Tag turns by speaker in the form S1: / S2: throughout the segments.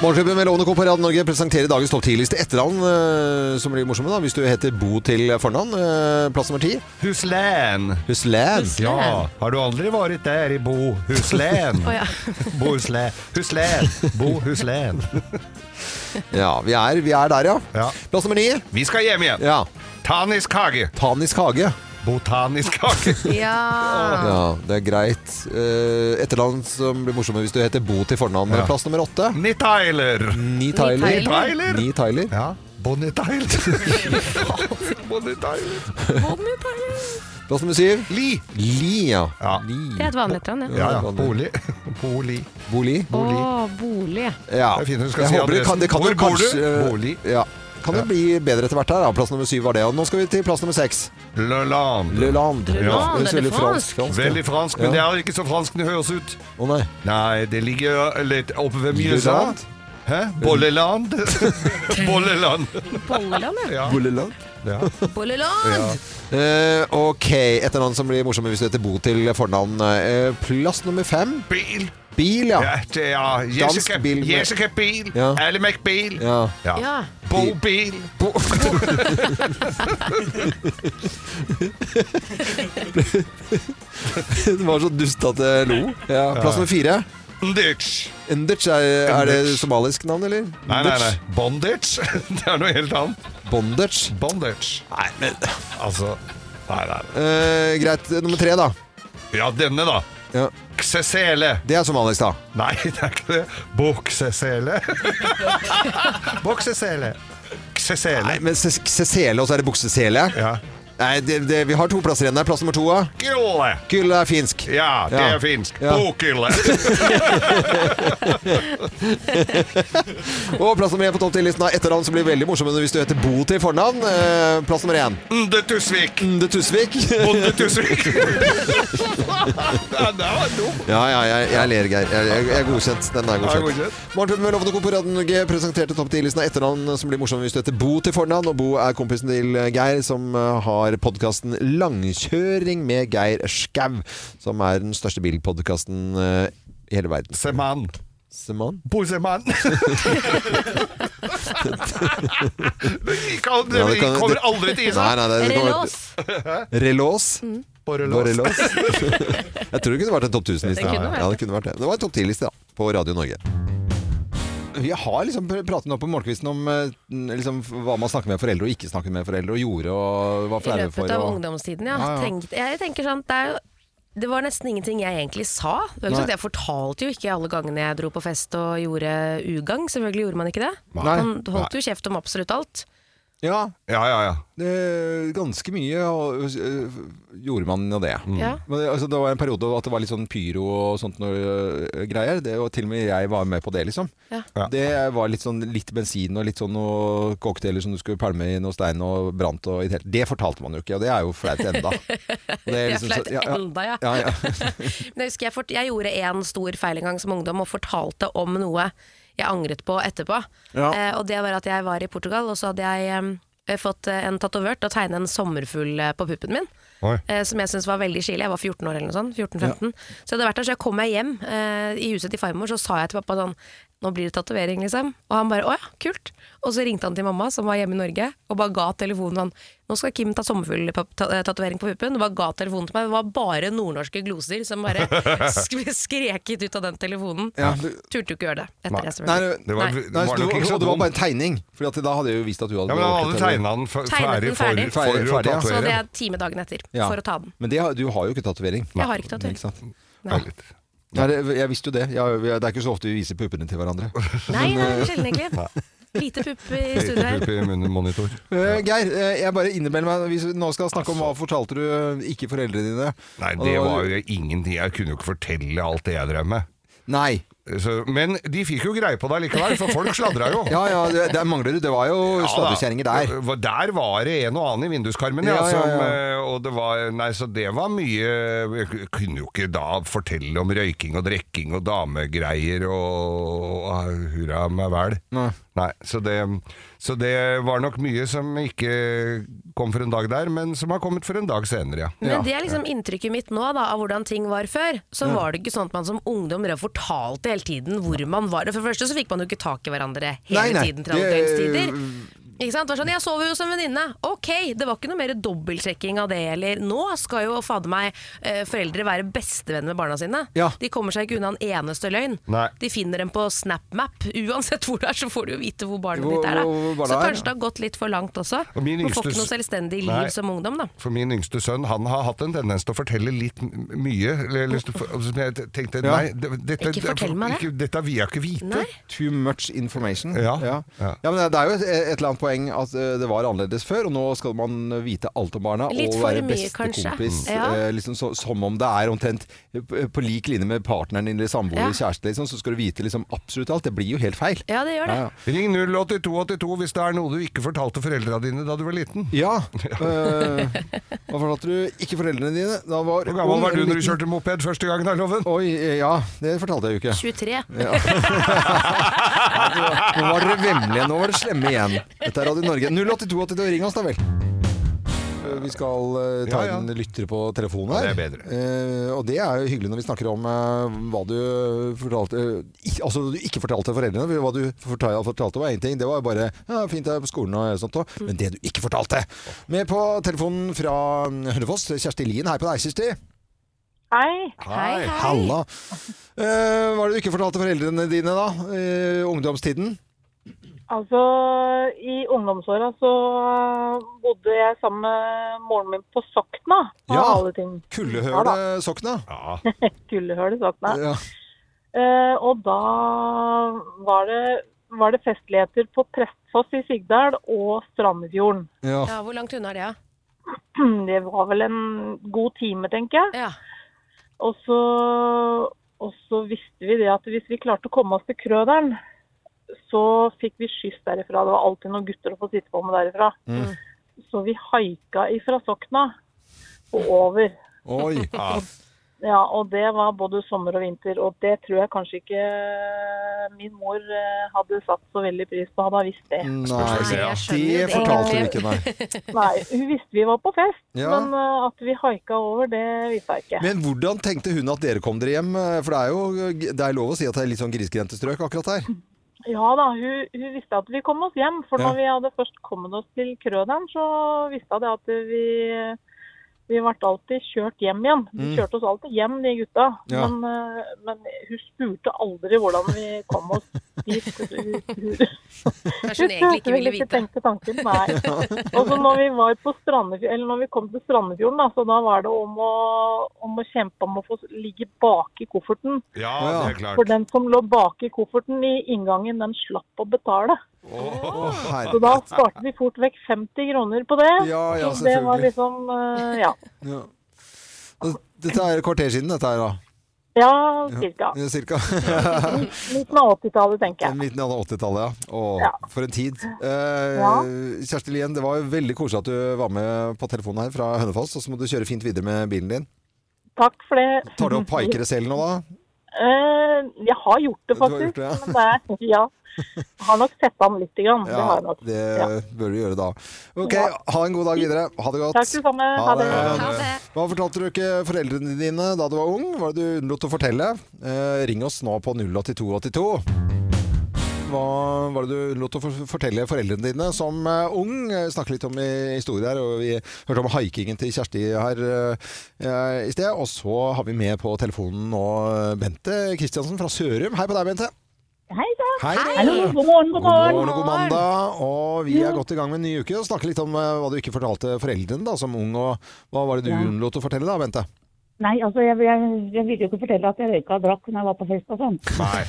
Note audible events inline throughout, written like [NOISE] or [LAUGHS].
S1: Morgenklubben med Lovende Co. på Radio Norge presenterer dagens topp 10-liste etternavn, eh, som blir morsomme da, hvis du heter Bo til fornavn. eh, Plass nummer ti.
S2: Huslen.
S1: Huslæn.
S2: Ja, har du aldri vært der i Bo Huslen?
S3: Å ja.
S2: Bo Huslen. Huslen. Bo Huslen.
S1: Ja, vi er, vi er der, ja.
S2: Ja.
S1: Plass nummer ni.
S2: Vi skal hjem igjen.
S1: Ja.
S2: Tanisk hage.
S1: Tanisk hage.
S2: Botanisk hage. Ah.
S3: Ja.
S1: Ja, det er greit. Eh, etternavn som blir morsomme hvis du heter Bo til fornavn.
S2: Ja.
S1: Plass nummer åtte.
S2: Ni Tyler.
S1: Ni
S3: Tyler.
S1: Tyler.
S2: Tyler.
S1: Ni Tyler.
S2: Ja. Bonnie Tyler. Bonnie Tyler.
S1: [LAUGHS] Plass nummer syv.
S2: Li.
S1: Li, ja.
S2: Ja.
S1: Li.
S3: Det er et vanlig etternavn, ja.
S2: Ja, ja. Bolig. Bolig.
S1: Bolig.
S3: Å,
S2: Bolig.
S3: bolig.
S1: Ja.
S2: Det er fint at du skal
S1: Jeg
S2: si
S1: håper det
S2: adressen.
S1: kan, det kan
S2: Hvor
S1: jo
S2: bor du?
S1: kanskje, eh,
S2: Bolig.
S1: Ja. Kan jo
S2: Ja.
S1: bli bedre etter hvert her. da. Plass nummer syv var det. Og nå skal vi til plass nummer seks.
S2: Le Land.
S1: Le Land.
S3: Le Land,
S1: høres
S3: er det
S1: veldig
S3: fransk?
S1: fransk,
S2: Veldig
S1: fransk.
S2: fransk, men det
S1: Ja.
S2: er ikke så fransk det høres ut.
S1: ja. Å nei.
S2: Nei, det ligger litt oppe ved
S1: Le
S2: Mjøsa.
S1: Land.
S2: Hæ?
S1: [LAUGHS]
S2: Bolleland? Bolleland.
S3: Bolleland, ja.
S2: Ja.
S1: Bolleland.
S2: ja.
S3: Bolleland!
S1: Eh, ok, etternavn som blir morsomme hvis du heter Bo til fornavn. Eh, plass nummer fem.
S2: Bil.
S1: Bil, ja.
S2: Ja, det er Jessica,
S1: Dansk bil med-
S2: Jessica Bil.
S1: Ja.
S2: Ally McBeal.
S1: ja.
S3: Ja.
S2: Bobil.
S1: Bo
S2: [LAUGHS]
S1: det var så dust at jeg lo. Ja, plass nummer fire.
S2: Bondage.
S1: Endich, er, er det
S2: Endich.
S1: somalisk navn, eller?
S2: Nei, nei, nei.
S1: Endich?
S2: Bondage? [LAUGHS] Det er noe helt annet.
S1: Bondage?
S2: Bondage.
S1: Nei, men
S2: Altså Nei, nei. nei.
S1: Eh, Greit, nummer tre, da.
S2: Ja, denne, da.
S1: Ja.
S2: Ksesele.
S1: Det er somalisk, da.
S2: Nei, [LAUGHS] det er ikke det. [LAUGHS] Buksesele. Buksesele. Ksesele.
S1: Nei, men ses- Sesele, og så er det buksesele.
S2: Ja.
S1: Nei, det, det, vi har to plasser igjen der. Plass nummer to. da.
S2: Gråle.
S1: Gyll er finsk.
S2: Ja, det
S1: Ja.
S2: er finsk.
S1: Ja.
S2: Bokhylle.
S1: Og plass nummer én på topp 10-listen har etternavn som blir veldig morsomme hvis du heter Bo til fornavn. Eh, plass nummer én.
S2: Nde Tusvik.
S1: Nde Tusvik.
S2: Bonde
S1: [LAUGHS]
S2: Tusvik. [LAUGHS] Ja, det var dumt.
S1: Ja, ja, jeg, jeg ler, Geir. Jeg, jeg, jeg er godkjent. Den er
S2: Ja,
S1: godkjent.
S2: godkjent.
S1: Morgenklubben med Lovende Co. på Radio Norge presenterte topp 10-listen av etternavn som blir morsomme hvis du heter Bo til fornavn. Og Bo er kompisen til Geir, som eh, har podkasten Langkjøring med Geir Skau, som er den største bilpodkasten eh, i hele verden.
S2: Seman.
S1: Seman?
S2: Boseman. det gikk aldri,
S1: Ja, det
S2: vi
S1: kan-
S2: kommer
S1: det-
S2: aldri til
S1: Nei,
S2: Island.
S1: nei, det, det kommer,
S3: Relås.
S1: Relås?
S2: Borrelås.
S1: Borrelås. Jeg tror det kunne vært en topp 1000-liste.
S3: Det kunne vært
S1: Ja, det kunne vært det. Det var en topp 10-liste, da, på Radio Norge. Vi har liksom pr- pratet nå på morgenkvisten om eh, liksom, hva man snakker med foreldre og ikke snakker med foreldre, og gjorde og hva
S3: I
S1: flaue for.
S3: løpet av
S1: Og...
S3: ungdomstiden, ja.
S1: Ja, ja.
S3: Tenk, jeg tenker sånn, det, er jo, det var nesten ingenting jeg egentlig sa. Det var ikke
S1: Nei.
S3: sånn at jeg fortalte jo ikke alle gangene jeg dro på fest og gjorde ugagn. Selvfølgelig gjorde man ikke det.
S1: Nei.
S3: Man holdt jo kjeft om absolutt alt.
S1: Ja,
S2: Ja, ja, ja.
S1: det, ganske mye og, øh, gjorde man jo det.
S2: Mm.
S3: Ja.
S1: Men, det- altså, det var en periode at det var litt sånn pyro og sånt noe, øh, greier, det, og til og med jeg var med på det, liksom.
S3: Ja.
S2: Ja.
S1: Det var litt sånn litt bensin og litt sånn noe cocktailer som du skulle pælme i noe stein og brant og i det hele Det fortalte man jo ikke, og det er jo
S2: [LAUGHS]
S1: flaut
S3: [LAUGHS]
S1: enda. Og
S3: Det
S1: er
S3: er
S1: liksom så-
S3: flaut enda, ja.
S1: Ja, ja.
S3: [LAUGHS] Men jeg husker jeg, fort, jeg gjorde en stor feil en gang som ungdom og fortalte om noe jeg angret på etterpå.
S1: Ja.
S3: Eh, og det var at jeg var i Portugal, og så hadde jeg eh, fått eh, en tatovør til å tegne en sommerfugl eh, på puppen min.
S2: Oi.
S3: Eh, som jeg syntes var veldig chili. Jeg var 14 år eller noe sånt. 14-15. Så jeg hadde vært der, så jeg kom meg hjem eh, i huset til farmor, så sa jeg til pappa sånn Nå blir det tatovering, liksom. Og han bare å ja, kult. Og så ringte han til mamma, som var hjemme i Norge, og bare ga telefonen han Nå skal Kim ta sommerfugltatovering på puppen. Og bare ga telefonen til meg. Det var bare nordnorske gloser som
S1: [LAUGHS]
S3: bare sk skreket ut av den telefonen.
S1: Ja, du-
S3: Turte jo ikke gjøre det etter det.
S1: Nei,
S3: selvfølgelig.
S2: Det var,
S3: Nei.
S2: det
S1: Nei,
S2: var nok
S1: så det,
S2: ikke
S1: var,
S2: så
S1: og det var
S2: dum.
S1: bare en tegning, Fordi at da hadde jeg jo visst at du hadde
S2: Ja, men han hadde tegna den fe-
S3: Tegnet
S2: ferdig
S3: den
S2: for,
S3: ferdig.
S2: for,
S1: Ferdig,
S2: å
S1: ferdig, ja.
S3: Så det
S2: tatovere.
S3: er time dagen etter
S1: Ja.
S3: for å ta den.
S1: Men det, har- du har jo ikke tatovering.
S3: Jeg har ikke tatovering.
S1: Ikke sant?
S3: Nei,
S1: Nei, det, jeg visste jo det. Jeg, det er ikke så ofte vi viser puppene til hverandre.
S3: [LAUGHS] nei,
S1: eh,
S3: nei sjelden
S1: [LAUGHS]
S3: egentlig. Lite pupp i studio her.
S2: Pupp i munnen, monitor.
S1: Eh, Geir, eh, jeg bare innbiller meg Hvis vi nå skal snakke om hva
S2: Altså.
S1: fortalte du eh, ikke foreldrene dine
S2: Nei, det var jo ingenting. Jeg kunne jo ikke fortelle alt det jeg drev med.
S1: Nei.
S2: Så, men de fikk jo greie på deg likevel, for folk sladra jo.
S1: [LAUGHS] Ja, ja, det, det er Manglerud. Det var jo
S2: Ja, da.
S1: sladrekjerringer der.
S2: Det var- Der var det en og annen i vinduskarmen, ja.
S1: Ja, ja,
S2: som,
S1: ja.
S2: eh, og det var, nei, så det var mye Jeg kunne jo ikke da fortelle om røyking og drikking og damegreier og, og hurra meg vel.
S1: Nei.
S2: så, det, så det var nok mye som ikke kom for en dag der, men som har kommet for en dag senere, ja.
S3: Men det er liksom inntrykket mitt nå da, av hvordan ting var før. Så var det ikke sånn at man som ungdom drev og fortalte hele tiden hvor man var. For det første så fikk man jo ikke tak i hverandre hele
S1: Nei, nei,
S3: tiden til alle
S1: det-
S3: døgnstider.
S4: Mm.
S3: Ikke sant? Det var sånn, jeg sover jo som venninne. Ok, det var ikke noe mer dobbeltsjekking av det. Eller nå skal jo fader meg eh, foreldre være bestevenn med barna sine.
S1: Ja.
S3: De kommer seg ikke unna en eneste løgn.
S2: Nei.
S3: De finner dem på SnapMap. Uansett hvor du er, så får du jo vite hvor barnet
S1: Hvor-
S3: ditt er. Da.
S1: hvor- hvor barnet
S3: så
S1: er,
S3: kanskje det har gått litt for langt også.
S2: Og min
S3: Man får
S2: yngste
S3: ikke noe
S2: s-
S3: selvstendig liv
S2: Nei.
S3: som ungdom, da.
S2: For min yngste sønn han har hatt en tendens til å fortelle litt m- mye. Eller, eller, som jeg tenkte,
S1: Ja.
S2: nei, det- dette,
S3: Ikke fortell meg det.
S2: ikke- Dette vil jeg ikke vite.
S3: Nei.
S1: Too much information.
S2: Ja.
S1: Ja.
S2: Ja.
S1: Ja, men det er jo et, et eller annet poeng at eh, det var annerledes før, og nå skal man vite alt om barna
S3: Litt
S1: og
S3: for
S1: være
S3: mye, kanskje.
S1: bestekompis.
S3: Mm. Ja.
S1: eh, Liksom så, som om det er omtrent eh, på lik linje med partneren din eller samboer eller
S3: Ja.
S1: kjæreste, liksom, så skal du vite liksom absolutt alt. Det blir jo helt feil.
S3: Ja, det gjør det.
S1: Ja, ja.
S2: Ring 08282 hvis det er noe du ikke fortalte foreldra dine da du var liten.
S1: Ja.
S2: [LAUGHS]
S1: eh, Hva fortalte du ikke foreldrene dine? Da var
S2: Hvor gammel
S1: ung
S2: var du
S1: eller
S2: når du
S1: liten?
S2: kjørte moped første gangen, da, Loven?
S1: Oi, eh, ja. Det fortalte jeg jo ikke.
S3: 23.
S1: [LAUGHS] Nå var dere vemmelige, nå var dere slemme igjen. Dette er Radio Norge. 08282, ring oss da vel. Eh, Vi skal eh, ta
S2: Ja, ja.
S1: inn lyttere på telefonen her.
S2: Ja, det er bedre.
S1: Eh, og det er jo hyggelig når vi snakker om eh, hva du fortalte eh, ikke, Altså du ikke fortalte foreldrene. for Hva du fortalte, fortalte var én ting. Det var jo bare ja, 'fint det er på skolen' og sånt òg. Men det du ikke fortalte! Med på telefonen fra mm, Hønefoss, Kjersti Lien. Hei på deg, Kjersti.
S5: Hei.
S3: Hei, hei.
S1: Halla. Eh, hva er det du ikke fortalte foreldrene dine, da? Eh, ungdomstiden?
S5: Altså, i ungdomsåra så bodde jeg sammen med moren min på Sokna. av
S1: Ja.
S5: alle ting. Ja da.
S1: Kullehølesokna?
S5: [LAUGHS]
S2: Ja.
S5: Kullehøl i Sokna.
S1: Ja.
S5: Eh, og da var det, var det festligheter på Prestfoss i Sigdal og Strandefjorden.
S1: Ja.
S3: Ja, hvor langt unna er det, da?
S5: [CLEARS THROAT] Det var vel en god time, tenker jeg.
S3: Ja.
S5: Og så, og så visste vi det at hvis vi klarte å komme oss til Krøderen, så fikk vi skyss derifra. Det var alltid noen gutter å få sitte på med derifra.
S1: Mm.
S5: Så vi haika ifra Sokna og over.
S1: Oi.
S2: Ja.
S5: Ja, og det var både sommer og vinter, og det tror jeg kanskje ikke min mor eh, hadde satt så veldig pris på, hadde hun visst det.
S1: Nei,
S2: jeg
S1: det
S3: skjønner jo
S1: fortalte du
S3: det.
S1: ikke, nei.
S5: Nei, hun visste vi var på fest,
S1: Ja.
S5: men eh, at vi haika over, det visste jeg ikke.
S1: Men hvordan tenkte hun at dere kom dere hjem? Eh, For det er jo det er lov å si at det er litt sånn grisgrendte strøk akkurat
S5: [LAUGHS]
S1: her.
S5: Ja da, hun, hun visste at vi kom oss hjem. For
S1: Ja.
S5: når vi hadde først kommet oss til Krøderen, så visste hun det at vi, vi ble alltid kjørt hjem igjen. De
S1: Mm.
S5: kjørte oss alltid hjem, de gutta.
S1: Ja.
S5: Men, eh, men hun spurte aldri hvordan vi kom oss
S3: [LAUGHS]
S5: dit. Hun, hun,
S3: Kanskje hun sånn egentlig ikke ville vite.
S5: tenkte tanken,
S3: [LAUGHS]
S5: nei. Og så når vi, var på Strandefjorden, eller når vi kom til Strandefjorden, da, så da var det om å, om å kjempe om å få ligge bak i kofferten.
S2: ja, det er
S5: For
S2: klart.
S5: den som lå bak i kofferten i inngangen, den slapp å betale.
S1: Å,
S5: Så
S1: herre.
S5: da sparte vi fort vekk 50 kroner på det.
S1: Ja, ja,
S5: Så det var
S1: selvfølgelig.
S5: liksom eh, Ja,
S1: Ja. Dette er et kvarter siden, dette her, da.
S5: ja cirka.
S1: Ja,
S5: [LAUGHS]
S1: Cirka.
S5: Midten av 80-tallet, tenker jeg.
S1: Midten av 80-tallet, ja.
S5: Ja.
S1: Å, for en tid. Eh,
S5: Ja.
S1: Kjersti Lien, det var jo veldig koselig at du var med på telefonen her fra Hønefoss. Og så må du kjøre fint videre med bilen din.
S5: Takk for det. [LAUGHS]
S1: Tar du opp haikere selv nå, da?
S5: Eh, jeg har gjort det,
S1: Du har
S5: faktisk.
S1: gjort det, ja.
S5: Men det er, [LAUGHS] ja. Jeg har nok sett an lite grann. sånn, det har jeg nok.
S1: det
S5: Ja.
S1: bør du gjøre da. Ok,
S5: Ja.
S1: ha en god dag videre. Ha det godt.
S5: Takk, det samme.
S1: Ha
S5: Ha
S1: det.
S5: det.
S3: Ha det.
S1: Hva fortalte du ikke foreldrene dine da du var ung? Hva er det du unnlot å fortelle? Eh, ring oss nå på 08282. Hva var det du unnlot å for- fortelle foreldrene dine som eh, ung? Eh, Snakket litt om i- historier her, og vi hørte om haikingen til Kjersti her eh, i sted. Og så har vi med på telefonen nå eh, Bente Kristiansen fra Sørum. Hei på deg, Bente.
S5: Hei da.
S1: Hei.
S5: Hallo, god morgen, god
S1: God
S5: morgen.
S1: morgen og god mandag, og vi er godt i gang med en ny uke. og Snakke litt om eh, hva du ikke fortalte foreldrene da, som ung, og hva var det du unnlot å fortelle da, Bente?
S6: Nei, altså jeg, jeg, jeg ville jo ikke fortelle at jeg røyka og drakk når jeg var på fest og sånn.
S1: [LAUGHS]
S2: Nei.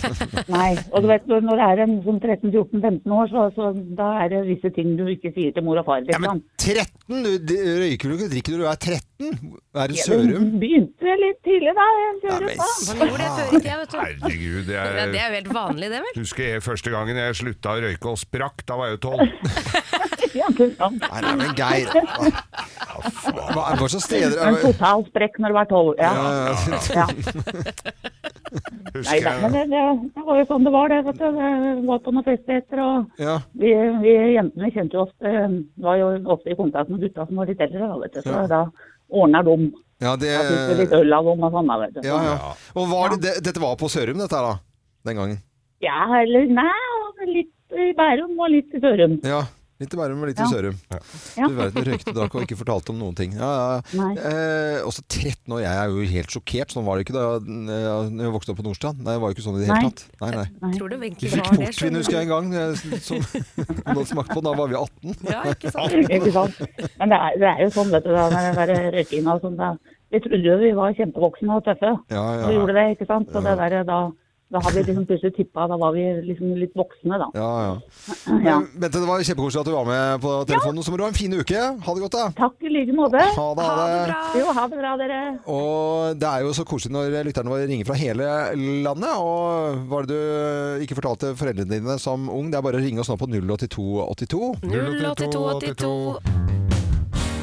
S6: Nei, og du vet, når- når det er en sånn 13-14-15 år, så, så da er det visse ting du ikke sier til mor og far.
S1: Ja, men
S6: Liksom.
S1: 13? Du d- røyker vel ikke og drikker når du er 13? Er det
S6: Ja,
S1: Sørum?
S6: det begynte litt tidlig da. Jeg
S1: Ja,
S6: hører
S1: men
S6: på.
S3: Man gjorde det før i tida, vet du.
S2: Herregud,
S3: Ja, det
S2: jeg
S3: er jo helt vanlig, det vel?
S2: husker jeg første gangen jeg slutta å røyke og sprakk. Da var jeg jo tolv.
S6: Ja, det er sant.
S1: Nei, nei, men Geir Hva, hva, hva slags steder
S6: En
S1: er
S6: total sprekk når du var tolv. Ja.
S1: Ja, ja, ja.
S6: ja. Nei
S2: Husker
S6: da, men
S2: jeg.
S6: det, det, det var jo sånn det var, det. Vet du. Det var på noen fester etter, og
S1: ja.
S6: vi, vi jentene kjente jo ofte Var jo ofte i kontakt med gutta som var litt eldre, da, vet du. Så
S1: Ja.
S6: da ordna de.
S1: ja det
S6: Da fikk vi litt øl av dem og sånn, da, vet du.
S1: ja, ja. Og var det, det, dette var på Sørum, dette her, da? Den gangen.
S6: Ja, eller nei, litt i Bærum og litt i Sørum.
S1: Ja. Litt i Bærum og litt i
S6: Ja.
S1: Sørum.
S6: Ja.
S1: Du verden, røykte, drakk og ikke fortalte om noen ting. Ja, ja.
S6: Nei.
S1: Eh, også 13 år, jeg er jo helt sjokkert. Sånn var det ikke da jeg, jeg vokste opp på Nordstrand. Nei, det var jo ikke sånn i det
S6: Nei.
S1: hele tatt. Nei, nei.
S3: Tror du
S1: Vi
S3: egentlig
S1: fikk
S3: var det? sånn?
S1: portvin,
S3: skjønner du?
S1: husker jeg en gang. eh, Som, noen smakte på den, da var vi 18.
S3: Ja, ikke
S1: [LAUGHS]
S3: sant?
S6: [LAUGHS] Ikke sant? Men det er, det er jo sånn, vet du, da, med den der røykinga og sånn. da. Vi trodde jo vi var kjempevoksne og tøffe.
S1: Ja,
S6: Vi
S1: ja.
S6: gjorde det, ikke sant? Så det der, da, da hadde vi liksom plutselig tippa, da var vi liksom litt voksne, da.
S1: Ja, ja.
S6: Ja.
S1: Men, Bente, det var kjempekoselig at du var med på telefonen. Så må du ha en fin uke. Ha det godt, da.
S6: Takk i like måte.
S1: Ha det,
S3: Ha det bra!
S6: Jo, ha det bra, dere.
S1: Og det er jo så koselig når lytterne våre ringer fra hele landet. Og var det du ikke fortalte foreldrene dine som ung, det er bare å ringe oss nå på 08282.
S3: 08282.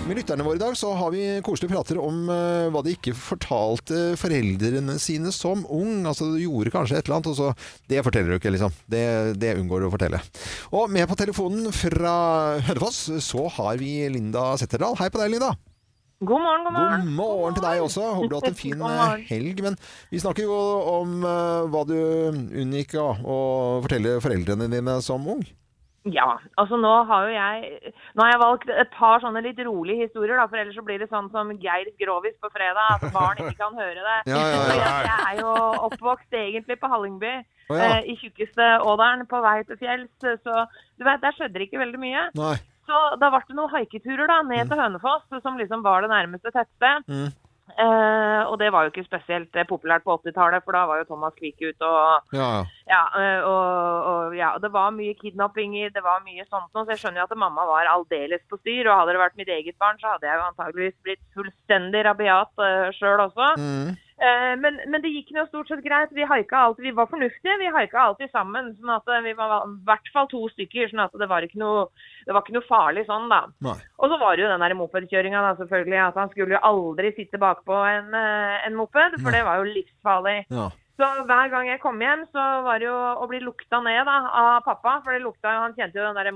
S1: Med lytterne våre i dag så har vi koselige prater om eh, hva de ikke fortalte foreldrene sine som ung. Altså du gjorde kanskje et eller annet, og så Det forteller du ikke, liksom. Det, det unngår du å fortelle. Og med på telefonen fra Hønefoss så har vi Linda Setterdal. Hei på deg, Linda.
S4: God morgen, god
S1: God
S4: morgen.
S1: morgen til deg også. Håper du har hatt en fin
S4: God morgen.
S1: eh, helg. Men vi snakker jo om eh, hva du unngikk ja, å fortelle foreldrene dine som ung.
S4: Ja, altså nå har jo jeg Nå har jeg valgt et par sånne litt rolige historier, da, for ellers så blir det sånn som Geir Grovis på fredag, at barn ikke kan høre det.
S1: Ja, ja, ja.
S4: Og Jeg, jeg er jo oppvokst egentlig på Hallingby,
S1: Å, ja.
S4: eh, i tjukkeste Ådalen, på vei til fjells. eh, Så du vet, der skjedde det ikke veldig mye.
S1: Nei.
S4: Så da ble det noen haiketurer da, ned til Hønefoss, som liksom var det nærmeste tettsted.
S1: Mm.
S4: Eh, og det var jo ikke spesielt eh, populært på 80-tallet, for da var jo Thomas Quick ute og
S1: Ja, ja.
S4: ja, øh, og, og, ja, og det var mye kidnappinger, det var mye sånt noe, så jeg skjønner jo at mamma var aldeles på styr, og hadde det vært mitt eget barn, så hadde jeg jo antageligvis blitt fullstendig rabiat øh, selv også.
S1: Mm.
S4: Eh, men, men det gikk nå stort sett greit, vi haika alltid, vi var fornuftige, vi haika alltid sammen, sånn at øh, vi var i hvert fall to stykker, sånn at det var ikke noe, det var ikke noe farlig sånn da.
S1: Nei.
S4: Og så var det jo den der mopedkjøringa, da, selvfølgelig, at han skulle jo aldri sitte bakpå en, øh, en moped, for det var jo livsfarlig.
S1: Ja.
S4: Så hver gang jeg kom hjem, så var det jo å bli lukta ned da, av pappa. For det lukta jo, han kjente jo den der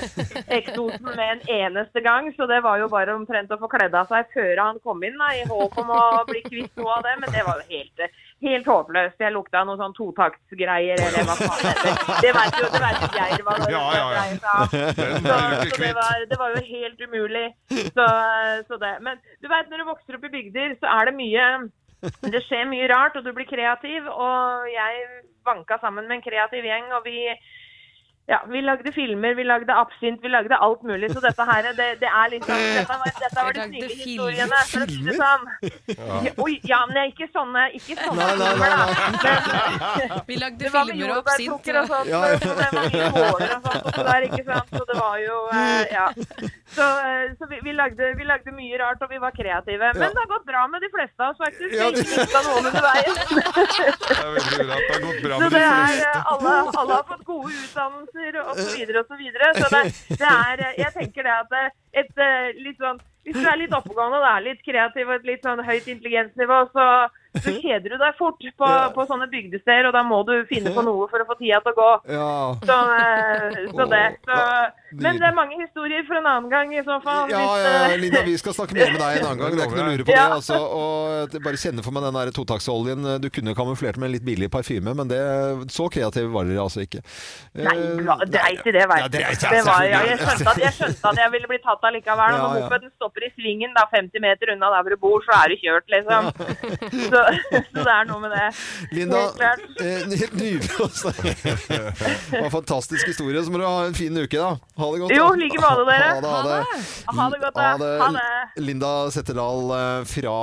S4: moped-eksosen med en eneste gang. Så det var jo bare omtrent å få kledd av seg før han kom inn, da, i håp om å bli kvitt noe av det. Men det var jo helt, helt håpløst. Jeg lukta noe sånn totaktsgreier, eller hva faen det heter. Det vet jo, det vet jo Geir hva det
S2: Ja, ja, ja.
S4: dreier seg om.
S2: Den
S4: Så,
S2: blir du
S4: så
S2: ikke
S4: altså, det,
S2: kvitt.
S4: var, det var jo helt umulig. Så, så det. Men du vet, når du vokser opp i bygder, så er det mye Det skjer mye rart, og du blir kreativ. Og jeg vanka sammen med en kreativ gjeng, og vi ja, Vi lagde filmer, vi lagde absint, vi lagde alt mulig. Så dette her, det, det er liksom Dette var, dette var
S3: Vi
S4: de
S3: lagde
S4: snille
S3: film-
S4: historiene. For å si det sånn. Ja. Oi, ja, men det er ikke sånne, ikke sånne
S1: Nei, nei, nei,
S4: filmer, da.
S1: nei.
S3: Vi lagde
S4: Det var med
S3: filmer og absint.
S4: jordbærplukker og sånt.
S1: Ja,
S4: Ja,
S1: ja.
S4: ja. Det var mye
S1: [LAUGHS]
S4: måler og sånt også [LAUGHS] der, ikke sant. Så det var jo eh, Ja. Så, eh, så vi, vi, lagde, vi lagde mye rart, og vi var kreative. Men
S1: Ja.
S4: det har gått bra med de fleste av oss, faktisk. Ja,
S1: Ja, det-
S4: det... Ikke noen under
S1: [LAUGHS]
S4: veien.
S2: Det er veldig bra at det har gått bra
S4: Så
S2: med de
S4: det er
S2: fleste.
S4: eh, alle, alle har fått gode utdannelser og så videre og så videre. Så det, det er eh, Jeg tenker det at eh, et eh, litt sånn Hvis du er litt oppegående og er litt kreativ og et litt sånn høyt intelligensnivå, så så kjeder du deg fort på, på sånne bygdesteder, og da må du finne på noe for å få tida til å gå.
S1: Ja.
S4: Så, eh, så det. Så, men det
S1: nydelig.
S4: er mange historier for en annen gang i så fall.
S1: Ja,
S4: hvis,
S1: ja, ja,
S4: eh,
S1: Linda, vi skal snakke mer med deg en annen gang. Det er ikke noe å lure på det.
S4: Ja.
S1: Altså, og det- bare kjenne for meg den der totaksoljen. Du kunne kamuflert med en litt billig parfyme, men det, så kreativ var dere altså ikke.
S4: Nei,
S1: Eh,
S4: bla- dreit i det,
S1: Ja,
S4: veit du.
S1: det er-
S4: Det var- ja, Jeg skjønte at jeg skjønte at jeg ville bli tatt allikevel. Og
S1: Ja,
S4: når
S1: ja.
S4: mopeden stopper i svingen da, 50 meter unna der hvor du bor, så er du kjørt, liksom. Så, [LAUGHS] så det er noe med det.
S1: Linda,
S4: Helt klart.
S1: eh, helt nydelig. altså. Det var en fantastisk historie. Så må du ha en fin uke, da. Ha det godt.
S4: Jo,
S1: da.
S4: like med alle dere.
S1: Ha det, ha
S3: Ha
S1: det.
S4: Ha det godt, da. Ha det.
S1: Linda Setterdal eh, fra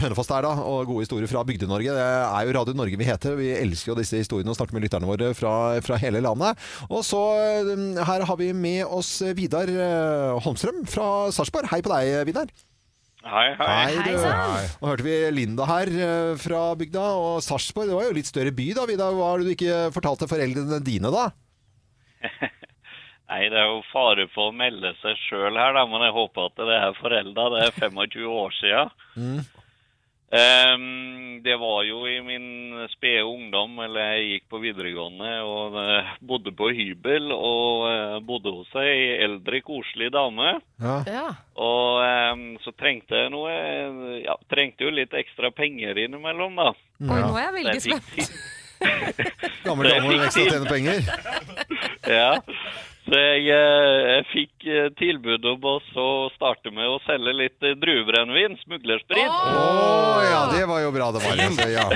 S1: Hønefoss der, da, og gode historier fra Bygde-Norge. Det er jo Radio Norge vi heter. Vi elsker jo disse historiene og snakker med lytterne våre fra, fra hele landet. Og så eh, her har vi med oss Vidar eh, Holmstrøm fra Sarpsborg. Hei på deg, Vidar.
S7: Hei, hei.
S3: Hei,
S1: du.
S3: sann.
S2: Nei.
S1: Nå hørte vi Linda her eh, fra bygda, og Sarpsborg det var jo litt større by da, Vidar. Hva har du ikke fortalt til foreldrene dine da?
S7: Nei, det er jo fare for å melde seg sjøl her, da, men jeg håper at det er forelda. Det er 25 år sia.
S8: Mm.
S7: det var jo i min spede ungdom, eller jeg gikk på videregående og eh, bodde på hybel. Og eh, bodde hos ei eldre, koselig dame.
S1: Ja.
S3: Ja.
S7: Og eh, så trengte jeg noe eh, Ja, trengte jo litt ekstra penger innimellom, da.
S3: Oi, nå er jeg veldig
S7: Så jeg
S3: spent.
S7: fikk-
S1: [LAUGHS] Gammel dame med ekstra tjene penger.
S7: [LAUGHS] Ja, så jeg, eh, jeg fikk eh, tilbud om oss å starte med å selge litt eh, druebrennevin, smuglersprit.
S1: Å ja, det var jo bra det var. Altså, ja.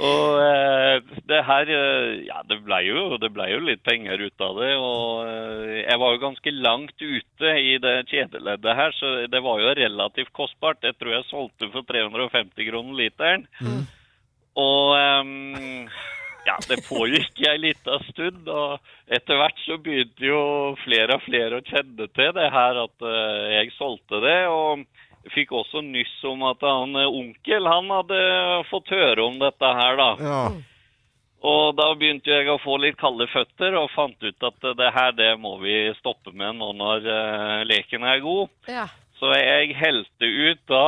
S7: Og eh, det her, eh, ja det ble, jo, det ble jo litt penger ut av det. Og eh, jeg var jo ganske langt ute i det kjedeleddet her, så det var jo relativt kostbart. Jeg tror jeg solgte for 350 kroner literen. Og ehm, ja, det pågikk ei lita stund, og etter hvert så begynte jo flere og flere å kjenne til det her at eh, jeg solgte det. og Fikk også nyss om at han eh, onkel han hadde fått høre om dette her, da.
S1: Ja.
S4: Mm.
S7: Og da begynte jeg å få litt kalde føtter og fant ut at eh, det her det må vi stoppe med nå når eh, leken er god.
S3: Ja.
S7: Så jeg helte ut da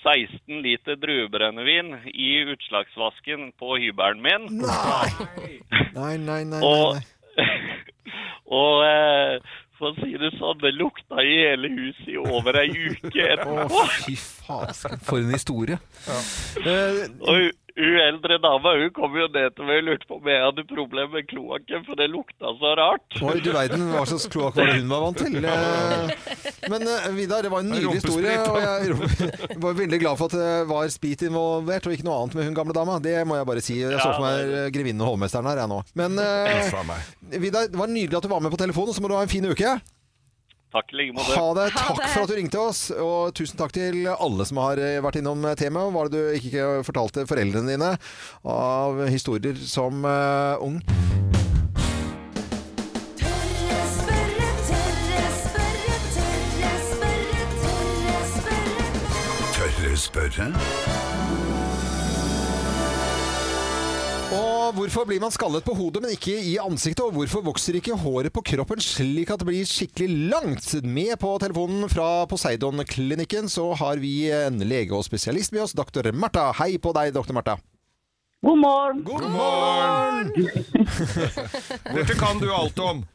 S7: 16 liter druebrennevin i utslagsvasken på hybelen min.
S1: Nei, nei, nei. nei,
S7: [LAUGHS] Og, [LAUGHS]
S1: nei.
S7: og eh, for å si det sånn, det lukta i hele huset i over ei uke
S1: Å,
S7: etterpå.
S1: fy faen. For en historie. Eh,
S7: Og hun- hun eldre dama hun kom jo ned til meg og lurte på om jeg hadde problemer med kloakken, for det lukta så rart.
S1: Oi, du verden hva slags kloakk var det hun var vant til. Eh, Men eh, Vidar, det var en nydelig
S2: Rumpesprit,
S1: historie. Og jeg var veldig glad for at det var sprit involvert, og ikke noe annet med hun gamle dama. Det må jeg bare si. Jeg så for meg eh, grevinnen og hovmesteren her, jeg nå. Men eh,
S2: Uff a meg.
S1: Vidar, det var nydelig at du var med på telefonen, så må du ha en fin uke.
S7: Takk i like måte.
S1: Ha det.
S3: Ha
S1: Takk
S3: det.
S1: for at du ringte oss, og tusen takk til alle som har eh, vært innom temaet. Hva er det du ikke fortalte foreldrene dine av historier som eh, ung?
S9: Tørre spørre, tørre spørre, tørre spørre, tørre spørre.
S2: Tørre spørre?
S1: Og hvorfor blir man skallet på hodet, men ikke i ansiktet? Og hvorfor vokser ikke håret på kroppen slik at det blir skikkelig langt? Med på telefonen fra Poseidon-klinikken så har vi en lege og spesialist med oss, doktor Martha. Hei på deg, doktor Martha.
S6: God morgen!
S1: God morgen!
S2: Dette kan du alt
S1: [LAUGHS]
S2: om.
S6: [LAUGHS]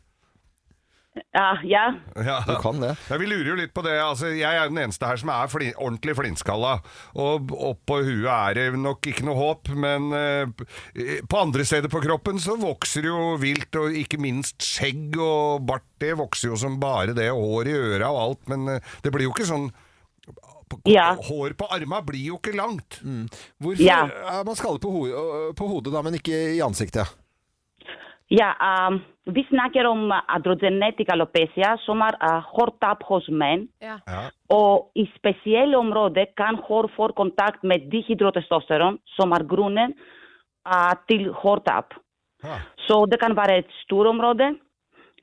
S6: Ja, ja.
S2: Ja.
S1: Du kan det.
S2: Ja, vi lurer jo litt på det. Altså, jeg er jo den eneste her som er flin ordentlig flintskalla. Og oppå huet er det nok ikke noe håp, men eh, på andre steder på kroppen så vokser det jo vilt, og ikke minst skjegg og bart. Det vokser jo som bare det, og hår i øra og alt, men eh, det blir jo ikke sånn
S6: Ja.
S2: Hår på arma blir jo ikke langt.
S1: Mm. Hvorfor
S6: Ja.
S1: er man skallet på, ho på hodet, da, men ikke i ansiktet?
S6: Ja, ehm, vi snakker om androgenetic alopecia, som er eh, hårtap hos menn.
S3: Ja.
S6: Og i spesielle områder kan hår få kontakt med dihydrotestosteron, som er grunnen eh, til hårtap.
S2: Ja.
S6: Så det kan være et stort område,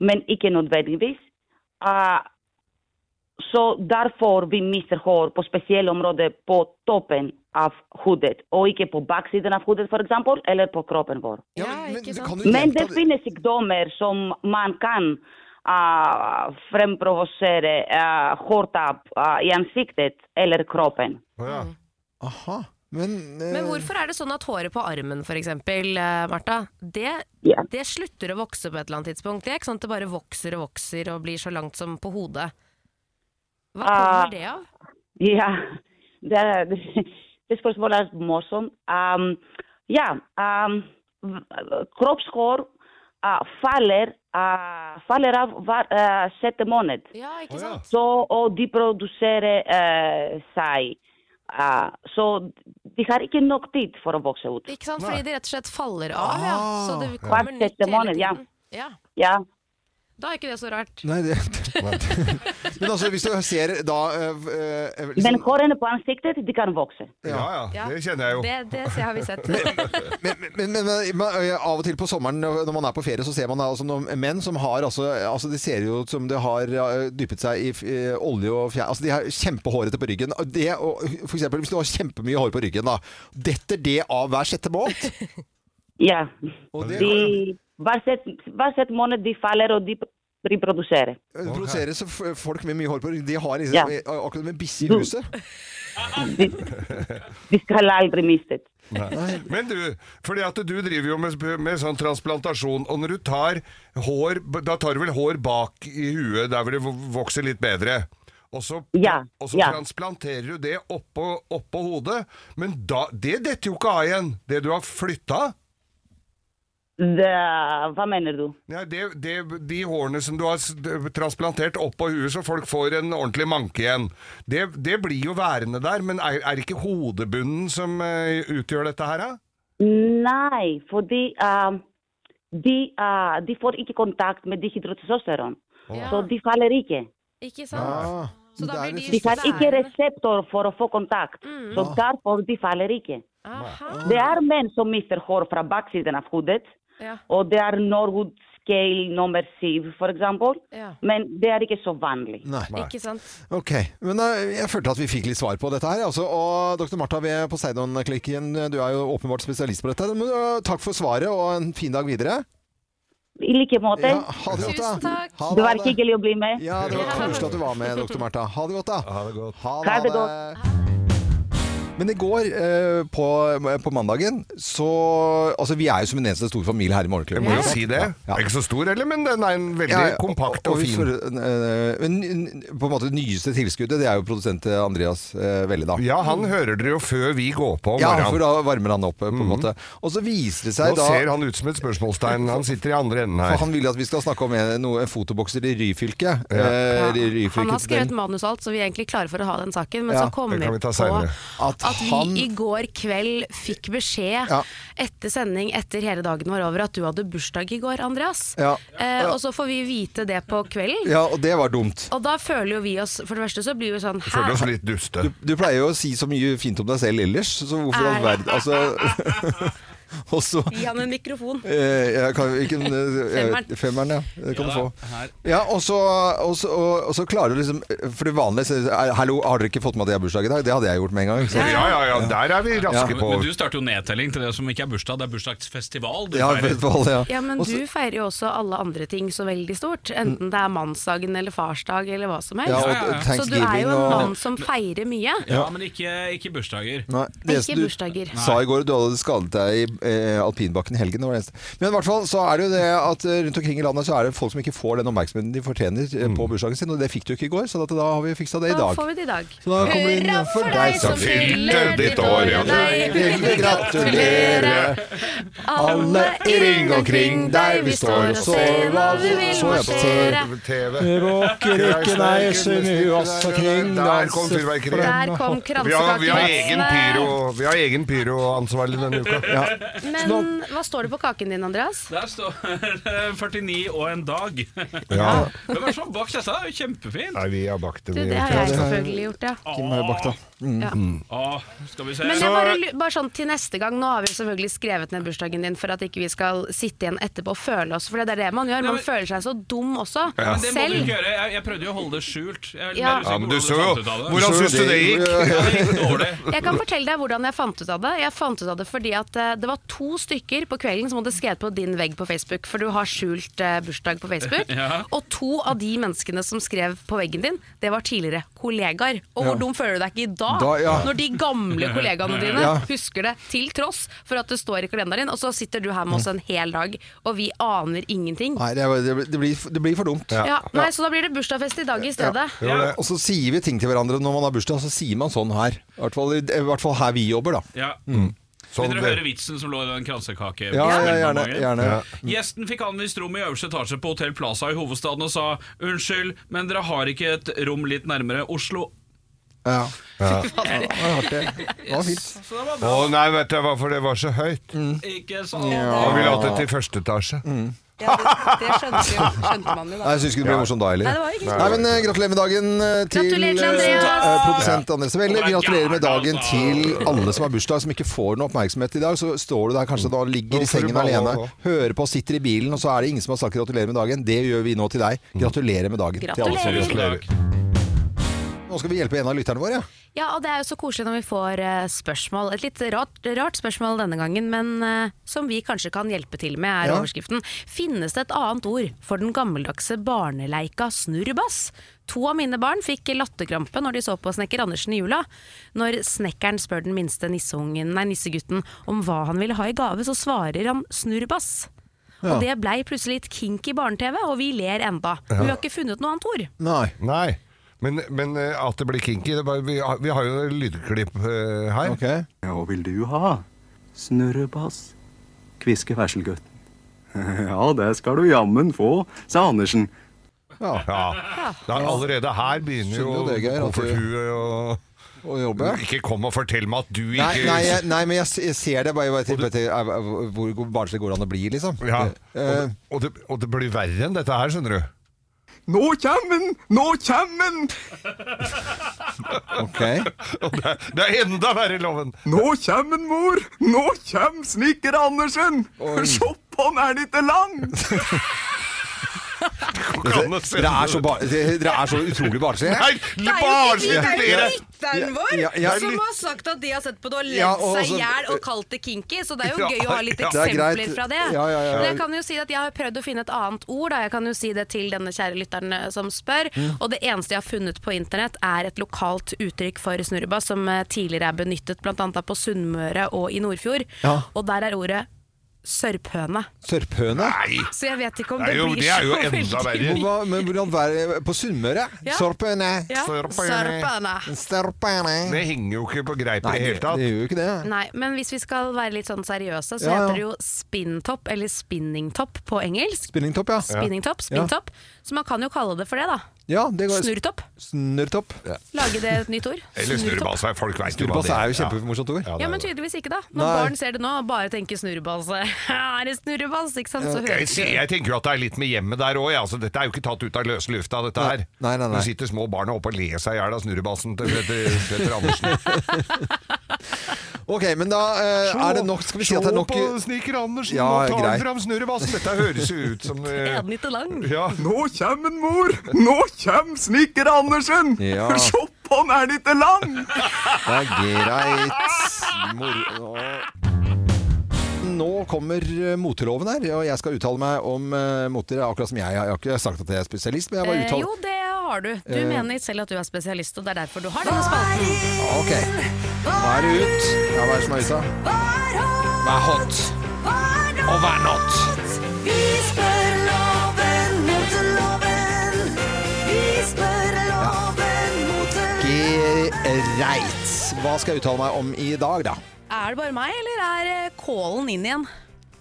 S6: men ikke nødvendigvis. Eh, så derfor vi mister hår på spesielle områder på toppen av hodet, og ikke på baksiden av hodet f.eks., eller på kroppen vår.
S3: Ja, ikke sant.
S1: kan du
S6: Men
S1: hjelpe
S6: det
S1: av-
S6: finnes sykdommer som man kan ah, fremprovosere ah, hårtap ah, i ansiktet eller kroppen.
S2: Å ja.
S1: Aha. Men, eh,
S3: Men hvorfor er det sånn at håret på armen, for eksempel, eh, Martha, det,
S6: Ja.
S3: det slutter å vokse på et eller annet tidspunkt? Det er ikke sånn at det bare vokser og vokser og blir så langt som på hodet. Hva
S6: Ah.
S3: kommer det av?
S6: Ja, det, er- det spørsmålet er morsomt. Um, ja, um, v- kroppshår ah, faller, ah, faller av hver eh, sjette måned.
S3: Ja, ikke
S2: Å ja.
S3: sant?
S6: Så, og de produserer eh, seg. Ah, så de har ikke nok tid for å vokse ut.
S3: Ikke sant?
S2: Nei.
S3: Fordi de rett og slett faller av, ja. Så det
S1: Ah.
S3: kommer
S6: Hvert
S3: nytt
S6: sjette
S3: hele
S6: måned, ja.
S3: tiden. Ja.
S6: Ja,
S3: Da er ikke det så rart.
S1: Nei, det [LAUGHS] Men altså, hvis du ser da øh, øh,
S6: Δεν
S1: liksom,
S6: χώρανε που αν στείλετε την κάνουν βόξε.
S2: Ja ja,
S3: Ja.
S2: det kjenner jeg jo.
S3: Det, det ser- har vi sett. Men,
S1: men, men, men, men øh, av og til på sommeren når når man er på ferie, så ser man da altså noen menn som har altså, altså Det ser jo ut som det har øh, dyppet seg i øh, olje og fjær Altså de har kjempehårete på ryggen. Og Det, og, for eksempel hvis du har kjempemye hår på ryggen, da. Detter det av hver sjette
S6: [LAUGHS]
S1: måned?
S6: Γεια.
S1: Og det
S6: Τι- Βάστε- Βάστε μόνο τη φάλερο τη reproducere.
S1: øh, produseres f- folk med mye hår på ryggen. De har liksom,
S6: Ja.
S1: øh, akkurat som en bisse i huset. [LAUGHS]
S6: Τη καλά άλλη μίστε.
S2: Nei. Men du, fordi at du driver jo med, med sånn transplantasjon, og når du tar hår, da tar du vel hår bak i huet, der hvor det vokser litt bedre. Og så,
S6: Ja,
S2: og så
S6: ja.
S2: transplanterer du det oppå, oppå hodet, men da, det detter jo ikke av igjen, det du har flytta.
S6: Βαμένε του.
S2: Nei, det, det, de hårene som du har s- transplantert oppå huet, så folk får en ordentlig manke igjen, det, det blir jo værende der. Men er, er det ikke hodebunnen som eh, utgjør dette her, da?
S6: Nej, fordi uh, de, uh, de får ikke kontakt med dihydrotestosteron.
S3: Ja.
S6: Så de faller ikke.
S3: ikke sant?
S1: Ah,
S3: Så da
S1: det
S3: blir
S1: er
S6: De
S1: det
S3: de
S1: siste.
S6: har ikke
S3: værende.
S6: reseptor for å få kontakt. Så derfor de faller ikke.
S3: Aha.
S6: Det er menn som mister hår fra baksiden av hodet.
S3: Ja,
S6: Og det er Norwood scale nummer syv, for eksempel.
S3: ja.
S6: Men det er ikke så vanlig.
S1: Nei.
S3: Ikke sant?
S1: Ok, men eh, jeg følte at vi fikk litt svar på dette her. Altså, og Dr. Martha ved Poseidon-klikken, du er jo åpenbart spesialist på dette. Men, eh, takk for svaret, og en fin dag videre.
S6: I like måte.
S1: Ja, ha det godt, da.
S3: Tusen takk.
S1: Ha
S6: Det var
S1: ha
S6: hyggelig å bli med.
S1: Ja, det var koselig at du var med, Dr. Martha. Ha det godt, da.
S2: Ha det godt.
S1: Ha
S6: Ha det
S1: Men i går, eh, på, på mandagen, så Altså, vi er jo som en eneste stor familie her i
S2: Jeg må
S1: Morgenklubben.
S2: jo si det. Den er ikke så stor heller, men den er en veldig kompakt og,
S1: vi
S2: fin.
S1: får, eh, men eh, på en måte det nyeste tilskuddet, det er jo produsent Andreas eh, Velle, da.
S2: Ja, han hører dere jo før vi går på om
S1: Ja, for
S2: morgenen. Mhm.
S1: da varmer han opp, eh, på en måte. Og så viser det
S2: Nå
S1: seg da
S2: ser han ut som et spørsmålstegn. Han sitter i andre enden
S1: for
S2: her.
S1: han vil at vi skal snakke om en, noe, en fotobokser i Ryfylke. Eh,
S3: Ja.
S1: i Ryfylke
S3: Han har skrevet
S1: den-
S3: manus og alt, så vi er egentlig klare for å ha den saken. Men
S1: Ja,
S3: så kom
S2: det
S3: vi
S2: kan vi ta
S3: på
S2: senere.
S1: At
S3: at,
S1: han-
S3: vi i går kveld fikk beskjed
S1: Ja.
S3: etter sending, etter hele dagen var over, at du hadde bursdag i går, Andreas.
S1: Ja.
S3: Eh,
S1: Ja.
S3: og så får vi vite det på kvelden.
S1: Ja, og det var dumt.
S3: Og da føler jo vi oss For det første så blir vi sånn
S2: Føler oss
S3: Hæ?
S2: litt duste.
S1: Du, du pleier jo å si så mye fint om deg selv ellers, så hvorfor i all
S3: Nei.
S1: verden Altså [LAUGHS] Og så
S3: Gi han en mikrofon.
S1: eh, jeg kan, hvilken, eh, jeg vet-
S3: Femmeren.
S1: Femmeren, ja. Det kan
S10: Ja,
S1: du få.
S10: her.
S1: Ja, og så, og, så, og, og så klarer du liksom For det vanlige så er, Hallo, har dere ikke fått med at jeg har bursdag i dag? Det hadde jeg gjort med en gang. ikke sant?
S2: Ja, ja, ja, der er vi
S1: Ja,
S2: raske
S10: Men,
S2: på.
S10: men du starter jo nedtelling til det som ikke er bursdag, det er bursdagsfestival. Du
S1: Ja,
S10: feirer.
S1: vet du hva, ja.
S3: Ja, men
S1: Og så- Mm.
S3: du feirer jo også alle andre ting så veldig stort. Enten det er mannsdagen eller farsdag eller hva som helst.
S1: Ja, og
S3: så du er jo
S1: Thanksgiving
S3: en
S1: og-
S3: mann som feirer mye.
S10: ja, men ikke, ikke bursdager.
S1: Nei, det eneste
S3: Ikke
S1: du
S3: bursdager.
S1: Sa i går at du hadde skadet deg i eh, alpinbakken i helgen. Det var det eneste. Men i hvert fall så er det jo det at eh, rundt omkring i landet så er det folk som ikke får den oppmerksomheten de fortjener eh,
S2: Mm.
S1: på bursdagen sin, og det fikk du ikke i går, så at da har vi fiksa det
S3: Da
S1: i dag.
S3: får vi det i dag.
S1: Så da kommer det inn for deg som
S2: fyller ditt år, ja.
S3: deg
S1: vil vi gratulere. Alle i ring omkring deg, vi står og ser hva du vil marsjere.
S2: TV.
S1: Råker ikke nei, snu oss omkring
S2: Der kom fyrverkeriet.
S3: Der kom
S2: Vi har, vi, har egen pyro,
S3: kransekakeheksene.
S2: vi har egen pyroansvarlig denne uka.
S3: Men hva står det på kaken din, Andreas?
S10: Der står [LAUGHS] det 49 og en dag.
S2: Ja.
S10: Hvem er det som har bakt dette? Det er jo Kjempefint!
S2: Nei, vi har bakt
S3: Du,
S2: den. i Mm.
S3: det har
S2: uka.
S3: jeg selvfølgelig gjort, ja.
S1: Kim har jo bakt, da.
S10: Mm. Åh, skal vi se.
S3: Men
S10: Så-
S3: jeg bare, lu- bare sånn til neste gang, nå har vi selvfølgelig skrevet ned bursdagen din for at ikke vi skal sitte igjen etterpå og føle oss, for det er det man gjør.
S10: Ja,
S3: Man
S10: men-
S3: føler seg så dum også.
S10: Men det må du
S3: Selv.
S10: ikke gjøre. Jeg, jeg prøvde jo å holde det skjult. Jeg er
S3: Ja.
S10: mer usikker
S2: Ja, men
S10: på
S2: du
S10: hvordan
S2: så jo
S10: fant ut av det.
S2: Hvordan syns du det gikk? Mm.
S10: Ja, det gikk dårlig.
S3: Jeg kan fortelle deg hvordan jeg fant ut av det. Jeg fant ut av det fordi at eh, det var to stykker på kvelden som hadde skrevet på din vegg på Facebook, for du har skjult eh, bursdag på Facebook.
S10: Ja.
S3: Og to av de menneskene som skrev på veggen din, det var tidligere kollegaer. Og hvor dum føler du deg ikke i dag,
S1: Da, ja.
S3: når de gamle kollegaene dine
S1: Ja.
S3: husker det, til tross for at det står i kalenderen din, og så sitter du her med oss en hel dag, og vi aner ingenting.
S1: Nei, det, er- det, blir- det, blir, det blir for dumt.
S3: Ja, nei, så da blir det bursdagsfest i dag i stedet.
S2: Det var det.
S1: Og så sier vi ting til hverandre når man har bursdag, så sier man sånn her. I hvert fall, i hvert fall her vi jobber, da. Mm.
S10: Ja. Vil
S2: Sånn
S10: dere
S2: det-
S10: høre vitsen som lå i den kransekake?
S1: Ja, ja, gjerne. gjerne.
S10: Gjesten fikk anvist rom i øverste etasje på Hotell Plaza i hovedstaden og sa 'Unnskyld, men dere har ikke et rom litt nærmere Oslo'.
S1: Ja. Det var artig. Det var fint.
S10: Så det var
S2: Å
S10: bra.
S2: nei, vet du hva, for det var så høyt.
S10: Ikke Mm. sånn.
S2: Han ville hatt det til første etasje.
S3: Ja, det, det skjønte, vi jo, skjønte man jo
S1: Nei,
S3: da.
S1: jeg syns ikke det ble morsomt da heller.
S3: Nei, det var ikke
S1: Nei, men eh, Gratulerer med dagen eh, til,
S3: Gratulerer til Andreas.
S1: eh, produsent Andreas Velle.
S10: Ja.
S1: Gratulerer med dagen
S10: Altså.
S1: til alle som har bursdag, som ikke får noe oppmerksomhet i dag. Så står du der kanskje da, ligger
S2: Mm. Nå
S1: i
S2: får du
S1: sengen
S2: balle
S1: alene,
S2: også.
S1: hører på, sitter i bilen, og så er det ingen som har sagt gratulerer med dagen. Det gjør vi nå til deg.
S2: Mm.
S1: Gratulerer med dagen. Til alle som
S3: Gratulerer.
S1: gratulerer. Nå skal vi hjelpe en av lytterne våre. Ja.
S3: Ja, og det er jo så koselig når vi får eh, spørsmål. Et litt rart, rart spørsmål denne gangen, men eh, som vi kanskje kan hjelpe til med, er
S1: Ja.
S3: overskriften. Finnes det et annet ord for den gammeldagse barneleika snurrebass? To av mine barn fikk latterkrampe når de så på Snekker Andersen i jula. Når snekkeren spør den minste nisseungen, nei, nissegutten om hva han ville ha i gave, så svarer han snurrebass. Og det blei plutselig litt kinky barne-TV, og vi ler enda. Men vi har ikke funnet noe annet ord.
S1: Nei.
S2: Nei. Men, men eh, at det blir kinky det er bare, vi, har, vi har jo lydklipp eh, her.
S1: Ok.
S11: Ja, hva vil du ha? Snurrebass. Kviske verselgutten. [LAUGHS] Ja, det skal du jammen få, sa Andersen.
S1: Ja,
S2: Ja. Da, allerede her begynner jo
S1: Skjønner jo det, Geir, at du-
S2: kofferthuet og
S1: og jobbe.
S2: Ikke kom og fortell meg at du ikke
S1: Nei, nei, jeg, nei, men jeg, s- jeg ser det bare, bare til, bare til eh, hvor hvor barnslig går det an å bli, liksom.
S2: ja.
S1: Eh,
S2: og, og, det, og det blir verre enn dette her, skjønner du.
S11: Nå kjem den! Nå kjem den!
S1: ok.
S2: [LAUGHS] Og Det, er- det er enda verre, Loven!
S11: Nå kjem den, mor! Nå kjem snekker Andersen! Sjåpp, han er litt
S1: [LAUGHS]
S11: lang!
S2: Kan du se-
S1: Dere er så, bar dere er så utrolig barnslige.
S2: Nei, barnslig! dere!
S3: lytteren vår
S1: Ja, ja, ja,
S3: som
S1: lytt-
S3: har sagt at de har sett på det og ledd
S1: Ja, og
S3: seg i
S1: også-
S3: hjel og kalt det kinky, så det er jo
S2: Ja,
S3: gøy å ha litt
S2: ja.
S1: Det er
S3: eksempler
S1: greit.
S3: fra det.
S1: Ja, ja, ja.
S3: Men jeg kan jo si at jeg har prøvd å finne et annet ord, da. jeg kan jo si det til denne kjære lytteren eh, som spør.
S1: Mm.
S3: Og det eneste jeg har funnet på internett er et lokalt uttrykk for snurrebass som eh, tidligere er benyttet bl.a. på Sunnmøre og i Nordfjord.
S1: Ja.
S3: Og der er ordet sørphøne.
S1: Sørphøne?
S2: Nei!
S3: Så jeg vet ikke om
S2: Det
S3: det,
S2: er jo,
S3: blir
S2: det er jo
S3: så veldig
S2: enda
S1: Hvor-
S2: verre.
S1: hva- Men hvordan være på Sunnmøre?
S3: Ja.
S1: Sørphøne.
S3: ja.
S2: Sørphøne.
S3: Sørphøne.
S1: Sørphøne.
S2: Det henger jo ikke på greip i
S1: Mm. Nei,
S2: det hele
S1: det
S2: tatt.
S1: gjør jo ikke det.
S3: Nei, men hvis vi skal være litt sånn seriøse, så
S1: Ja, ja.
S3: heter det jo spinntopp, eller spinningtopp på engelsk.
S1: Spinningtopp, ja.
S3: Spinningtopp, spinntopp. Så man kan jo kalle det for det, da.
S1: Ja, det går
S3: Snurrtopp.
S1: Snurrtopp.
S3: Lage det et
S1: [LAUGHS]
S3: nytt ord.
S2: Eller
S3: Snurrtopp.
S2: snurrebass. Folk veit jo hva
S1: Snurrebass
S2: det
S1: er jo kjempemorsomt ord.
S2: Ja,
S3: Ja,
S2: det
S3: men
S2: er det.
S3: tydeligvis ikke, da. Når
S1: Nei.
S3: barn ser det nå, bare tenker snurrebass. [LAUGHS] Er det snurrebass? Ikke sant? Sånn Så hører
S2: Jeg,
S3: de
S2: sier- jeg tenker jo at det er litt med hjemmet der òg. Altså, dette er jo ikke tatt ut av løse lufta, dette
S1: Nei,
S2: her.
S1: nei, nei, nei.
S2: Nå sitter små barn oppe og ler seg i hjel av snurrebassen til Petter
S1: [LAUGHS]
S2: Petter Andersen.
S1: Ok, men da eh, er det nok Skal vi si at det er nok
S2: Se på Sniker Andersen,
S1: Ja,
S2: nå tar
S1: grei.
S2: han fram
S1: altså,
S2: snurrebassen! Dette høres jo ut som eh,
S3: Er den ikke lang?
S2: ja.
S11: Nå kjem den, mor! Nå kjem snekker Andersen!
S1: Ja.
S11: Sjåpp, han er litt lang!
S1: Det er greit. Mor Nå kommer eh, moteloven her, og jeg skal uttale meg om eh, moter. Akkurat som jeg. Jeg har ikke sagt at jeg er spesialist, men jeg Eh. bare
S3: Eh, jo,
S1: uttaler
S3: det har du. Du mener selv at du er spesialist, og det er derfor du har denne spalten.
S9: Var
S1: Ok, nå er det ut. Ja, hva er det som er ute? da?
S9: hot,
S2: Vær hot
S9: var
S2: og
S9: hot.
S2: vær not!
S9: Vi spør loven, moteloven. Vi spør loven, moteloven.
S1: Greit. Hva skal jeg uttale meg om i dag, da?
S3: Er det bare meg, eller er eh, kålen inn igjen?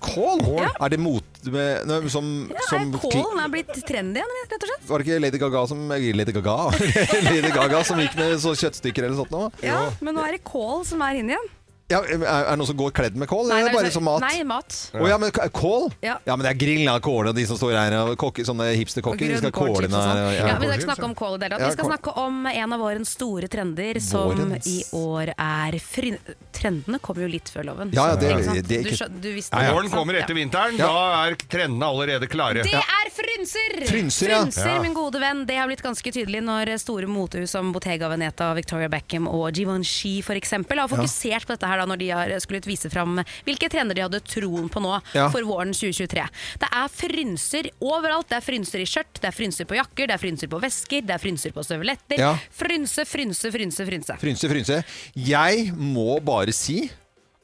S1: Kål? [LAUGHS] Er det mot... med- Nei, som,
S3: Ja,
S1: som
S3: er kålen er blitt trendy igjen, rett og slett.
S1: Var det ikke Lady Gaga som Lady Gaga? [LAUGHS] Lady Gaga som gikk med så kjøttstykker eller sånt nå?
S3: Ja, men nå er det kål som er inni igjen.
S1: Ja, er er det noen som går kledd med kål, eller
S3: det er
S1: bare
S3: så-
S1: som mat?
S3: Nei, mat.
S1: Å ja, men k- Eh, kål?
S3: Ja.
S1: men det er grillen av kål, og de som står her, og kokke, sånne hipsterkokker, de skal
S3: Grønnkål,
S1: kåle
S3: chips og
S1: den her.
S3: sånn.
S1: og-
S3: Ja, men vi skal
S2: Kål,
S3: ikke snakke om kål i det hele tatt.
S1: Ja,
S3: Vi skal
S1: kål.
S3: snakke om en av vårens store trender, som
S1: Vårens.
S3: i år er fri... Trendene kommer jo litt før loven.
S1: Ja, ja, det-
S3: Ikke sant?
S1: det er ikke-
S3: Du, skjø- du visste det.
S2: Våren kommer etter vinteren, da er trendene allerede klare.
S3: Det er frynser!
S1: Frynser, ja.
S2: Ja.
S3: min gode venn. Det har blitt ganske tydelig når store motehus som Bottega Veneta, Victoria Beckham og Givenchy f.eks. har fokusert på dette her da når de har skullet vise fram hvilke trender de hadde troen på nå
S1: Ja.
S3: for våren 2023. Det er frynser overalt. Det er frynser i skjørt, det er frynser på jakker, det er frynser på vesker, det er frynser på støvletter.
S1: Ja.
S3: Frynse, frynse, frynse, frynse.
S1: Frynse, frynse. Jeg må bare si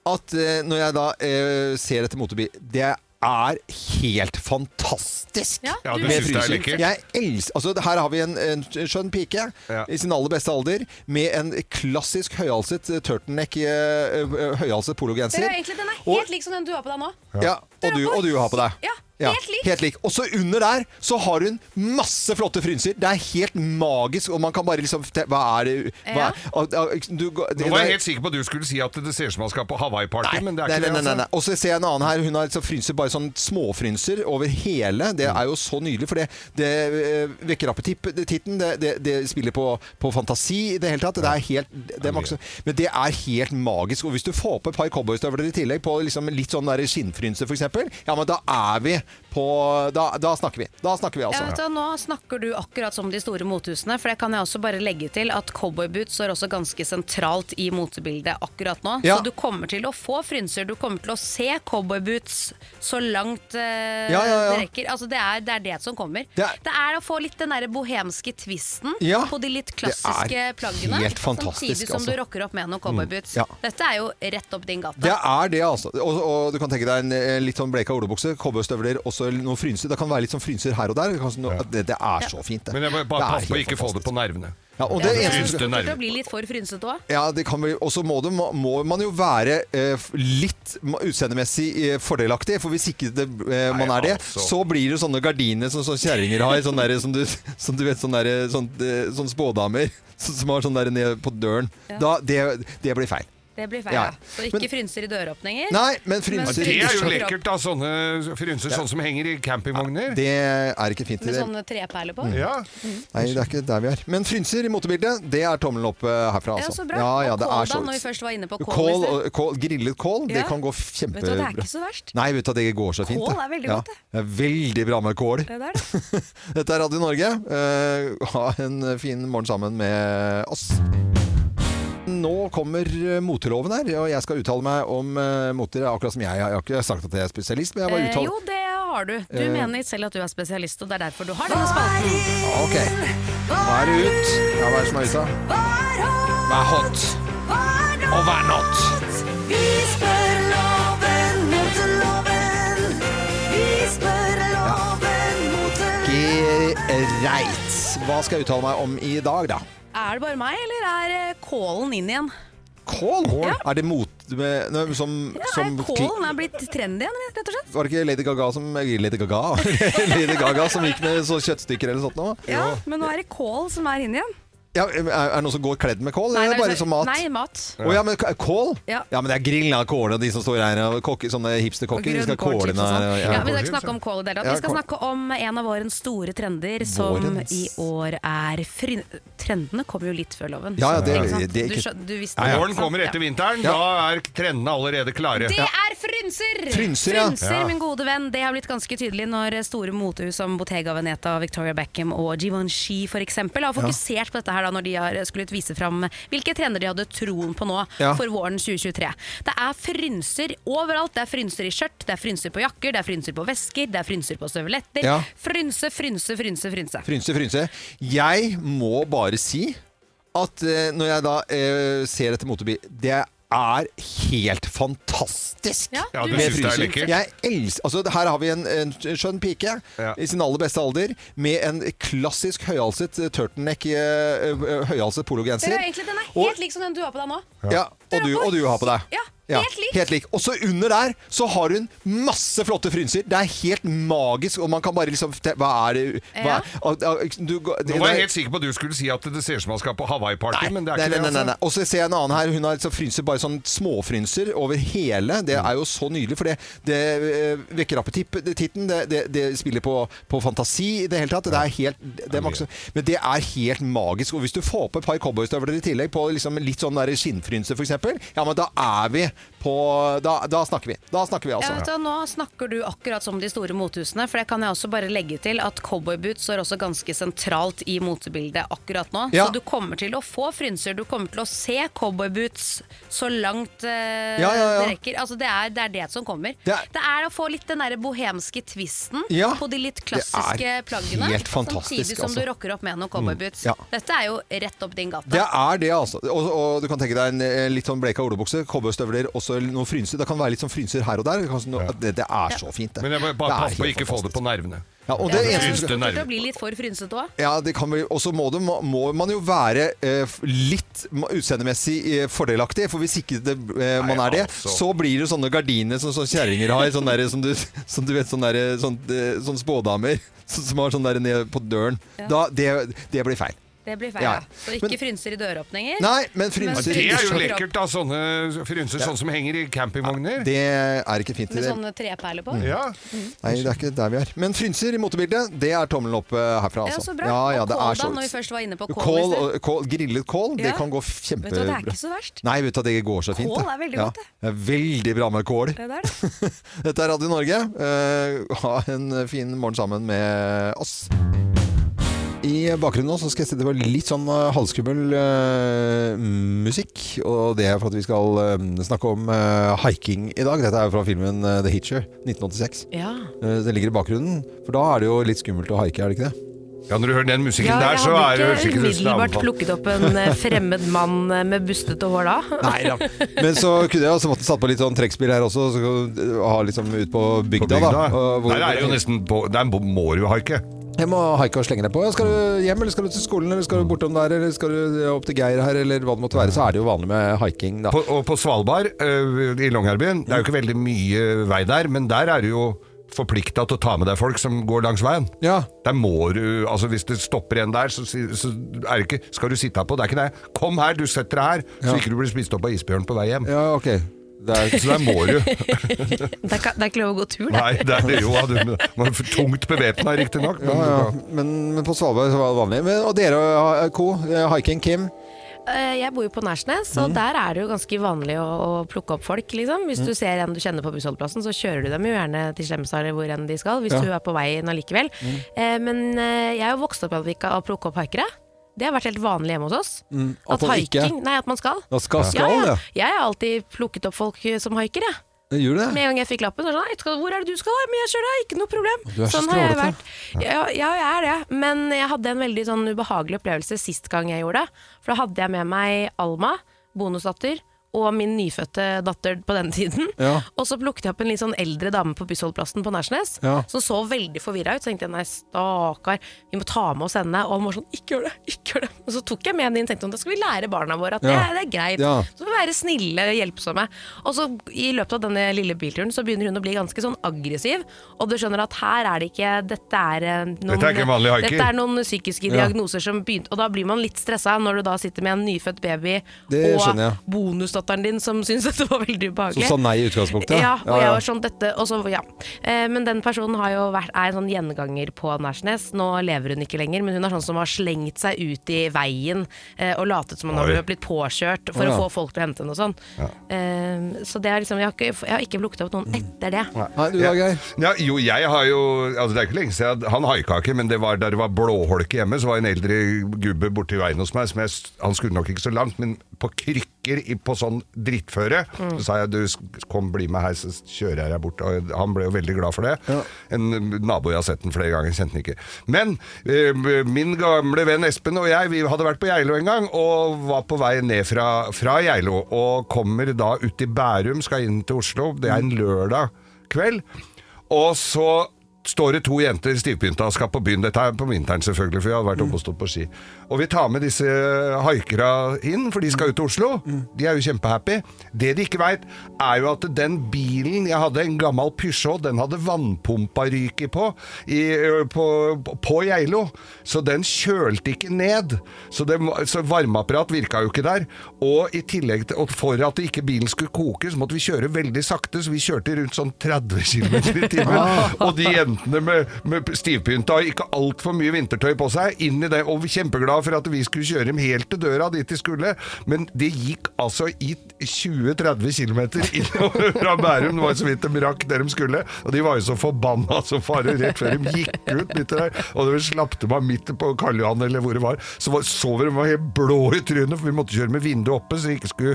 S1: at eh, når jeg da eh, ser dette motorbil, det er helt fantastisk.
S3: Ja,
S2: Ja,
S3: du
S2: du
S1: Med
S2: synes det er
S1: fryser.
S2: lekkert?
S1: Jeg elsker, altså, her har vi en, en skjønn pike
S2: Ja.
S1: i sin aller beste alder med en klassisk høyhalset eh, turtleneck, eh, eh, høyhalset
S3: Det
S1: pologenser.
S3: er egentlig, den er
S1: Og-
S3: helt lik som den du har på deg nå.
S1: Ja, og du, og du har på deg.
S3: Ja,
S1: Ja,
S3: Helt lik.
S1: Helt lik. Og så under der så har hun masse flotte frynser. Det er helt magisk, og man kan bare liksom te- Hva er det hva
S3: Ja.
S1: er, og- og- du, går- det,
S2: Nå var jeg
S1: det-
S2: helt sikker på at du skulle si at det ser ut som man skal på
S1: Nei,
S2: Hawaii-party, men det er
S1: nei,
S2: ikke
S1: nei,
S2: det.
S1: nei,
S2: altså.
S1: nei. Og så ser jeg en annen her. Hun har liksom frynser, bare sånn småfrynser over hele. Det
S2: Mm.
S1: er jo så nydelig, for det, det eh, vekker appetitten. Det, det, det spiller på, på fantasi i det hele tatt. Det er helt, det er maks- men det er helt magisk. Og hvis du får på et par cowboystøvler i tillegg, på liksom litt sånn der skinnfrynse f.eks., ja, men da er vi på Da, da snakker vi. Da snakker vi,
S3: Ja, vet
S1: altså.
S3: du, nå snakker du akkurat som de store mothusene, for det kan jeg også bare legge til at cowboyboots står også ganske sentralt i motebildet akkurat nå.
S1: Ja.
S3: Så du kommer til å få frynser, du kommer til å se cowboyboots så langt eh,
S1: Ja, ja, ja.
S3: det rekker. Altså, det, er, det er det som kommer.
S1: Det er-
S3: å få litt den derre bohemske twisten
S1: Ja.
S3: på de litt
S1: Det er
S3: klassiske plaggene,
S1: helt fantastisk,
S3: samtidig som
S1: altså. Mm,
S3: du rocker opp med noen cowboyboots.
S1: ja.
S3: Dette er jo rett opp din gate.
S1: Det er det, altså. Og, og du kan tenke deg en eh, litt sånn bleka olebukse, cowboystøvler og så noen frynser. Det kan være litt sånn frynser her og der. Det, kan, sånn- det, det er så fint, det.
S2: Men jeg må bare
S1: Det er
S2: passe på å
S1: helt
S2: ikke få det
S1: fantastisk.
S2: på nervene.
S1: Ja, og det
S3: Ja, men det
S1: eneste du skal-
S2: Frynste
S3: kommer til
S2: nerver.
S3: å bli litt for frynsete òg.
S1: ja, det kan vel, og så må, det- må man jo være eh, f- litt ma- utseendemessig eh, fordelaktig, for hvis ikke det, eh, man
S2: Nei,
S1: er det,
S2: altså.
S1: så blir det sånne gardiner som som kjerringer har, sånn der, som, du, som du vet, sånne, der, sånn, eh, sånn spådamer [LAUGHS] som som har sånn der nede på døren. Da, det, det blir feil.
S3: Det blir feil.
S1: Ja.
S3: Ja. Så ikke
S1: Men-
S3: frynser i døråpninger.
S1: Nei, men
S2: Ja,
S1: frynser
S2: Det er jo
S3: Frynser.
S2: lekkert, da. Sånne frynser sånn som henger i campingvogner.
S1: Det er ikke fint.
S3: Med
S1: Det,
S3: sånne treperler
S1: Mm.
S3: på.
S2: Ja.
S1: nei, det er ikke der vi er. Men frynser i motebildet, det er tommelen opp eh, herfra,
S3: Ja,
S1: altså.
S3: så bra.
S1: Ja, ja,
S3: og
S1: det
S3: kål,
S1: er så-
S3: da, når vi først var inne på kål.
S1: Kål,
S3: i sted.
S1: og- kål, grillet kål, det
S3: Ja.
S1: kan gå f- kjempebra.
S3: Vet du hva, det er ikke så verst.
S1: Nei, vet du, det går så fint.
S3: Kål
S1: det.
S3: er veldig
S1: ja.
S3: godt, det.
S1: det. er veldig bra med kål.
S3: Det der, da.
S1: Dette er Radio Norge. Eh, ha en fin morgen sammen med oss. Nå kommer eh, moteloven her, og jeg skal uttale meg om uh, moter. Akkurat som jeg. Jeg har ikke sagt at jeg er spesialist, men jeg bare
S3: Eh, jo,
S1: uttaler
S3: det har du. Du
S1: Eh.
S3: mener selv at du er spesialist, og det er derfor du har denne spalten.
S1: Ok. Hva er det ut? Ja, hva er det som er ute?
S2: Hva er hot? Og hva er not?
S9: Vi spør loven mot loven. Vi spør loven mot
S1: Greit. Hva skal jeg uttale meg om i dag, da?
S3: Er det bare meg, eller er eh, kålen inn igjen?
S1: Kål? Er det mot... Med, nei, som,
S3: Ja,
S1: som
S3: er kålen er blitt trendy igjen, rett og slett?
S1: Var det ikke Lady Gaga som eh, Lady Gaga? [LAUGHS] Lady Gaga som gikk med så kjøttstykker eller sånt nå?
S3: Ja, men nå er det kål som er inn igjen.
S1: Ja, er er det noen som går kledd med kål,
S3: Nei,
S1: eller
S3: det er
S1: bare
S3: så-
S1: som mat?
S3: Nei, mat.
S1: Å ja, men k- kål?
S3: Ja.
S1: men det er grillen av kål og de som står her og kokke, sånne
S3: Og
S1: hipsterkokker. De skal
S3: grønnkålchips
S1: kåle
S3: og sånn. Ja,
S1: nær- ja.
S3: men vi skal ikke snakke om kål i det hele tatt. Vi skal
S1: Ja,
S3: snakke om en av vårens store trender, som
S1: Vårens.
S3: i år er fryn... Trendene kommer jo litt før loven.
S1: Ja, ja, det-
S3: Ikke sant?
S1: det er
S3: du,
S1: ikke-
S3: skjøn- du visste
S1: Ja, ja.
S2: Våren kommer etter vinteren. Da er trendene allerede klare.
S3: Det er frynser!
S1: Frynser, ja.
S2: Ja.
S3: min gode venn. Det har blitt ganske tydelig når store motehus som Bottega Veneta, Victoria Beckham og Givenchy f.eks. har fokusert på dette her da når de har skullet vise fram hvilke trender de hadde troen på nå
S1: Ja.
S3: for våren 2023. Det er frynser overalt. Det er frynser i skjørt, det er frynser på jakker, det er frynser på vesker, det er frynser på støvletter.
S1: Ja.
S3: Frynse, frynse, frynse, frynse.
S1: Frynse, frynse. Jeg må bare si at eh, når jeg da eh, ser dette motorbil, det er helt fantastisk.
S3: Ja,
S2: Ja, du
S1: med
S2: synes det er
S1: fryser.
S2: lekkert?
S1: Jeg elsker, altså, her har vi en, en skjønn pike
S2: Ja.
S1: i sin aller beste alder med en klassisk høyhalset eh, turtleneck, eh, eh, høyhalset pologenser.
S3: Det er egentlig, den er
S1: Og-
S3: helt lik som den du har på deg nå.
S1: Ja, og du, og du har på deg.
S3: Ja, helt lik.
S1: helt lik. Og så under der så har hun masse flotte frynser. Det er helt magisk, og man kan bare liksom te- Hva er det hva
S3: Ja.
S1: er, og, og, du, går- det,
S2: Nå var
S1: det-
S2: jeg helt sikker på at du skulle si at det ser ut som man skal på Hawaii-party, men det er
S1: nei,
S2: ikke
S1: nei,
S2: det.
S1: nei,
S2: altså.
S1: nei. Og så ser jeg en annen her. Hun har liksom frynser, bare sånn småfrynser over hele. Det
S2: Mm.
S1: er jo så nydelig, for det, det eh, vekker appetitten. Det, det, det spiller på, på fantasi i det hele tatt. Det er helt, det er maks- men det er helt magisk. Og hvis du får på et par cowboystøvler i tillegg, på liksom litt sånn der skinnfrynse f.eks., ja, men da er vi på Da, da snakker vi. Da snakker vi,
S3: Ja, vet
S1: altså.
S3: du, nå snakker du akkurat som de store mothusene, for det kan jeg også bare legge til at cowboyboots står også ganske sentralt i motebildet akkurat nå.
S1: Ja.
S3: Så du kommer til å få frynser, du kommer til å se cowboyboots så langt eh,
S1: Ja, ja, ja.
S3: det rekker. Altså, det, er, det er det som kommer.
S1: Det er-
S3: å få litt den derre bohemske twisten
S1: Ja.
S3: på de litt
S1: er
S3: klassiske plaggene,
S1: helt fantastisk,
S3: samtidig som
S1: altså.
S3: du rocker opp med noen cowboyboots.
S1: ja.
S3: Dette er jo rett opp din gate.
S1: Det er det, altså. Og, og du kan tenke deg en eh, litt sånn bleka olebukse, cowboystøvler og så noen frynser. Det kan være litt sånn frynser her og der. Det, kan, sånn- det, det er så fint, det.
S2: Men jeg må
S1: Det
S2: bare
S1: er
S2: passe på å
S1: helt
S2: ikke få det
S1: fantastisk.
S2: på nervene.
S1: Ja, og
S3: Ja,
S1: det
S3: for
S1: eneste
S3: det er
S1: du skal-
S2: Frynste
S3: fort
S2: nerver.
S3: å bli litt for frynsete òg.
S1: Ja, det kan vel, og så må, det- må- må man jo være eh, f- litt ma- utseendemessig eh, fordelaktig, for hvis ikke det, eh, man
S2: Nei,
S1: er det,
S2: altså.
S1: så blir det sånne gardiner som sånne kjerringer har, sånn der, som, du, [LAUGHS] som du vet, sånne, der, sånn, eh, sånne spådamer [LAUGHS] som som har sånn der nede på døren. Da, det, det blir feil.
S3: Det blir feil.
S1: Ja.
S3: Ja. Så ikke
S1: Men-
S3: frynser i døråpninger.
S1: Nei, men
S2: Ja,
S1: frynser
S2: Det er jo
S3: Frynser.
S2: lekkert, da. Sånne frynser sånn som henger i campingvogner.
S1: Det er ikke fint. i
S3: Med sånn
S1: det.
S3: sånne treperler på. Mm.
S2: Ja.
S1: Nei, det er ikke der vi er. Men frynser i motebildet, det er tommelen opp eh, herfra,
S3: Ja,
S1: altså.
S3: så bra.
S1: ja,
S3: og
S1: det
S3: kål,
S1: er så-
S3: da, når vi først var inne på kål.
S1: Kål,
S3: i sted.
S1: og- kål, grillet kål, det
S3: Ja.
S1: kan gå f- kjempebra.
S3: Vet du hva, det er ikke så verst.
S1: Nei, vet du, det går så fint.
S3: Kål
S1: det.
S3: er veldig
S1: ja.
S3: godt, det.
S1: det. er Veldig bra med kål.
S3: Det der, da.
S1: Dette er Radio Norge. Eh, ha en fin morgen sammen med oss. I bakgrunnen nå så skal jeg sette på litt sånn eh, halvskummel eh, musikk. Og det er for at vi skal eh, snakke om eh, hiking i dag. Dette er jo fra filmen eh, The Hitcher 1986.
S3: Ja.
S1: Eh, det ligger i bakgrunnen, for da er det jo litt skummelt å haike, er det ikke det?
S2: ja, når du hører den musikken
S3: ja,
S2: der,
S3: jeg
S2: så er det
S3: hadde
S2: høres
S3: ikke
S2: ikke ut som det er
S3: umiddelbart
S2: anbefalt.
S3: plukket opp en eh, fremmed mann eh, med bustete hår da.
S1: Nei da. [LAUGHS] Men så kunne jeg også måtte satt på litt sånn trekkspill her også, så eh, ha liksom ut på
S2: På
S1: bygda, da.
S2: bygda.
S1: og hvor-
S2: Nei, det er jo nesten på, Der må du jo haike.
S1: Jeg må haike og slenge deg på. Ja, Skal du hjem, eller skal du til skolen, eller skal du bortom der, eller skal du opp til Geir her, eller hva det måtte være, så er det jo vanlig med haiking, da.
S2: På, og på Svalbard øh, i Longyearbyen Det er jo ikke veldig mye vei der, men der er du jo forplikta til å ta med deg folk som går langs veien.
S1: Ja.
S2: Der må du, altså Hvis det stopper en der, så, si- så er det ikke Skal du sitte her på? Det er ikke det. Kom her, du setter deg her, så
S1: Ja.
S2: ikke du blir spist opp av isbjørn på vei hjem.
S1: Ja, ok. Det er,
S2: Så der
S3: [LAUGHS]
S2: må du.
S3: Det er ikke- det er ikke lov å gå tur, det.
S2: Nei, det er det jo. Du må være tungt bevæpna, riktignok.
S1: ja, ja. Men, men på Svalbard så var det vanlig. Men, og dere, ha- Co. eh, Haiking, Kim.
S3: Eh, Jeg bor jo på Nærsnes,
S2: Mm.
S3: og der er det jo ganske vanlig å, å plukke opp folk, liksom. Hvis
S2: Mm.
S3: du ser en du kjenner på bussholdeplassen, så kjører du dem jo gjerne til Slemstad eller hvor enn de skal, hvis
S1: Ja.
S3: du er på veien allikevel.
S2: Mm.
S3: Eh, Men eh, jeg er jo vokst opp med at vi ikke har plukket opp haikere. Det har vært helt vanlig hjemme hos oss.
S2: Mm.
S1: Mm, at man ikke-
S3: hiking- Nei, at man skal.
S1: Da skal
S3: ja, ja. Jeg har alltid plukket opp folk eh, som haiker, jeg.
S1: Gjør du det?
S3: Med en gang jeg fikk lappen, så var det sånn «Nei, skal- Hvor er det du skal? «Nei, Men jeg kjører deg, ikke noe problem.
S1: Du er så
S3: sånn har jeg
S1: skrålete.
S3: vært. Ja, ja, jeg er det. Men jeg hadde en veldig sånn ubehagelig opplevelse sist gang jeg gjorde det. For da hadde jeg med meg Alma, bonusdatter, og min nyfødte datter på den tiden.
S1: Ja.
S3: Og så plukket jeg opp en litt sånn eldre dame på bussholdeplassen på Nærsnes,
S1: Ja.
S3: som så veldig forvirra ut. Så tenkte jeg nei, stakkar, vi må ta med oss henne. Og han var sånn ikke gjør det, ikke gjør det. Og så tok jeg med henne inn og tenkte sånn, da skal vi lære barna våre at
S1: Ja.
S3: det, det er greit.
S1: Ja.
S3: Så må vi være snille, hjelpsomme. Og så I løpet av denne lille bilturen så begynner hun å bli ganske sånn aggressiv. Og du skjønner at her er det ikke Dette er eh, noen,
S2: Dette er ikke en vanlig haiker.
S3: Dette er noen psykiske diagnoser som begynte Og da blir man litt stressa når du da sitter med en nyfødt baby
S1: Det skjønner jeg.
S3: og bonusdatteren din som syns dette var veldig
S1: Som
S3: ubehagelig.
S1: sa nei i utgangspunktet?
S3: Ja, og
S1: Ja,
S3: jeg
S1: ja.
S3: var sånn dette og så, ja. eh, Men den personen har jo vært, er en sånn gjenganger på Nærsnes. Nå lever hun ikke lenger, men hun er sånn som har slengt seg ut i veien eh, og latet som hun
S2: Oi.
S3: har blitt påkjørt for
S1: Å, ja.
S3: å få folk til å hente henne og sånn. Eh, så det er liksom, jeg har ikke, jeg har ikke plukket opp noen etter det.
S1: Nei, du da, Geir?
S2: Ja, jo, jeg har jo altså Det er ikke lenge siden jeg- Han haika ikke, men det var der det var blåholke hjemme, så var en eldre gubbe borti veien hos meg som jeg, s- Han skulle nok ikke så langt, men på krykker i, på sånn drittføre. Så sa jeg du s- kom, bli med her, så s- kjører jeg deg bort. Og han ble jo veldig glad for det. En eh, nabo jeg har sett den flere ganger, kjente den ikke. Men eh, min gamle venn Espen og jeg, vi hadde vært på Geilo en gang, og var på vei ned fra, fra Geilo. Og kommer da ut i Bærum, skal inn til Oslo. Det er en lørdag kveld. Og så står det to jenter stivpynta og skal på byen. Dette er på vinteren selvfølgelig, for jeg har vært oppe og stått på ski. Og vi tar med disse haikera inn, for de skal ut til Oslo. De er jo kjempehappy. Det de ikke veit, er jo at den bilen jeg hadde, en gammel Peugeot, den hadde vannpumpa-ryke på, i, ø, på, på Geilo. Så den kjølte ikke ned. Så, det, så varmeapparat virka jo ikke der. Og i tillegg til, og for at ikke bilen skulle koke, så måtte vi kjøre veldig sakte, så vi kjørte rundt sånn 30 km [LAUGHS] i timen. Og de jentene med, med stivpynta og ikke altfor mye vintertøy på seg, inn i det, og kjempeglade for at vi skulle kjøre dem helt til døra dit de skulle. Men det gikk altså i 20-30 km innover fra Bærum, det var så vidt de rakk der de skulle. Og de var jo så forbanna som fare rett før de gikk ut midt der. Og de slapp dem av midt på Karl Johan eller hvor det var. Så var, så vi dem var helt blå i trynet, for vi måtte kjøre med vinduet oppe så de ikke skulle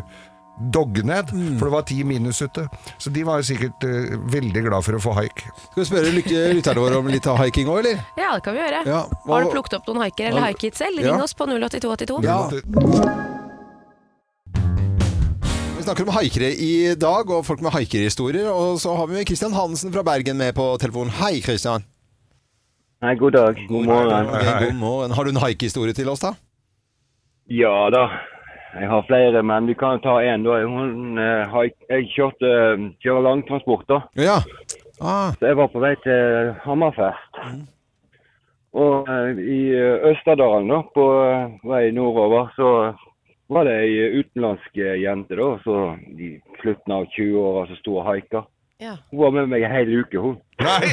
S2: dogge ned,
S1: Mm.
S2: for det var ti minus ute. Så de var sikkert eh, veldig glad for å få haik.
S1: Skal vi spørre lykke- lytterne våre om litt av haiking òg, eller?
S3: Ja, det kan vi gjøre.
S1: Ja, hva-
S3: Har du plukket opp noen haiker eller
S1: Ja.
S3: haiket selv?
S1: Ja.
S3: Ring oss på 08282.
S1: Ja. Vi snakker om haikere i dag, og folk med haikerhistorier. Og så har vi Kristian Hansen fra Bergen med på telefonen. Hei, Kristian.
S12: Nei, god dag. God morgen.
S1: Ok, god morgen. Har du en haikehistorie til oss, da?
S12: Ja da. Jeg har flere, men vi kan ta én. da. Hun, eh, har- jeg kjørte eh, kjører langtransport, da.
S1: Ja. Ah.
S12: Så jeg var på vei til Hammerfest. Og eh, i eh, Østerdalen, da, på eh, vei nordover, så var det ei utenlandsk eh, jente, da, så i slutten av 20-åra som sto og haika.
S3: Ja.
S12: Hun var med meg ei hel uke, hun. [LAUGHS]
S2: Nei!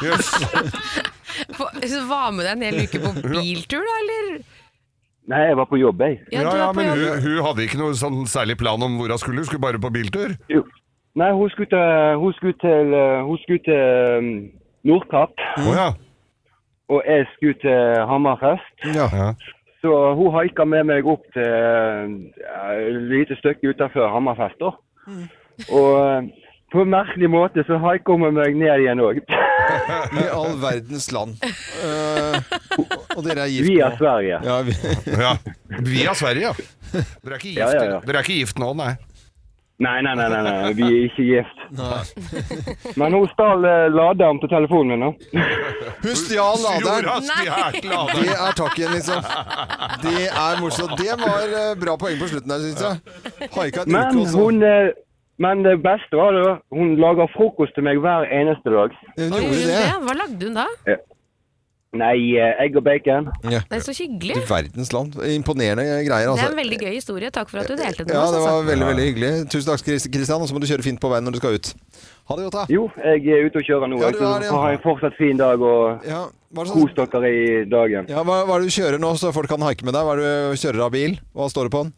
S3: Hva- Så Var med deg en hel uke på biltur, da, eller?
S12: Nei, jeg var på jobb, jeg.
S3: Ja,
S2: Ja,
S3: du
S2: ja,
S3: var på
S2: men hun,
S3: jobb.
S2: hun hadde ikke noe sånn særlig plan om hvor hun skulle, hun skulle bare på biltur.
S12: Jo. Nei, hun skulle til, hun skulle til, eh, hun skulle til eh, Nordkapp,
S2: Å ja.
S12: og jeg skulle til Hammerfest.
S1: Ja.
S2: ja.
S12: Så hun haika med meg opp til eh, et lite stykke utenfor Hammerfest, da.
S2: Mm.
S12: Og eh, på en merkelig måte så haika hun med meg ned igjen òg.
S1: [LAUGHS] I all verdens land. Eh, og dere er gift
S12: Via
S1: nå.
S12: Sverige.
S1: Ja, vi,
S2: [LAUGHS] ja. Via Sverige, ja. Dere er ikke gift,
S12: Ja, ja, ja.
S2: Dere er ikke gift nå, nei.
S12: Nei, nei, nei, nei, nei, vi er ikke gift.
S1: nei.
S12: Men hun stjal eh, laderen til telefonen min, da.
S1: Hun stjal laderen!
S2: Jorda stjal laderen.
S1: Det er takken, liksom. Det er morsomt. Det var eh, bra poeng på slutten der, syns jeg. Haika en
S12: Men
S1: uke også.
S12: hun eh, men det beste var det, hun lager frokost til meg hver eneste dag.
S1: Hun
S3: Gjorde
S1: gjorde
S3: hun
S1: det.
S3: det? Hva lagde hun da?
S12: Nei, eh, egg og bacon.
S3: Det er så hyggelig.
S1: I verdens land. Imponerende greier,
S3: Det er
S1: altså.
S3: en veldig gøy historie. Takk for at du delte den med
S1: Ja,
S3: oss.
S1: det
S3: altså.
S1: var veldig, veldig hyggelig. Tusen takk, Kristian. Og så må du kjøre fint på veien når du skal ut. Ah. Ha det godt, da.
S12: Jo, jeg er ute og kjører nå.
S1: Ja,
S12: jeg,
S1: du
S12: så
S1: er det, ja.
S12: Ha en fortsatt fin dag, og
S1: Ja, hva, er det
S12: kos
S1: sånn,
S12: dere i dagen.
S1: ja, hva, hva er det du kjører nå, så folk kan haike med deg? Hva er det du kjører av bil? Hva står det på den?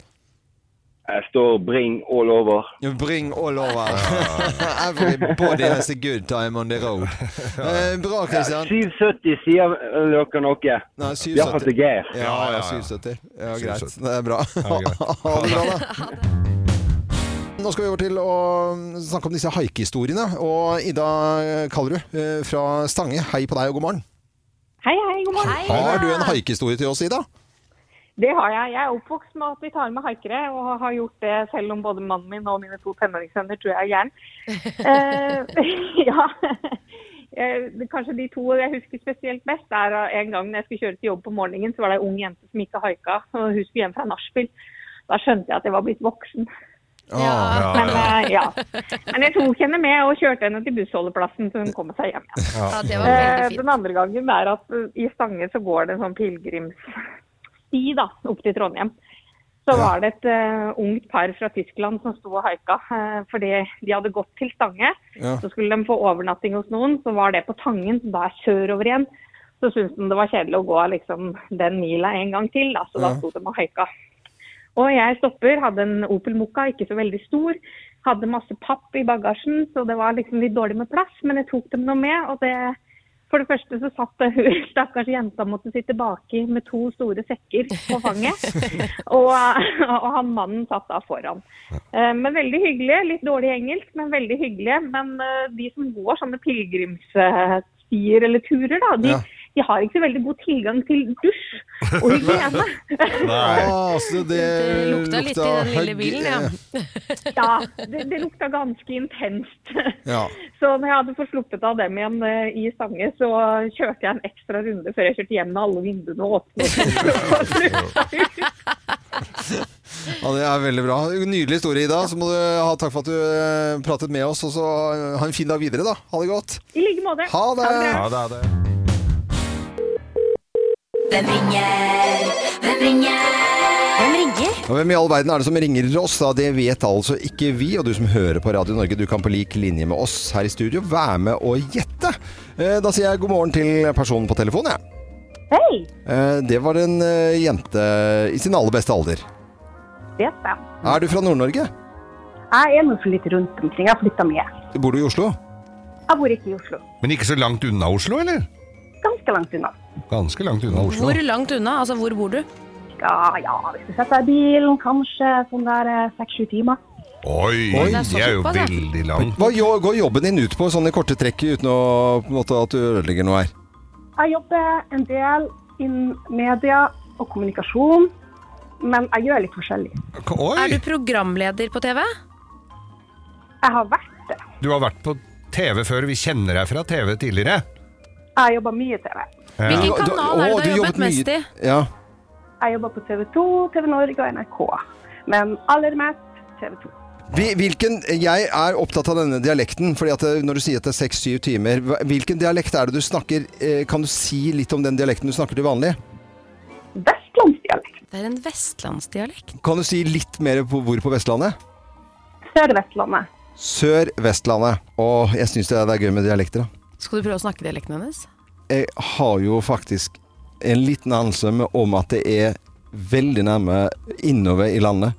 S12: Jeg står bring all over.
S1: Bring all over. Ah. [LAUGHS] Everybody has a good time on the road. [LAUGHS] Eh, bra, Kristian.
S12: 770 sier dere noe.
S1: Nei, 770.
S12: Iallfall til Geir.
S2: Ja,
S1: Ja,
S2: ja,
S1: ja,
S2: ja.
S1: 770. Ja,
S2: 770.
S1: greit. Det er bra.
S2: Ja, greit.
S1: [LAUGHS] Ha det bra, da. Nå skal vi over til å um, snakke om disse haikehistoriene. Og Ida Kallerud eh, fra Stange, hei på deg og god morgen.
S13: Hei, hei, god morgen.
S3: Hei, da.
S1: Har du en haikehistorie til oss, Ida?
S13: Det har jeg. Jeg er oppvokst med at vi tar med haikere, og har gjort det selv om både mannen min og mine to tenåringssønner tror jeg er
S1: [LAUGHS]
S13: gæren. Eh, [LAUGHS] ja. Eh, det- Kanskje de to jeg husker spesielt best, er eh, en gang når jeg skulle kjøre til jobb på morgenen, så var det ei ung jente som ikke haika, og hun skulle hjem fra nachspiel. Da skjønte jeg at jeg var blitt voksen.
S1: Ah,
S3: Ja,
S13: Men, eh, ja. Men jeg tok henne med og kjørte henne til bussholdeplassen så hun kom seg hjem igjen.
S3: ja, det var
S13: Eh,
S3: veldig
S13: Den
S3: fint.
S13: andre gangen er at eh, i Stange så går det en sånn pilegrimssti da, opp til Trondheim. Så var det et eh, ungt par fra Tyskland som sto og haika eh, fordi de hadde gått til Stange.
S1: Ja.
S13: Så skulle de få overnatting hos noen, så var det på Tangen, som da er sørover igjen. Så syntes de det var kjedelig å gå liksom, den mila en gang til, da, så da
S1: Ja.
S13: sto de og haika. Og jeg stopper, hadde en Opel Mokka, ikke så veldig stor. Hadde masse papp i bagasjen, så det var liksom litt dårlig med plass, men jeg tok dem nå med. og det... For det første så satt det hun, [LAUGHS] stakkars jenta måtte sitte baki med to store sekker på fanget. Og, og han mannen satt da foran. Eh, Men veldig hyggelige. Litt dårlig engelsk, men veldig hyggelige. Men eh, de som går sånne pilegrimsstier eller turer, da, de,
S1: Ja.
S13: de har ikke så veldig god tilgang til dusj og hygiene.
S1: Ah, så det
S3: Det lukta litt i den lille
S1: hugg-
S3: bilen, ja.
S13: Ja, det, det lukta ganske intenst.
S1: Ja.
S13: Så når jeg hadde fått sluppet av dem igjen eh, i Stange, så kjørte jeg en ekstra runde før jeg kjørte hjem med alle vinduene åpne.
S1: Ja, det er veldig bra. Nydelig historie, Ida. Så må du ha takk for at du eh, pratet med oss. Og så eh, ha en fin dag videre, da. Ha det godt.
S13: I like måte.
S1: Ha det!
S13: bra.
S2: Ja, det er det.
S9: Hvem ringer? Hvem ringer? Hvem ringer?
S1: Og hvem i all verden er det som ringer oss? da? Det vet altså ikke vi. Og du som hører på Radio Norge, du kan på lik linje med oss her i studio være med og gjette. Eh, Da sier jeg god morgen til personen på telefonen, jeg.
S13: Hei!
S1: Eh, Det var en eh, jente i sin aller beste alder.
S13: Det er spennende.
S1: Er du fra Nord-Norge?
S13: Jeg er nå for litt rundt omkring. Jeg har flytta mye.
S1: Bor du i Oslo?
S13: Jeg bor ikke i Oslo.
S2: Men ikke så langt unna Oslo, eller?
S13: Ganske langt unna.
S2: Ganske langt unna Oslo.
S3: Hvor langt unna? Altså, hvor bor du?
S13: Ja, ja, hvis du setter deg i bilen, kanskje sånn der eh, seks-sju timer.
S2: Oi, det
S1: Oi,
S3: det er
S2: er,
S3: så
S2: jo
S3: såpass, ja.
S2: veldig langt.
S1: Hva jo- går jobben din ut på, sånn i korte trekk, uten å, på en måte, at du ødelegger noe her?
S13: Jeg jobber en del innen media og kommunikasjon, men jeg gjør litt forskjellig.
S3: Er
S2: Oi,
S3: du programleder på TV?
S13: Jeg har vært det.
S2: du har vært på TV før. Vi kjenner deg fra TV tidligere.
S14: Jeg jobber mye TV.
S9: Ja.
S3: Hvilken
S9: Du- du-
S3: kanal er det du
S9: å,
S3: har jobbet mest i?
S9: Ja.
S14: Jeg jobber på TV 2, TV Norge og NRK. Men aller mest TV 2.
S1: Vi- Hvilken, jeg er opptatt av denne dialekten, fordi at det- når du sier at det er seks-syv timer hva- Hvilken dialekt er det du snakker eh, Kan du si litt om den dialekten du snakker til vanlig?
S3: Det er en vestlandsdialekt.
S1: Kan du si litt mer på hvor på Vestlandet?
S14: Sør-Vestlandet.
S1: Sør-Vestlandet. Åh, jeg syns det, er- det er gøy med dialekter, da.
S3: Skal du prøve å snakke dialekten hennes?
S1: Jeg har jo faktisk en liten anelse med om at det er veldig nærme innover i landet.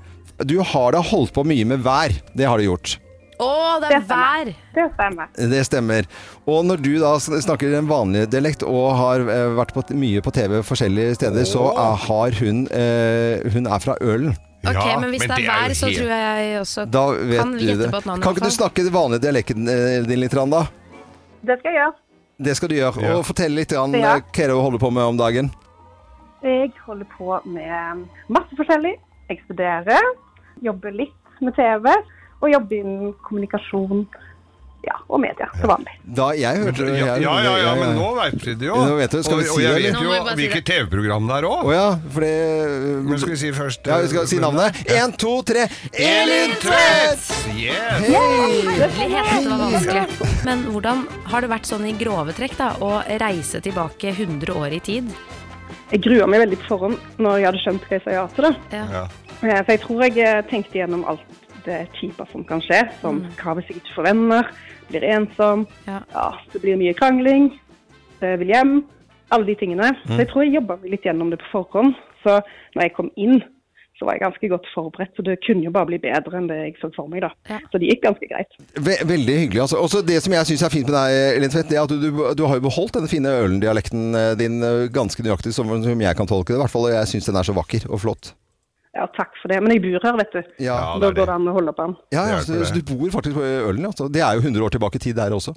S1: Du har da holdt på mye med vær. Det har du gjort.
S3: Å, det er vær!
S14: Det stemmer.
S1: Det stemmer. Og når du da sn- snakker den vanlige dialekt og har eh, vært på, t- mye på TV forskjellige steder, så er, har hun eh, Hun er fra Ølen.
S3: Ok, men hvis det er vær, så tror jeg også
S1: Da vet
S3: kan
S1: du
S3: gjette
S1: det.
S3: på et navn. i hvert
S1: Kan ikke du
S3: fall.
S1: snakke den vanlige dialekten eh, din litt, grann, da?
S14: Det skal jeg gjøre.
S1: Det skal du gjøre. Og fortelle litt grann,
S14: Ja.
S1: eh, hva du holder på med om dagen.
S14: Jeg holder på med masse forskjellig. Jeg studerer, jobber litt med TV, og jobber innen kommunikasjon ja, og media til vanlig.
S1: Da, jeg hørte
S2: Ja, ja, ja, ja, men nå vet vi det jo.
S1: Nå vet du, skal vi
S2: og, og
S1: si
S2: jeg
S1: det,
S2: vet
S1: eller?
S2: jo
S1: Nå må vi bare si
S2: hvilket
S1: det.
S2: TV-program det er òg.
S1: Å ja, for det eh,
S2: Men skal vi si først
S1: Ja, vi skal
S3: eh,
S1: si navnet. Én, to, tre. Elin Tvedt!
S2: Yeah.
S1: Hei!
S3: Hederlighet var vanskelig. Men hvordan har det vært sånn i grove trekk da, å reise tilbake 100 år i tid?
S14: Jeg gruer meg veldig på forhånd når jeg hadde skjønt hva jeg sa ja til. Da.
S2: Ja.
S14: Eh, For jeg tror jeg eh, tenkte gjennom alt det kjipe som kan skje, som hva hvis jeg ikke får venner, blir ensom, ja. det blir mye krangling, eh, vil hjem, alle de tingene. Så jeg tror jeg jobba meg litt gjennom det på forhånd. Så når jeg kom inn, så var jeg ganske godt forberedt, så det kunne jo bare bli bedre enn det jeg så for meg, da. Så det gikk ganske greit.
S1: Ve veldig hyggelig. Altså. Også det som jeg syns er fint med deg, Elin Tvedt, det er at du, du, du har jo beholdt denne fine Ølen-dialekten eh, din eh, ganske nøyaktig som, som jeg kan tolke det. I hvert fall og jeg syns den er så vakker og flott.
S14: Ja, takk for det. Men jeg bor her, vet du.
S1: Ja. Ja, det
S14: da
S1: er det.
S14: går det an å holde på den.
S1: Ja, ja,
S2: Det er
S1: så,
S2: ikke det.
S1: så du bor faktisk på Ølen, altså. Det er jo 100 år tilbake i tid
S2: [LAUGHS]
S1: der også.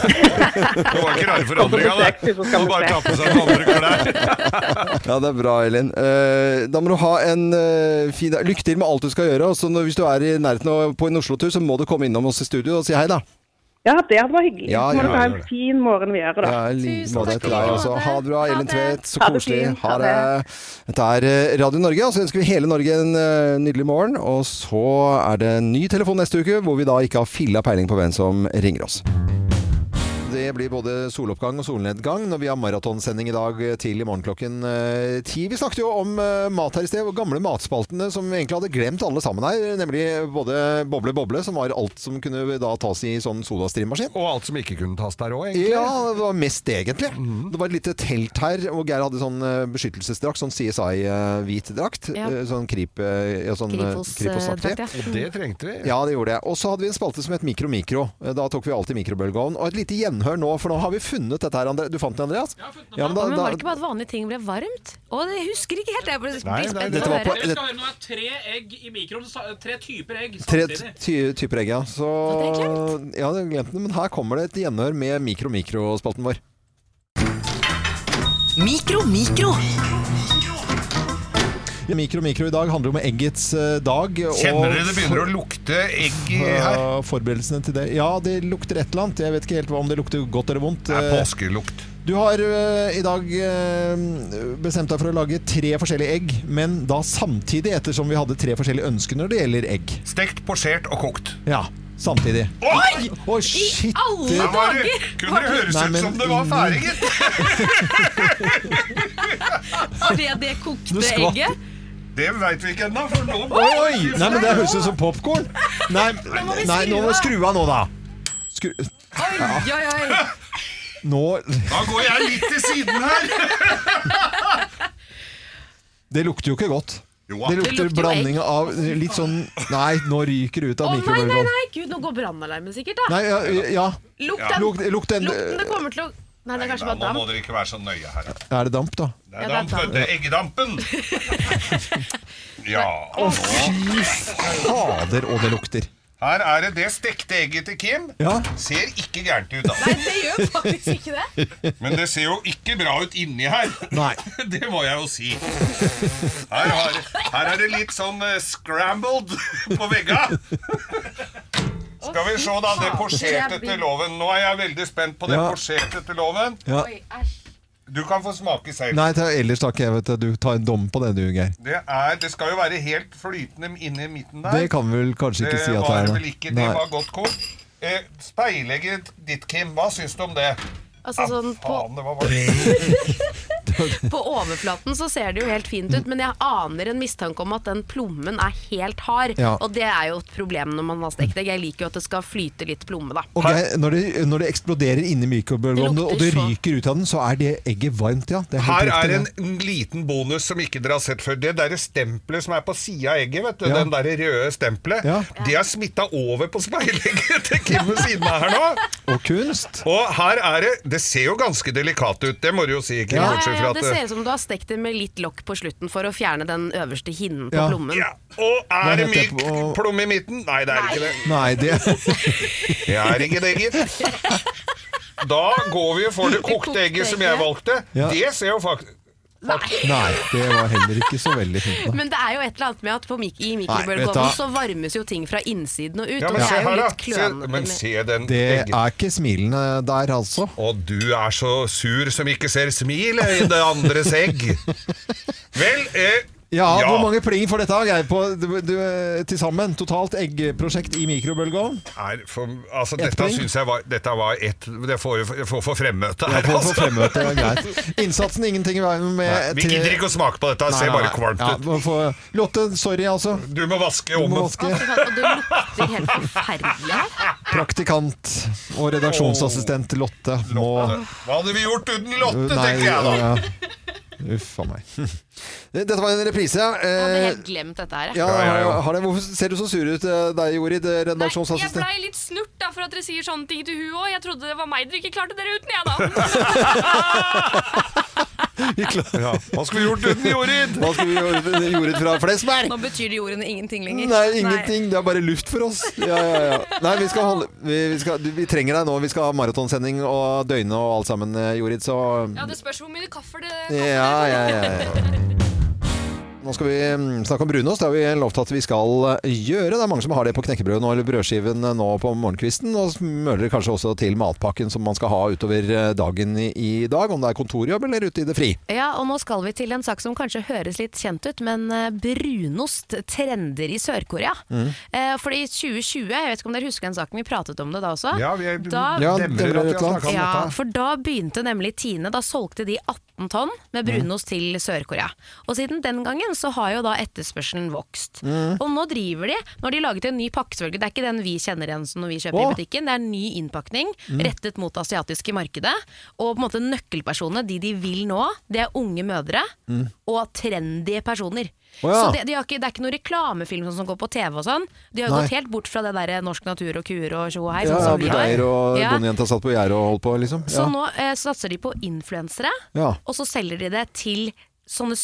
S2: Det var ikke rare forandringa, det. Nå bare ta på seg sånn. noen andre klær.
S1: Ja, det er bra, Elin. Eh, da må du ha en eh, fin dag. Lykke til med alt du skal gjøre. Og så når, hvis du er i nærheten og på en Oslo-tur, så må du komme innom oss i studio og si hei, da.
S14: Ja, det hadde vært hyggelig.
S1: Ja,
S14: så må dere
S1: ja,
S14: ha
S1: gjør
S14: en
S1: det.
S14: fin morgen videre,
S1: [LAUGHS]
S14: da.
S1: Ja, i like måte
S14: takk skal
S1: til deg
S14: du
S1: også. Ha det bra, Elin Tvedt. Så
S14: Ha det
S1: koselig.
S14: fint.
S1: Ha
S14: Ha
S1: det. Dette er eh, Radio Norge, og så ønsker vi hele Norge en eh, nydelig morgen. Og så er det en ny telefon neste uke, hvor vi da ikke har filla peiling på hvem som ringer oss. Det blir både soloppgang og solnedgang når vi har maratonsending i dag eh, til i morgen klokken eh, ti. Vi snakket jo om eh, mat her i sted, og gamle matspaltene som vi egentlig hadde glemt alle sammen her. Nemlig både Boble Boble, som var alt som kunne da tas i sånn sodastrimmaskin.
S2: Og alt som ikke kunne tas der òg, egentlig. Mhm.
S1: Ja, det var mest egentlig. Det var et lite telt her, og Geir hadde sånn eh, beskyttelsesdrakt, sånn CSI-hvit drakt.
S2: Ja.
S1: eh, Sånn krip... eh, Ja, sånn, eh,
S2: Kripos, eh,
S1: Kripos-aktig.
S2: drakt, ja. Og det trengte vi.
S1: Ja, det gjorde det. Og så hadde vi en spalte som het Mikro Mikro. Eh, Da tok vi alltid mikrobølgeovn. Og et lite gjenhør nå, for nå har vi funnet dette her, Andre. Du fant det, Andreas? Ja,
S3: men
S1: men da,
S3: var det
S1: da,
S3: ikke bare at vanlige ting ble varmt? Å, det husker ikke helt. Jeg ble
S1: Nei, nei,
S3: blir spent
S1: dette
S3: på å
S1: var på-
S3: høre.
S1: Dere skal
S10: høre, nå er tre egg i mikroen. Tre typer egg
S1: Tre ty typer egg, ja. Så Ja, det glemte det. Men her kommer det et gjenhør med Mikro Mikro-spalten vår.
S15: Mikro, mikro.
S1: Mikro Mikro i dag handler om eggets eh, dag. og-
S2: Kjenner dere det begynner å lukte egg i her?
S1: Ja, Forberedelsene til det. Ja, det lukter et eller annet. Jeg vet ikke helt om det lukter godt eller vondt. Eh,
S2: Det er påskelukt.
S1: Du har ø, i dag ø, bestemt deg for å lage tre forskjellige egg, men da samtidig, ettersom vi hadde tre forskjellige ønsker når det gjelder egg.
S2: Stekt, posjert og kokt.
S1: Ja, samtidig.
S2: Oi!
S1: Å, shit!
S2: I alle
S1: det-
S2: dager! Kunne sånn? det høres
S1: Nei,
S2: ut
S1: men-
S2: som det var ferdig, gitt?
S3: [LAUGHS] Ble det kokte
S1: Nå skvatt-
S3: egget?
S2: Det veit vi ikke ennå, for nå
S1: Oi! Nei, men det høres ut som popkorn. Nei,
S2: må vi
S1: nei, nå må vi skru
S2: skru
S1: av nå, da. Skru
S3: Oi, oi, oi.
S1: Nå
S2: [LAUGHS] Da går jeg litt til siden her.
S1: Det lukter jo ikke godt.
S2: da.
S1: Det lukter
S2: Det lukter jo
S1: blanding av litt sånn Nei, nå ryker det ut
S3: Å
S1: av
S3: nei, nei,
S1: mikrobølgeovnen.
S3: nei, gud, nå går brannalarmen sikkert, da.
S1: Nei, ja, ja.
S3: Lukt
S1: Ja.
S3: den.
S1: Lukt- lukt den.
S3: Lukten, det kommer til å Nei, det er kanskje
S2: Nei,
S3: bare
S2: nå må
S3: damp.
S2: dere ikke være så nøye her.
S1: Er det damp, da?
S2: Det
S3: Ja,
S2: er
S3: det er
S2: damp,
S3: damp.
S2: vet du.
S3: [LAUGHS]
S2: Eggedampen. Ja.
S1: Å, fy fader, og det lukter.
S2: Her er det det stekte egget til Kim.
S1: Ja.
S2: Ser ikke gærent ut, da.
S3: Nei, det gjør faktisk ikke det.
S2: Men det ser jo ikke bra ut inni her.
S1: Nei.
S2: [LAUGHS] Det må jeg jo si. Her, [LAUGHS] har, her er det litt sånn eh, scrambled på vegga. Skal vi se, da. Det korserte til loven. Nå er jeg veldig spent på det
S1: Ja.
S2: korserte til loven.
S1: Ja.
S2: Du kan få smake selv.
S1: Nei, ta- ellers takk. Jeg vet, at du tar en dom på det, du, Geir.
S2: Det, er, det skal jo være helt flytende inne i midten der.
S1: Det kan vi vel kanskje ikke si at det
S2: var
S1: er, da.
S2: vel ikke, det
S1: Nei.
S2: var godt kort. Eh, speilegget ditt, Kim, hva syns du om det?
S3: Altså sånn på,
S2: Faen, det var varmt.
S3: på overflaten så ser det jo helt fint ut, men jeg aner en mistanke om at den plommen er helt hard.
S1: Ja.
S3: Og det er jo et problem når man har stekt egg. Jeg liker jo at det skal flyte litt plomme, da.
S1: Og Geir, når, det, når det eksploderer inni mikrobølgeovnen,
S3: Det lukter
S1: og det
S3: så-
S1: ryker ut av den, så er det egget varmt, ja. Det er helt
S2: Her er
S1: riktig,
S2: en en liten bonus som ikke dere har sett før. Det derre stempelet som er på sida av egget, vet du.
S1: Ja.
S2: Den derre røde stempelet.
S1: Ja.
S2: Det er smitta over på speilegget til Kim ved siden av her nå.
S1: det. [LAUGHS] Og kunst.
S2: Og her er det Det ser jo ganske delikat ut, det må du jo si, Kim.
S3: Ja,
S2: bortsett
S3: ja,
S2: fra
S3: ja,
S2: at
S3: det ser ut som du har stekt det med litt lokk på slutten for å fjerne den øverste hinnen på
S1: Ja.
S3: plommen.
S2: Ja, Og er
S1: Det
S2: det
S1: er helt
S2: myk plomme i midten? Nei, det er ikke det.
S1: Nei, det
S2: [LAUGHS] Det er ikke det,
S3: [LAUGHS]
S2: gitt. Da går vi for det kokte egget som jeg valgte.
S1: Ja.
S2: Det ser jo faktisk
S1: Nei, det var heller ikke så veldig fint.
S3: Men det er jo et eller annet med at på mik i
S1: vet du hva?
S3: mikrobølgeovnen så varmes jo ting fra innsiden og ut,
S2: Ja,
S3: og
S2: men
S3: det
S2: se
S3: er jo
S2: her, da.
S3: litt klønete.
S2: Se, men se den
S1: Det
S2: egget.
S1: er ikke smilende der, altså.
S2: Og du er så sur som ikke ser smilet i det andres egg. Vel, eh,
S1: Ja, Hvor mange pling for dette har jeg på du- du- til sammen? Totalt eggprosjekt i mikrobølgeovn?
S2: er for, altså,
S1: Ett
S2: dette
S1: poeng.
S2: syns jeg var Dette var ett Det får jo- jeg får for fremmøte
S1: Ja,
S2: her,
S1: på, på fremmøte, ja, greit. Innsatsen ingenting i veien med
S2: altså- Nei, [LAUGHS] vi
S1: tre-
S2: gidder ikke å smake på dette, det
S1: Nei,
S2: ser
S1: nei,
S2: bare
S1: nei.
S2: kvalmt
S1: Ja,
S2: ut.
S1: må få- Lotte, sorry, altså.
S2: Du må vaske
S1: Du må
S2: ommen.
S1: vaske.
S3: Og det lukter helt forferdelig her.
S1: Praktikant og redaksjonsassistent Lotte må
S2: Hva hadde vi gjort uten Lotte,
S1: Nei,
S2: tenker jeg da.
S1: ja. Uff a meg. [LAUGHS] Dette var en reprise.
S3: Jeg hadde
S1: Eh,
S3: helt glemt dette her. jeg.
S1: ja, har, har det, hvorfor ser du så sur ut, eh, deg, Jorid,
S16: Nei, jeg
S1: redaksjonsassistent?
S16: blei litt snurt da for at dere sier sånne ting til hun òg. Jeg trodde det var meg dere ikke klarte dere uten, jeg
S1: [LAUGHS]
S16: da.
S2: Ja. Hva skulle vi gjort uten Jorid?
S1: Hva skulle vi gjort uten Jorid fra Flesberg?
S17: Nå betyr de ordene ingenting lenger.
S1: Nei, ingenting. Det er bare luft for oss. Ja, ja, ja. Nei, vi, skal holde, vi, vi, skal, du, vi trenger deg nå. Vi skal ha maratonsending og døgnet og alt sammen, eh, Jorid. Så
S16: Ja, Det spørs hvor mye kaffe det
S1: ja, ja, ja, ja. Nå skal vi mm, snakke om brunost. Det har vi lovt at vi skal eh, gjøre. Det er mange som har det på knekkebrødet nå, eller brødskiven eh, nå på morgenkvisten. Og smører det kanskje også til matpakken som man skal ha utover eh, dagen i i dag. Om det er kontorjobb eller ute i det fri.
S3: Ja, og nå skal vi til en sak som kanskje høres litt kjent ut, men eh, brunost trender i Sør-Korea.
S1: Mm.
S3: Eh, fordi 2020, jeg vet ikke om dere husker den saken, vi pratet om det da også.
S2: Ja, vi er-
S3: da,
S2: Ja, Demrer Demrer at vi har Rødtland. snakket om
S3: Ja,
S2: dette.
S3: for da begynte nemlig Tine, da solgte de 18 tonn med brunost til Sør-Korea. Og siden den gangen så har jo da etterspørselen vokst.
S18: Mm.
S3: Og nå driver de, nå har de laget en ny pakkesølge, det er ikke den vi kjenner igjen som når vi kjøper
S18: Åh.
S3: i butikken, det er en ny innpakning
S18: Mm.
S3: rettet mot det asiatiske markedet. Og på en måte nøkkelpersonene, de de vil nå, det er unge mødre
S18: Mm.
S3: og trendy personer.
S18: Å ja.
S3: Så det, de har ikke, det er ikke noen reklamefilm som går på TV og sånn. De har
S1: Nei.
S3: gått helt bort fra det derre Norsk Natur og kuer og tjo og hei.
S1: Ja,
S3: sånn som vi har.
S1: Budeier og
S3: Ja.
S1: bondejenta satt på gjerdet og holdt på, liksom.
S3: Så
S1: Ja.
S3: nå eh, satser de på influensere,
S1: Ja.
S3: og så selger de det til sånne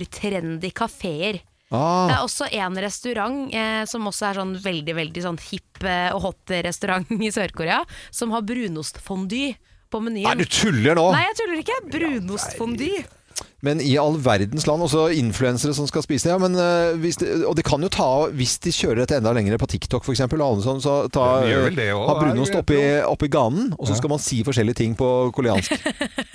S3: supertrendy kafeer.
S1: Ah.
S3: Det er
S1: [LAUGHS]
S3: også en restaurant eh, som også er sånn veldig veldig sånn hipp eh, og hot restaurant i Sør-Korea, som har brunostfondy på menyen.
S1: Nei, du tuller nå!
S3: Nei, jeg tuller ikke. Brunostfondy.
S1: Men i all verdens land, også influensere som skal spise det. Ja, men, eh, hvis det og det kan jo ta av hvis de kjører dette enda lenger på TikTok f.eks. Sånn, så ta,
S2: Ja, de gjør vel det
S1: eh,
S2: også,
S1: ha brunost
S2: er det
S1: oppi, oppi ganen, og så skal man si forskjellige ting på koreansk.
S2: [LAUGHS]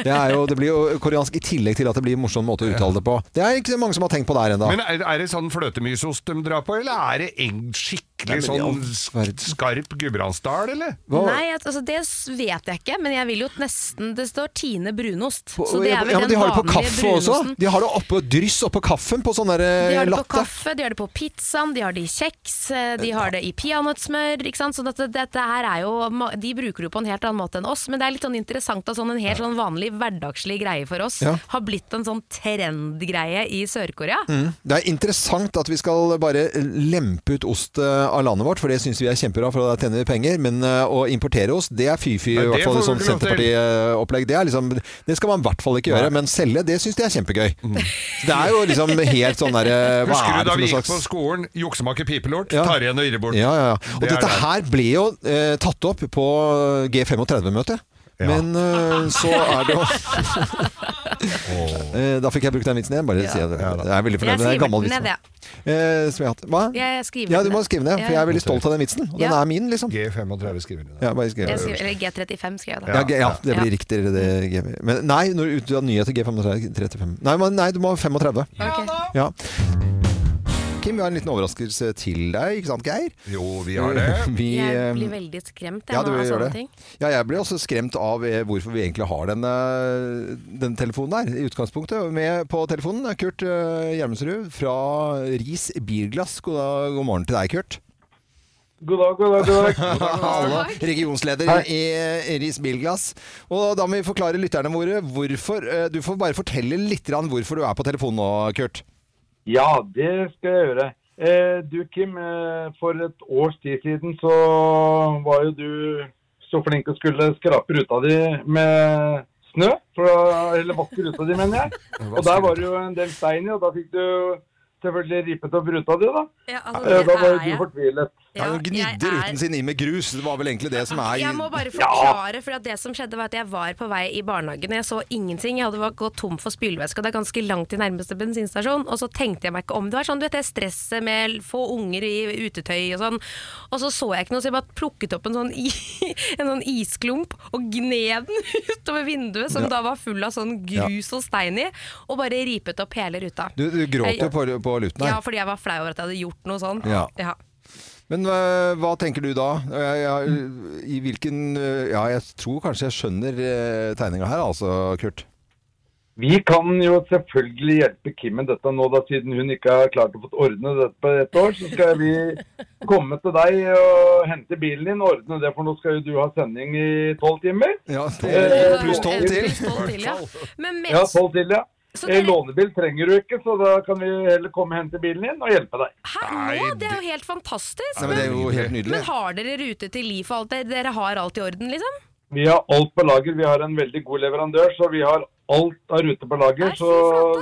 S1: Det, er jo, det blir jo koreansk i tillegg til at det blir en morsom måte å uttale det på. Det er ikke mange som har tenkt på der ennå.
S2: Men er, er det sånn fløtemysost de drar på, eller er det egg
S1: Nei,
S2: skikkelig
S1: men i all
S2: sånn sk- skarp Gudbrandsdal, eller?
S3: Nei, at- altså, det s- vet jeg ikke, men jeg vil jo nesten Det står Tine brunost. Så det
S1: ja,
S3: er vel
S1: men de
S3: den
S1: har det på
S3: vanlige
S1: kaffe også.
S3: brunosten.
S1: De har det oppå dryss oppå kaffen på sånn der
S3: De
S1: eh,
S3: har det på
S1: latte.
S3: kaffe, de har det på pizzaen, de har det i kjeks, eh, de har det i peanøttsmør. ikke sant? Så dette, dette her er jo, ma- De bruker det jo på en helt annen måte enn oss, men det er litt sånn interessant at sånn en helt sånn vanlig hverdagslig greie for oss
S1: Ja.
S3: har blitt en sånn trendgreie i Sør-Korea.
S1: Mm. Det er interessant at vi skal bare lempe ut ost eh, av landet vårt, for det syns vi er kjempebra, for da tjener vi penger. Men eh, å importere ost, det er fy-fy,
S2: Nei,
S1: i
S2: det
S1: hvert
S2: får
S1: fall i
S2: vi
S1: sånn
S2: ikke lov til.
S1: Senterparti-opplegg. Det, er liksom, det skal man i hvert fall ikke gjøre, men selge, det syns de er kjempegøy. Så Det er jo liksom helt sånn derre
S2: [LAUGHS]
S1: Hva
S2: Mm. Husker du da
S1: er det for
S2: vi
S1: noe
S2: gikk på
S1: slags
S2: skolen? Juksemaker pipelort, tar igjen og irrer bort.
S1: ja, ja, ja. Og
S2: Det er
S1: dette
S2: det.
S1: her ble jo eh, tatt opp
S2: [LAUGHS]
S1: på G35-møtet. Men eh, så er det jo Eh, Da fikk jeg brukt den vitsen igjen. Bare si at jeg er veldig
S3: Jeg
S1: fornøyd med den. Det er en
S3: skriver
S1: gammel
S3: den ned,
S1: vits. Eh, som jeg har hatt. Hva?
S3: Jeg skriver
S1: Ja,
S3: den
S1: du må
S3: ned.
S1: skrive ned,
S3: Ja,
S1: for jeg
S3: ja.
S1: er veldig stolt av den vitsen. Og den
S3: Ja.
S1: er min, liksom.
S2: G35 skriver du.
S1: Ja, bare skriv.
S3: Jeg skriver, eller G35 skrev jeg da.
S1: Ja, G- ja, det blir riktigere det. G men nei, når du har nyheter G35 35. Nei, men nei, du må ha 35. Ja. Kim, vi har en liten overraskelse til deg, ikke sant Geir?
S2: Jo, vi har det.
S1: [LAUGHS] Vi,
S3: Jeg
S1: eh,
S3: blir veldig skremt jeg,
S1: ja, du
S3: nå av
S1: gjør
S3: sånne
S1: det.
S3: ting.
S1: Ja, jeg ble også skremt av eh, hvorfor vi egentlig har denne, denne telefonen der, i utgangspunktet. Og Med på telefonen er Kurt eh, Gjermundsrud fra Ris Bilglass. God, dag, god morgen til deg, Kurt.
S17: God dag, god dag, god
S1: [LAUGHS]
S17: dag.
S1: Halla, regionsleder
S17: Hei.
S1: i Ris Bilglass. Og da må vi forklare lytterne våre hvorfor eh, Du får bare fortelle litt grann hvorfor du er på telefonen nå, Kurt.
S17: Ja, det skal jeg gjøre. Eh, du Kim, eh, for et års tid siden så var jo du så flink og skulle skrape ruta di med snø. For, da- eller vaske ruta di, mener jeg. Og der var det jo en del stein i, og da fikk du selvfølgelig ripet opp ruta di, da.
S3: altså,
S17: Eh,
S3: det
S17: da
S3: er
S17: var jo du
S3: jeg.
S17: fortvilet.
S1: Ja, Hun gnidde ruten sin i med grus. Det var vel egentlig det som er
S3: Jeg må bare
S1: Ja.
S3: forklare, for at det som skjedde var at jeg var på vei i barnehagen, og jeg så ingenting. Jeg hadde bare gått tom for spylevæske, og det er ganske langt til nærmeste bensinstasjon. Og så tenkte jeg meg ikke om. Det var sånn, du vet det stresset med få unger i utetøy og sånn. Og så så jeg ikke noe, så jeg bare plukket opp en sånn, i, [LAUGHS] en sånn isklump og gned den [LAUGHS] utover vinduet, som
S1: Ja.
S3: da var full av sånn grus og stein i, og bare ripet opp hele ruta.
S1: Du, du gråt jo på, på luten her.
S3: Ja, fordi jeg var flau over at jeg hadde gjort noe sånn.
S1: Ja.
S3: ja.
S1: Men øh, hva tenker du da? Øh, ja, øh, I hvilken øh, Ja, jeg tror kanskje jeg skjønner øh, tegninga her, altså, Kurt.
S17: Vi kan jo selvfølgelig hjelpe Kim med dette nå, da siden hun ikke har klart å få ordne dette på et år. Så skal vi komme til deg og hente bilen din og ordne det, for nå skal jo du ha sending i tolv timer.
S1: Ja,
S3: Eh, eh, pluss tolv til, [LAUGHS] ja. Men
S17: Ja,
S3: mens,
S17: tolv til, ja.
S3: Så
S17: Eh,
S3: dere-
S17: Lånebil trenger du ikke, så da kan vi heller komme og hente bilen din og hjelpe deg.
S3: Å, det er jo helt fantastisk.
S17: Nei, men det er jo helt nydelig.
S3: Men har dere rute til liv og alt det? Dere har alt i orden, liksom?
S17: Vi har alt på lager. Vi har en veldig god leverandør, så vi har alt av ruter på lager, så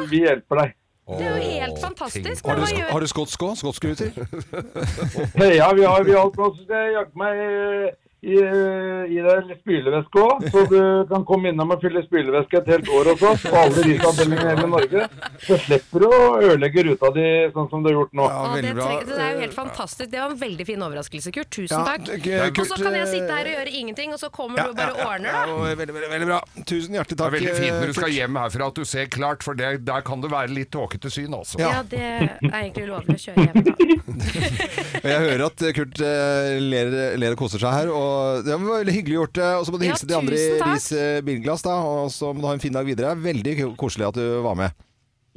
S17: vi hjelper deg.
S3: Det er jo helt fantastisk. Men
S1: Har du,
S3: hva gjør
S1: har du skotsk skå? Skotsk ruter?
S17: [LAUGHS] Ja, vi har, vi har alt på oss. Jeg jagde meg eh, i, eh, i deg spylevæske òg, så du kan komme innom og fylle spylevæske et helt år hos oss. På alle risavdelingene i hele Norge. Så slipper du å ødelegge ruta di sånn som du har gjort nå.
S3: Å, det, treng- det er jo helt fantastisk. Det var en veldig fin overraskelse, Kurt. Tusen
S1: Ja,
S3: takk.
S1: takk, eh,
S3: Og så
S1: Kurt,
S3: kan jeg sitte
S1: eh,
S3: her og gjøre ingenting, og så kommer
S1: Ja,
S3: du og bare
S1: ja, ja,
S3: ordner,
S1: ja,
S3: da.
S1: og veldig, veldig, veldig bra. Tusen hjertelig
S2: Det
S1: takk. eh,
S2: er veldig fint når du skal
S1: Kurt.
S2: hjem herfra at du ser klart, for det, der kan det være litt tåkete syn, altså.
S3: Ja, det er egentlig ulovlig å kjøre hjem.
S1: Og Jeg hører at øh, Kurt øh, ler, ler og koser seg her. Og det var veldig hyggelig gjort. øh, Og så må du
S3: Ja,
S1: hilse de andre i
S3: tusen takk.
S1: Ris øh, Bilglass, da. Og så må du ha en fin dag videre. Veldig ko- koselig at du var med.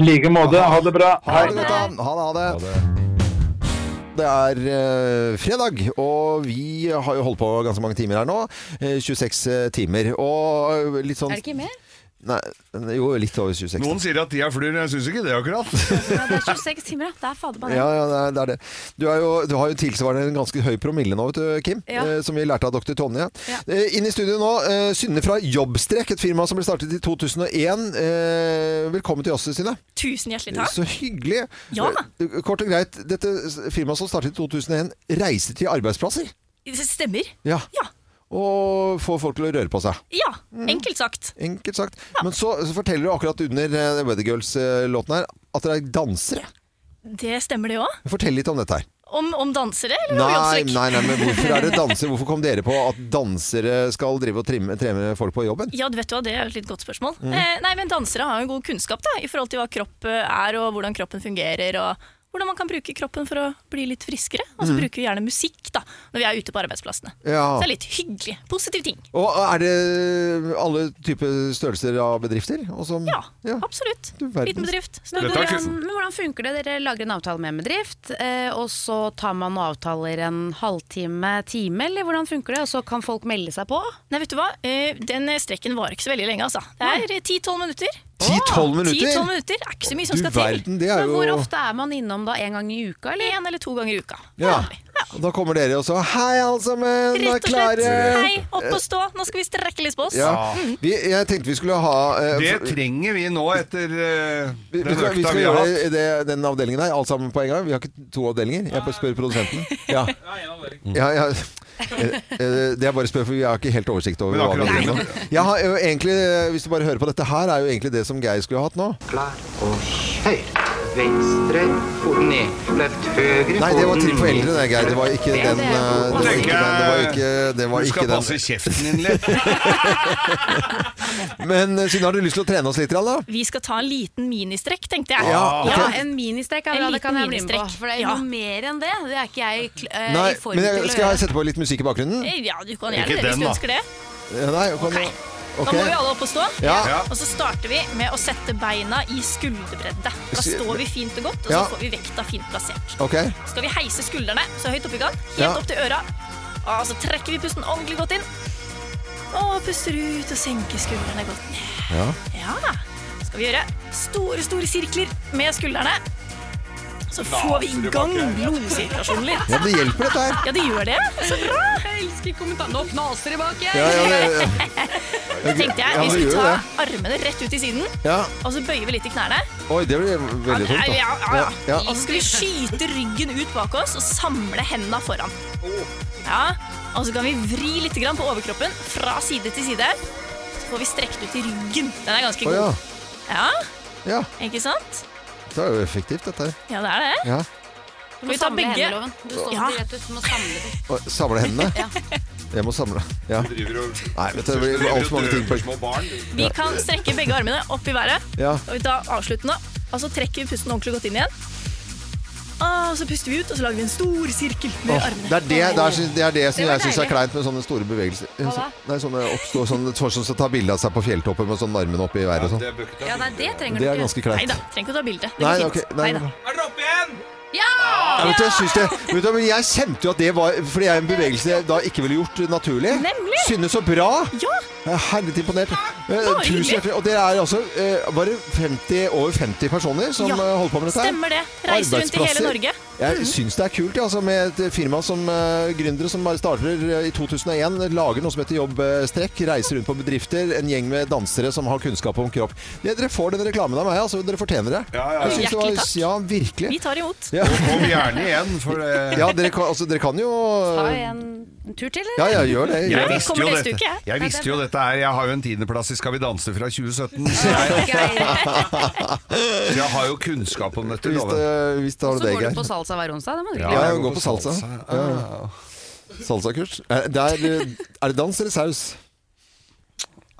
S17: I like måte. Ha det bra.
S1: Ha det godt, da. Ha det, ha det. Det er eh, fredag, og vi har jo holdt på ganske mange timer her nå. Eh, 26 timer. Og litt sånn
S18: Er det ikke mer?
S1: Nei, eh, jo, litt over 26.
S2: Noen sier at de er fluer, jeg syns ikke det akkurat.
S18: Ja, det er 26 timer, ja. Det er fader meg det.
S1: Ja, ja, det er- det er det. Du, er jo, du har jo tilsvarende en ganske høy promille nå, vet du, Kim.
S18: Ja.
S1: eh, Som vi lærte av dr. Tonje. Eh, Inn i studio nå, eh, Synne fra Jobbstrek, et firma som ble startet i 2001. Eh, Velkommen til oss, Synne.
S18: [LAUGHS] Tusen hjertelig takk.
S1: Så hyggelig.
S18: Ja.
S1: Eh, Kort og greit, dette firmaet som startet i 2001, reiser til arbeidsplasser.
S18: Det stemmer.
S1: Ja. Og får folk til å røre på seg.
S18: Ja,
S1: Mm.
S18: enkelt sagt.
S1: Enkelt sagt. Men så, så forteller du akkurat under eh, Weather Girls-låten her at dere er dansere.
S18: Det stemmer det òg.
S1: Fortell litt om dette her.
S18: Om, om dansere, eller om
S1: Nei,
S18: jobbsøk?
S1: nei, nei, men hvorfor
S18: [LAUGHS]
S1: er det dansere? Hvorfor kom dere på at dansere skal drive og trimme, trene folk på jobben?
S18: Ja, du vet jo, hva, det er jo et litt godt spørsmål.
S1: Mhm.
S18: Eh, nei, men Dansere har jo god kunnskap da, i forhold til hva kropp eh, er, og hvordan kroppen fungerer. og hvordan man kan bruke kroppen for å bli litt friskere. Og så
S1: Mhm.
S18: bruker vi gjerne musikk da, når vi er ute på arbeidsplassene.
S1: Ja.
S18: Så det er litt hyggelig. Positive ting.
S1: Og er det alle typer størrelser av bedrifter? Og som, ja.
S18: Absolutt.
S1: verden.
S18: Liten bedrift.
S1: Dette er
S19: Men hvordan,
S1: kun-
S19: men hvordan funker det? Dere lager en avtale med en bedrift, eh, og så tar man og avtaler en halvtime, time, eller hvordan funker det? Og så kan folk melde seg på?
S18: Nei, vet du hva? Eh, Den strekken varer ikke så veldig lenge, altså. Det er eh, 10-12 minutter.
S1: 10-12 minutter?
S18: 10-12 minutter er ikke så mye som
S1: Du
S18: skal
S1: verden, det er
S18: til.
S1: Men hvor jo- ofte
S18: er man innom da? En gang i uka, eller? En eller to ganger i uka.
S1: Ja. Og Da kommer dere og så Hei, alle sammen!
S18: Rett og slett.
S1: klare.
S18: Hei, opp og stå. Nå skal vi strekke litt på oss.
S1: Ja.
S18: Mm.
S1: Vi, jeg tenkte vi skulle ha eh,
S2: Det
S1: for-
S2: trenger vi nå etter eh,
S1: Vi, vi
S2: den
S1: skal, vi
S2: økta
S1: skal
S2: vi har hatt.
S1: gjøre det, den avdelingen her, alt sammen på en gang. Vi har ikke to avdelinger. Jeg bare spør produsenten. Ja. Ja, ja. Eh, eh, Det er bare å spørre, for vi har ikke helt oversikt over
S2: Men akkurat
S1: hva vi
S2: det nå.
S1: driver med. Jeg har jo egentlig, eh, Hvis du bare hører på dette her, er jo egentlig det som Geir skulle hatt nå.
S20: Klar og høyre. Venstre, foten ned. Løft høyre,
S1: Nei, det var til for eldre, det, Geir. Det var ikke den. eh, Det var ikke den. Det var ikke, det var
S2: du
S1: ikke
S2: skal
S1: den.
S2: passe kjeften din litt.
S1: [LAUGHS] Men eh, siden har du lyst til å trene oss litt, grann, da?
S18: Vi skal ta en liten ministrekk, tenkte jeg.
S1: Ja, ok.
S21: Ja, en ministrekk er
S18: En
S21: bra, det
S18: liten
S21: kan jeg bli med på.
S18: ministrekk.
S21: For det er
S18: Ja.
S21: noe mer enn det. Det er ikke jeg kl- eh,
S1: Nei,
S21: i form
S1: men
S21: til å
S1: jeg, skal
S21: gjøre.
S1: jeg sette på litt musikk i bakgrunnen?
S18: Eh, Ja, du kan gjerne
S1: Ikke
S18: det hvis
S1: den,
S18: du
S1: da.
S18: ønsker det.
S1: Ja, Nei, kom,
S18: Ok. Da
S1: Ok.
S18: må vi alle opp og stå.
S1: Ja. Ja.
S18: Og så starter vi med å sette beina i skulderbredde. Da
S1: Sku-
S18: står vi fint og godt, og
S1: Ja.
S18: så får vi vekta fint plassert.
S1: Ok.
S18: Så skal vi heise skuldrene så høyt opp i gang, helt
S1: Ja.
S18: opp til øra. Og så trekker vi pusten ordentlig godt inn. Og puster ut og senker skuldrene godt ned.
S1: Ja.
S18: Ja. Så skal vi gjøre store, store sirkler med skuldrene. Så får vi i
S1: Laser i
S18: gang
S1: bakken.
S18: blodsirkulasjonen litt.
S1: Ja, det hjelper, dette her.
S18: Ja, det gjør det. Så bra.
S21: Jeg elsker kommentar. Nå knaser det bak, jeg!
S1: Ja, ja, ja, ja.
S18: Da tenkte jeg
S1: Ja,
S18: vi
S1: det
S18: skulle
S1: gjør
S18: ta
S1: det.
S18: armene rett ut i siden,
S1: Ja.
S18: og så bøyer vi litt i knærne.
S1: Oi, det blir veldig
S18: Ja,
S1: tungt, da.
S18: ja, ja, ja.
S1: Ja.
S18: Og så skal vi skyte ryggen ut bak oss og samle hendene foran. Ja, og så kan vi vri litt grann på overkroppen fra side til side. Så får vi strekt ut i ryggen. Den er ganske
S1: Å, ja.
S18: god. Ja,
S1: Ja.
S18: ikke sant?
S1: Det er jo effektivt, dette her.
S18: Ja, det er det.
S1: Ja.
S21: Du
S18: Skal
S21: må
S18: vi ta
S21: samle
S18: begge?
S21: hendene, Loven. Du står
S18: Ja.
S21: ikke rett ut, du må samle dem.
S1: Og samle hendene? Jeg må samle ja. Nei, vet du, det blir altfor mange ting på
S18: Vi kan strekke begge armene opp i været.
S1: Ja.
S18: Og vi tar avsluttende, og så trekker vi pusten ordentlig godt inn igjen. Og så puster vi ut, og så lager vi en stor sirkel med
S1: Åh,
S18: armene.
S1: det, er det, det, er, det er det som
S18: Det var
S1: jeg syns er
S18: deilig.
S1: kleint med sånne store bevegelser.
S18: Hva da?
S1: Nei, sånne oppstå, sånne, folk som skal ta bilde av seg på fjelltoppen med sånn armene opp i været og sånn.
S21: Ja, nei, det trenger du
S1: Det er
S21: ikke.
S1: ganske kleint.
S18: Neida, trenger ikke å ta bilde. Det
S1: Nei,
S18: går
S1: ok,
S18: fint.
S1: nei,
S18: Neida.
S1: nei.
S21: Ja!
S1: Ja, vet du, jeg, syns det, vet du, men jeg kjente jo at det var Fordi jeg er en bevegelse jeg da ikke ville gjort naturlig.
S18: Nemlig.
S1: Synes så bra!
S18: Ja.
S1: Jeg er Herlig imponert. Eh,
S18: Bare
S1: Tusen
S18: hyggelig.
S1: hjertelig. Og dere er altså eh, bare 50, over 50 personer som
S18: Ja,
S1: eh, holder på med dette? her.
S18: stemmer det. Reiser rundt i hele
S1: Arbeidsplasser.
S18: Norge. Mm.
S1: Jeg syns det er kult ja, altså, med et firma som eh, gründere som bare starter eh, i 2001, lager noe som heter Jobbstrekk, reiser rundt på bedrifter, en gjeng med dansere som har kunnskap om kropp. Det, dere får den reklamen av meg, altså. Dere fortjener det.
S2: ja, ja.
S1: Jeg synes det var-
S2: Hjertelig takk.
S1: Ja, virkelig.
S18: Vi tar imot.
S1: Ja.
S2: Kom gjerne igjen, for det
S1: Ja, dere kan, altså, dere kan jo
S21: Ta en tur til,
S1: Øh, Ja, ja, gjør det.
S2: Jeg
S1: Gjør det.
S2: visste jo dette. Jeg visste jo dette her. Jeg har jo en tiendeplass i Skal vi danse fra 2017. Så jeg, så jeg har jo kunnskap om dette.
S1: Hvis
S2: loven.
S1: det- hvis det har
S21: Så
S1: det,
S21: går du
S1: Geir.
S3: sånn-
S21: på salsa hver onsdag. Det må du
S1: Ja,
S21: ikke glemme.
S1: jeg går på salsa. Ja, ja. Salsakurs. Er, det er, er det dans eller saus?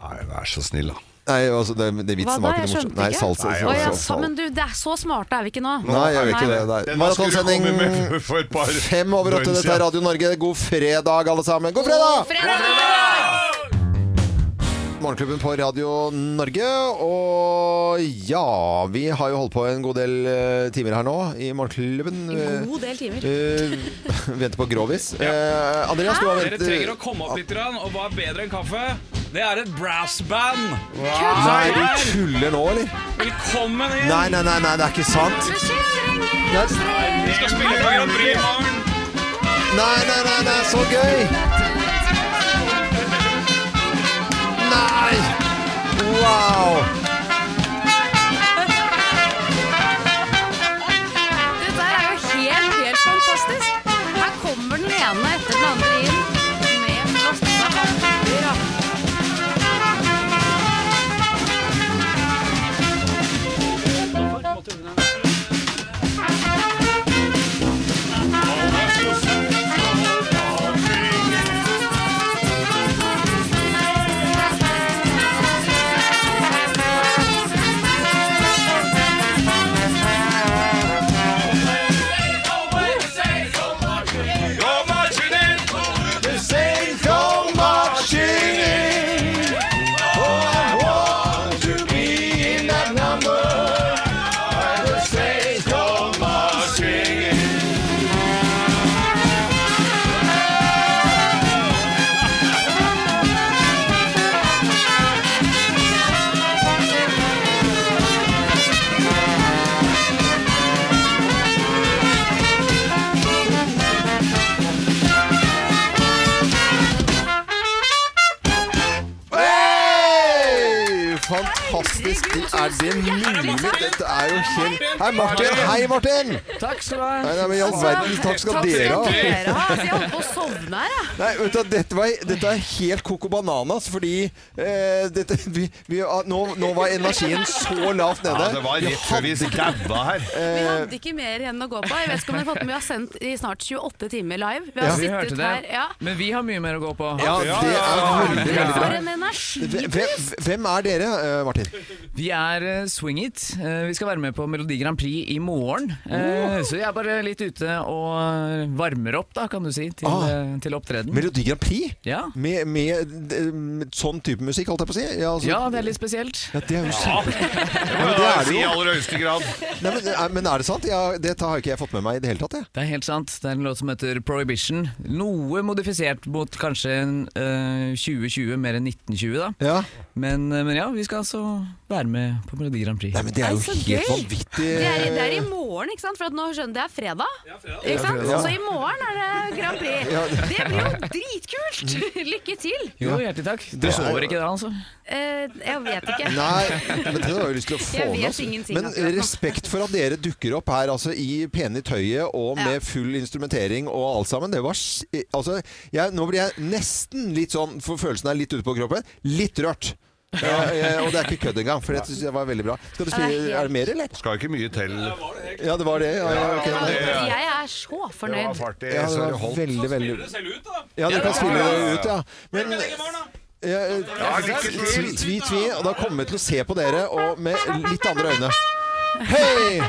S2: Nei, vær så snill, da.
S1: Nei, altså, det, det
S21: Hva
S1: vitsen
S21: da?
S1: var ikke
S21: Jeg
S1: noe morsom.
S21: skjønte
S1: Nei,
S21: ikke.
S1: salsa.
S2: Nei,
S21: Å,
S1: salsa,
S21: ja,
S1: salsa.
S21: sa- men du, det er så smarte er vi ikke nå.
S1: Nei, jeg gjør ikke det. Nei.
S2: Den der skulle
S1: Maratonsending
S2: komme med for et par
S1: fem over åtte.
S2: døgn
S1: Dette er
S2: siden.
S1: Radio Norge. God fredag, alle sammen. God fredag! Morgenklubben på Radio Norge. Og ja, vi har jo holdt på en god del eh, timer her nå i Morgenklubben.
S21: En god del timer.
S1: Eh, [LAUGHS] venter på grovis. Eh, Andreas, du har eh,
S10: Dere
S1: ventet
S10: trenger å komme opp litt, grann, og hva er bedre enn kaffe? Det er et brassband!
S1: Nei, du tuller nå, eller?
S10: Velkommen inn!
S1: Nei, nei, nei, nei, det er ikke sant. Nei,
S10: Vi skal spille på Grand Prix i morgen.
S1: nei, nei, nei, nei så gøy! Nei! Wow!
S21: Det der er jo helt, helt fantastisk. Her kommer den ene etter den andre inn med flotte hatter. og-
S9: Vem
S1: fantastisk er det mulig? Dette er jo helt Hei, Martin!
S11: Martin.
S1: Hei, Martin!
S8: Takk skal du ha.
S1: Nei, nei, men i all verden, takk skal dere ha.
S3: Altså, jeg holdt på å sovne her, jeg.
S1: Nei, vet du, hva, dette, var, dette er helt koko bananas, fordi eh, dette, vi, vi, ah, nå, nå var energien så lavt nede.
S2: Ja, det var rett før vi daua her.
S3: Vi
S1: Eh,
S3: hadde ikke mer igjen å gå på. Jeg vet ikke om dere har fått med, vi har sendt i snart 28 timer live. Vi har
S8: Ja, vi hørte
S3: sittet
S8: det.
S3: her ja.
S8: Men vi har mye mer å gå på.
S1: Ja, det er veldig, veldig
S3: For
S1: bra.
S3: en energi!
S1: Hvem, hvem er dere, eh, Martin?
S8: Vi er eh, Swing It. Eh, Vi skal være med på Melodi Grand Prix i morgen.
S1: Oh.
S8: Eh, Så jeg er bare litt ute og eh, varmer opp, da, kan du si, til,
S1: Ah.
S8: eh, til opptreden.
S1: Melodi Grand Prix?
S8: Ja.
S1: Med, med, eh, med sånn type musikk, holdt jeg på å si? Ja, altså-
S8: Ja, det er litt spesielt.
S1: Ja, det er jo kjempe...
S2: må
S1: men
S2: jeg
S1: det er det
S2: si i
S1: jo.
S2: aller høyeste grad.
S1: Nei, men, eh, men er det sant? Ja, dette har ikke jeg fått med meg i det hele tatt. Jeg.
S8: Det er helt sant. Det er en låt som heter Prohibition. Noe modifisert mot kanskje eh, 2020, mer enn 1920, da. Men, eh, men ja, vi skal altså være med på Melodi Grand Prix. Nei,
S1: men det er jo
S3: så helt gøy!
S1: vanvittig.
S3: Det er, i- det er i morgen, ikke sant? For at nå skjønner jeg det er fredag.
S8: Det er
S3: Ikke sant?
S8: fredag.
S3: Så i morgen er det Grand Prix.
S8: Ja.
S3: Det blir jo dritkult! [LAUGHS] Lykke til!
S8: Jo, hjertelig takk. Du
S1: Det er-
S8: sover ikke da, altså?
S3: Eh, jeg vet ikke.
S1: Nei, men det har jeg jo lyst til å få
S3: [LAUGHS] Jeg
S1: med
S3: vet
S1: oss.
S3: ingenting
S1: Men
S3: akkurat nå.
S1: respekt for at dere dukker opp her altså, i pene tøyet og med full instrumentering og alt sammen. Det var s- Altså, jeg, nå blir jeg nesten litt sånn, for følelsen er litt ute på kroppen, litt rørt. Ja, eh, og det er ikke kødd engang, for det synes jeg var veldig bra. Skal du spille, er det mer, eller?
S2: Skal ikke mye til.
S1: Ja, det var det. Ja, ja, ok.
S3: Jeg er så fornøyd.
S1: Ja, det var veldig, veldig Ja, du kan spille det ut, ja. Men ja, eh,
S2: lykke til.
S1: tvi, tvi, tvi, og da kommer vi til å se på dere og med litt andre øyne. Hei!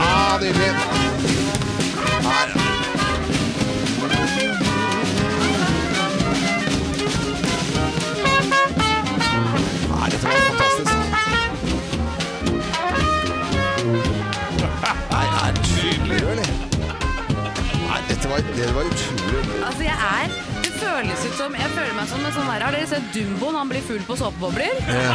S1: Ah, nydelig. Her. Nei, Ah, dette var fantastisk. Nei, er det tydelig, eller? Nei, dette var, det var utrolig.
S3: Altså, jeg er Det føles ut som Jeg føler meg som en sånn her Har dere sett Dumboen? Han blir full på såpebobler?
S1: Ja.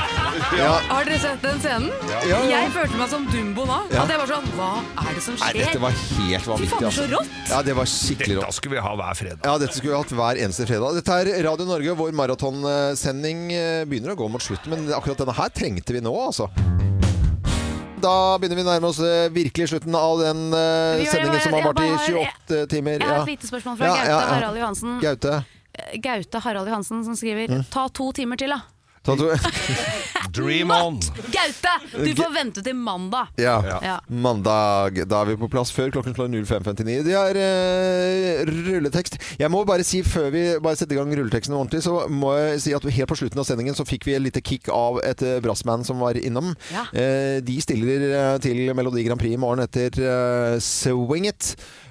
S1: Ja.
S3: [LAUGHS] Har dere sett den scenen?
S1: Ja. Ja, ja.
S3: Jeg følte meg som Dumbo nå.
S1: Ja.
S3: At jeg var sånn Hva er det som
S1: Nei,
S3: skjer?
S1: dette var helt vanvittig. altså.
S3: fader, så rått!
S1: Ja, det var skikkelig rått.
S2: Dette skulle vi ha hver fredag.
S1: Ja, dette skulle vi hatt hver eneste fredag. Dette er Radio Norge, vår maratonsending eh, begynner å gå mot slutten, men akkurat denne her trengte vi nå, altså. Da begynner vi å nærme oss eh, virkelig slutten av den eh,
S3: Vi gjør det,
S1: sendingen
S3: jeg-
S1: som har
S3: jeg
S1: vært i
S3: bare-
S1: 28 timer.
S3: Jeg har et lite spørsmål fra Gaute Harald Johansen.
S1: Gaute.
S3: Gaute Harald Johansen som skriver
S1: Mm.
S3: Ta to timer til, da.
S1: Ta
S3: [LAUGHS]
S1: to.
S2: Dream on!
S3: Gaute! Du får vente til mandag.
S1: Ja.
S3: Ja.
S1: Mandag. Da er vi på plass før klokken slår 05.59. Det er eh, rulletekst. Jeg må bare si Før vi bare setter i gang rulleteksten ordentlig, så må jeg si at helt på slutten av sendingen så fikk vi et lite kick av et eh, brassband som var innom.
S11: Ja.
S1: Eh, de stiller eh, til Melodi Grand Prix i morgen etter eh, Swing It.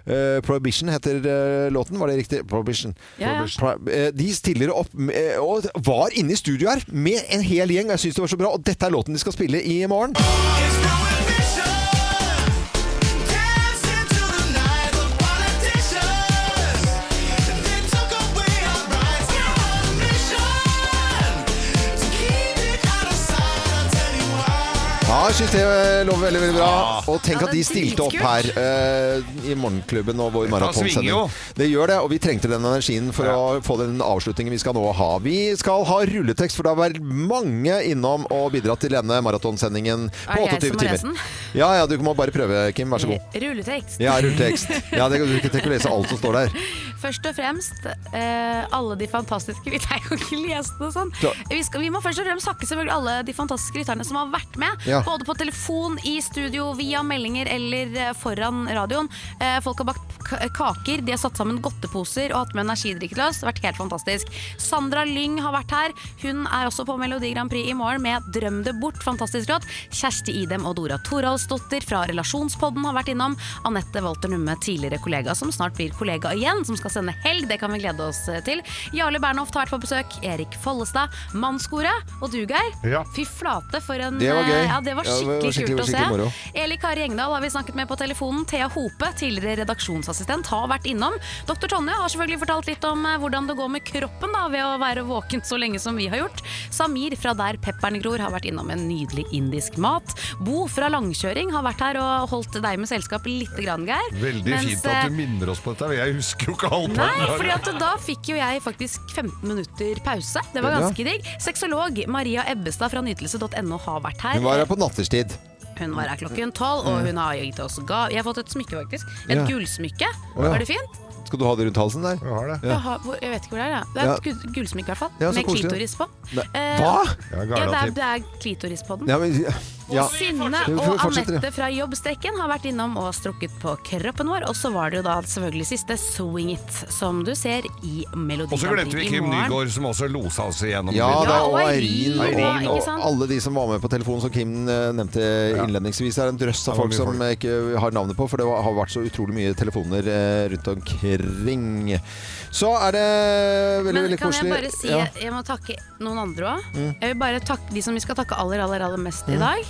S1: Eh, Prohibition heter eh, låten, var det riktig? Prohibition.
S11: Ja, ja.
S1: Pro- eh, de stiller opp med- eh, og var inne i studio her med en hel gjeng. Jeg syns det var så bra. Og dette er låten de skal spille i morgen. Ja, jeg syns det lover veldig veldig bra. Og tenk at de stilte opp her eh, i Morgenklubben og vår
S2: svinger jo.
S1: maratonsending. Det gjør det, og vi trengte den energien for å få den avslutningen vi skal nå ha. Vi skal ha rulletekst, for det har vært mange innom og bidratt til denne maratonsendingen
S3: Er
S1: på
S3: jeg
S1: 28
S3: som har lest den?
S1: timer. Ja, ja, du må bare prøve, Kim. Vær så god.
S3: Rulletekst.
S1: Ja, rulletekst. Ja, det, du trenger ikke å lese alt som står der.
S3: [LAUGHS] Først og fremst eh, alle de fantastiske [LAUGHS] Vi kan jo ikke lese det sånn.
S1: Da-
S3: Vi, skal, vi må først og fremst takke selvfølgelig alle de fantastiske lytterne som har vært med.
S1: Ja.
S3: Både på telefon, i studio, via meldinger eller eh, foran radioen. Eh, folk har bakt k- kaker, de har satt sammen godteposer og hatt med energidrikke til oss. Det har vært helt fantastisk. Sandra Lyng har vært her. Hun er også på Melodi Grand Prix i morgen med 'Drøm det bort', fantastisk låt. Kjersti Idem og Dora Toralsdottir fra Relasjonspodden har vært innom. Anette Walter Numme, tidligere kollega, som snart blir kollega igjen, som skal sende helg. Det kan vi glede oss eh, til. Jarle Bernhoft har vært på besøk. Erik Follestad. Mannskoret og du, Geir.
S1: Ja.
S3: Fy flate, for en
S1: Det var gøy.
S3: eh, Ja, det var
S1: Ja, det var
S3: skikkelig
S1: skikkelig-
S3: kult å
S1: skikkelig
S3: se.
S1: moro.
S3: Eli Kari Engdahl har vi snakket med på telefonen. Thea Hope, tidligere helseassistent, har vært innom. Dr. Tonje har selvfølgelig fortalt litt om eh, hvordan det går med kroppen da, ved å være våken så lenge som vi har gjort. Samir fra Der pepperen gror har vært innom en nydelig indisk mat. Bo fra Langkjøring har vært her og holdt deg med selskap litt, grann, Geir.
S2: Veldig
S3: Mens,
S2: fint at
S3: eh,
S2: du minner oss på dette. for Jeg husker jo ikke halvparten.
S3: Nei,
S2: av
S3: fordi
S2: det.
S3: at da fikk jo jeg faktisk 15 minutter pause. Det var
S1: Ja.
S3: ganske digg. Sexolog Maria Ebbestad fra nytelse.no har vært her.
S1: Hun var her på natterstid.
S3: Hun var her klokken tolv, og hun har gitt oss gav. Jeg har fått et smykke, faktisk. Et
S1: Ja.
S3: gullsmykke.
S1: Å, ja.
S3: Var det fint?
S1: Skal du ha det rundt halsen der? Jeg har det.
S3: Jeg, har, hvor, jeg vet ikke hvor det er. Ja. Det er et gu- gullsmykke, i hvert fall.
S1: Ja, så
S3: med
S1: koselig.
S3: klitoris på.
S1: Nei.
S3: Eh,
S1: Hva?
S3: Ja,
S1: Ja,
S3: det, er,
S1: gardatip.
S3: det er klitoris på den.
S1: Ja, men, ja.
S3: Synne
S1: Vi
S3: og
S1: fortsetter, ja.
S3: Anette fra Jobbstrekken har vært innom og strukket på kroppen vår. Og så var det jo da selvfølgelig siste Swing It, som du ser i Melodi
S2: Og så
S3: Grand
S2: glemte
S3: Prix
S2: vi
S3: i
S2: Kim
S3: morgen.
S2: Nygaard, som også losa oss igjennom.
S1: Ja,
S2: det.
S1: da, og Eirin og,
S2: Eirin,
S1: og,
S2: og-
S1: alle de som var med på telefonen, som Kim eh, nevnte innledningsvis. Det er en drøss av
S2: Det var
S1: folk
S2: mye
S1: som
S2: folk.
S1: jeg ikke har navnet på, for det var- har vært så utrolig mye telefoner eh, rundt omkring. Så er det veldig,
S3: Men
S1: veldig
S3: kan jeg
S1: koselig.
S3: bare si
S1: Ja.
S3: Jeg må takke noen andre òg.
S1: Mm.
S3: Jeg vil bare takke de som vi skal takke aller, aller, aller mest
S1: Mm.
S3: i dag.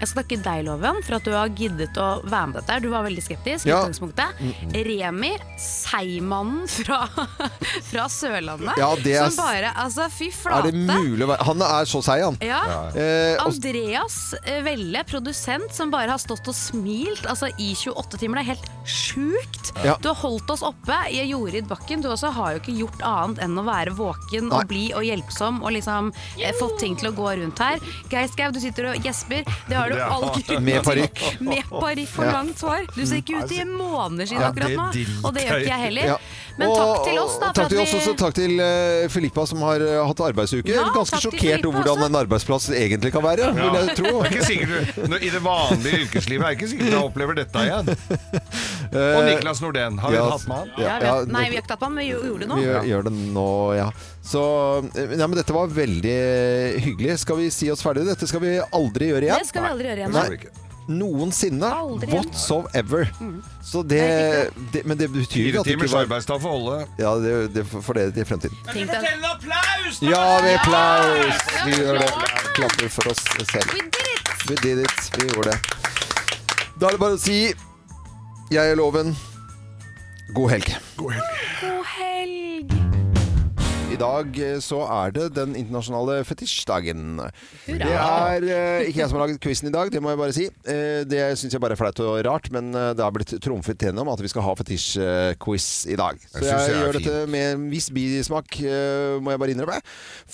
S3: Jeg skal takke deg, Loven, for at du har giddet å være med på dette. her. Du var veldig skeptisk. i
S1: Ja.
S3: utgangspunktet.
S1: Mm.
S3: Remi, seigmannen fra, [LAUGHS] fra Sørlandet,
S1: Ja, det er-
S3: som bare Altså, fy
S1: Er
S3: flate.
S1: det mulig å være Han er så seig, han.
S3: Ja.
S1: Eh, og,
S3: Andreas eh, Velle, produsent, som bare har stått og smilt altså, i 28 timer. Det er helt sjukt!
S1: Ja.
S3: Du har holdt oss oppe. Jeg- Jorid Bakken, du også har jo ikke gjort annet enn å være våken
S1: Nei.
S3: og blid og hjelpsom og liksom eh, fått ting til å gå rundt her. Geir Skau, du sitter og gjesper. Det har du
S1: Ja.
S3: all grunn til.
S1: Med parykk.
S3: Med parykk og
S1: Ja.
S3: langt hår. Du ser ikke ut i måneder siden
S1: Ja,
S3: akkurat
S1: det
S3: nå.
S1: driter
S3: Og Mm. det gjør ikke jeg heller.
S1: Ja.
S3: Men
S1: Og-
S3: takk til oss, da.
S1: Takk til oss, og så
S3: vi-
S1: takk til eh, Filippa som har eh, hatt arbeidsuke.
S3: Ja,
S1: Ganske
S3: takk til
S1: sjokkert over
S3: Filippa
S1: hvordan en arbeidsplass egentlig kan være,
S2: Ja.
S1: vil jeg tro.
S2: Det er [LAUGHS] ikke
S1: [LAUGHS]
S2: sikkert du, I det vanlige yrkeslivet er det ikke sikkert du opplever dette igjen. Og Niklas Nordén, har vi
S1: Eh, ja,
S2: hatt med han?
S1: ja,
S3: Ja, jeg
S1: ja,
S3: vet- Nei, vi har ikke tatt på han, men vi gjorde det nå.
S1: Vi gjør, gjør det nå, ja. Så eh, ja, men dette var veldig hyggelig. Skal vi si oss ferdige? Dette skal vi aldri gjøre igjen.
S3: Det skal vi aldri gjøre igjen, nei.
S1: Nei. Noensinne.
S3: Aldri igjen. Mm.
S1: Whatsoever. Så det, det Men det betyr
S2: Fire
S1: ikke at det
S2: timers
S1: ikke var
S2: arbeidsdag for alle.
S1: Ja, det, det får dere til i fremtiden.
S11: Kan du fortelle en applaus?
S1: Ja, vi applaus!
S11: Ja,
S1: Vi gjør det.
S11: klart.
S1: Klapper for oss selv.
S11: We did it!
S1: We did it. Vi gjorde det. Da er det bare å si Jeg er loven. God helg. God helg.
S3: God helg!
S1: I dag eh, så er det den internasjonale fetisjdagen.
S3: Hurra.
S1: Det er eh, ikke jeg som har laget quizen i dag, det må jeg bare si. Eh, Det syns jeg bare er flaut og rart, men eh, det har blitt trumfet gjennom at vi skal ha fetisjquiz i dag. Så
S2: Jeg
S1: jeg,
S2: synes det er
S1: gjør dette med en viss bismak, eh, må jeg bare innrømme.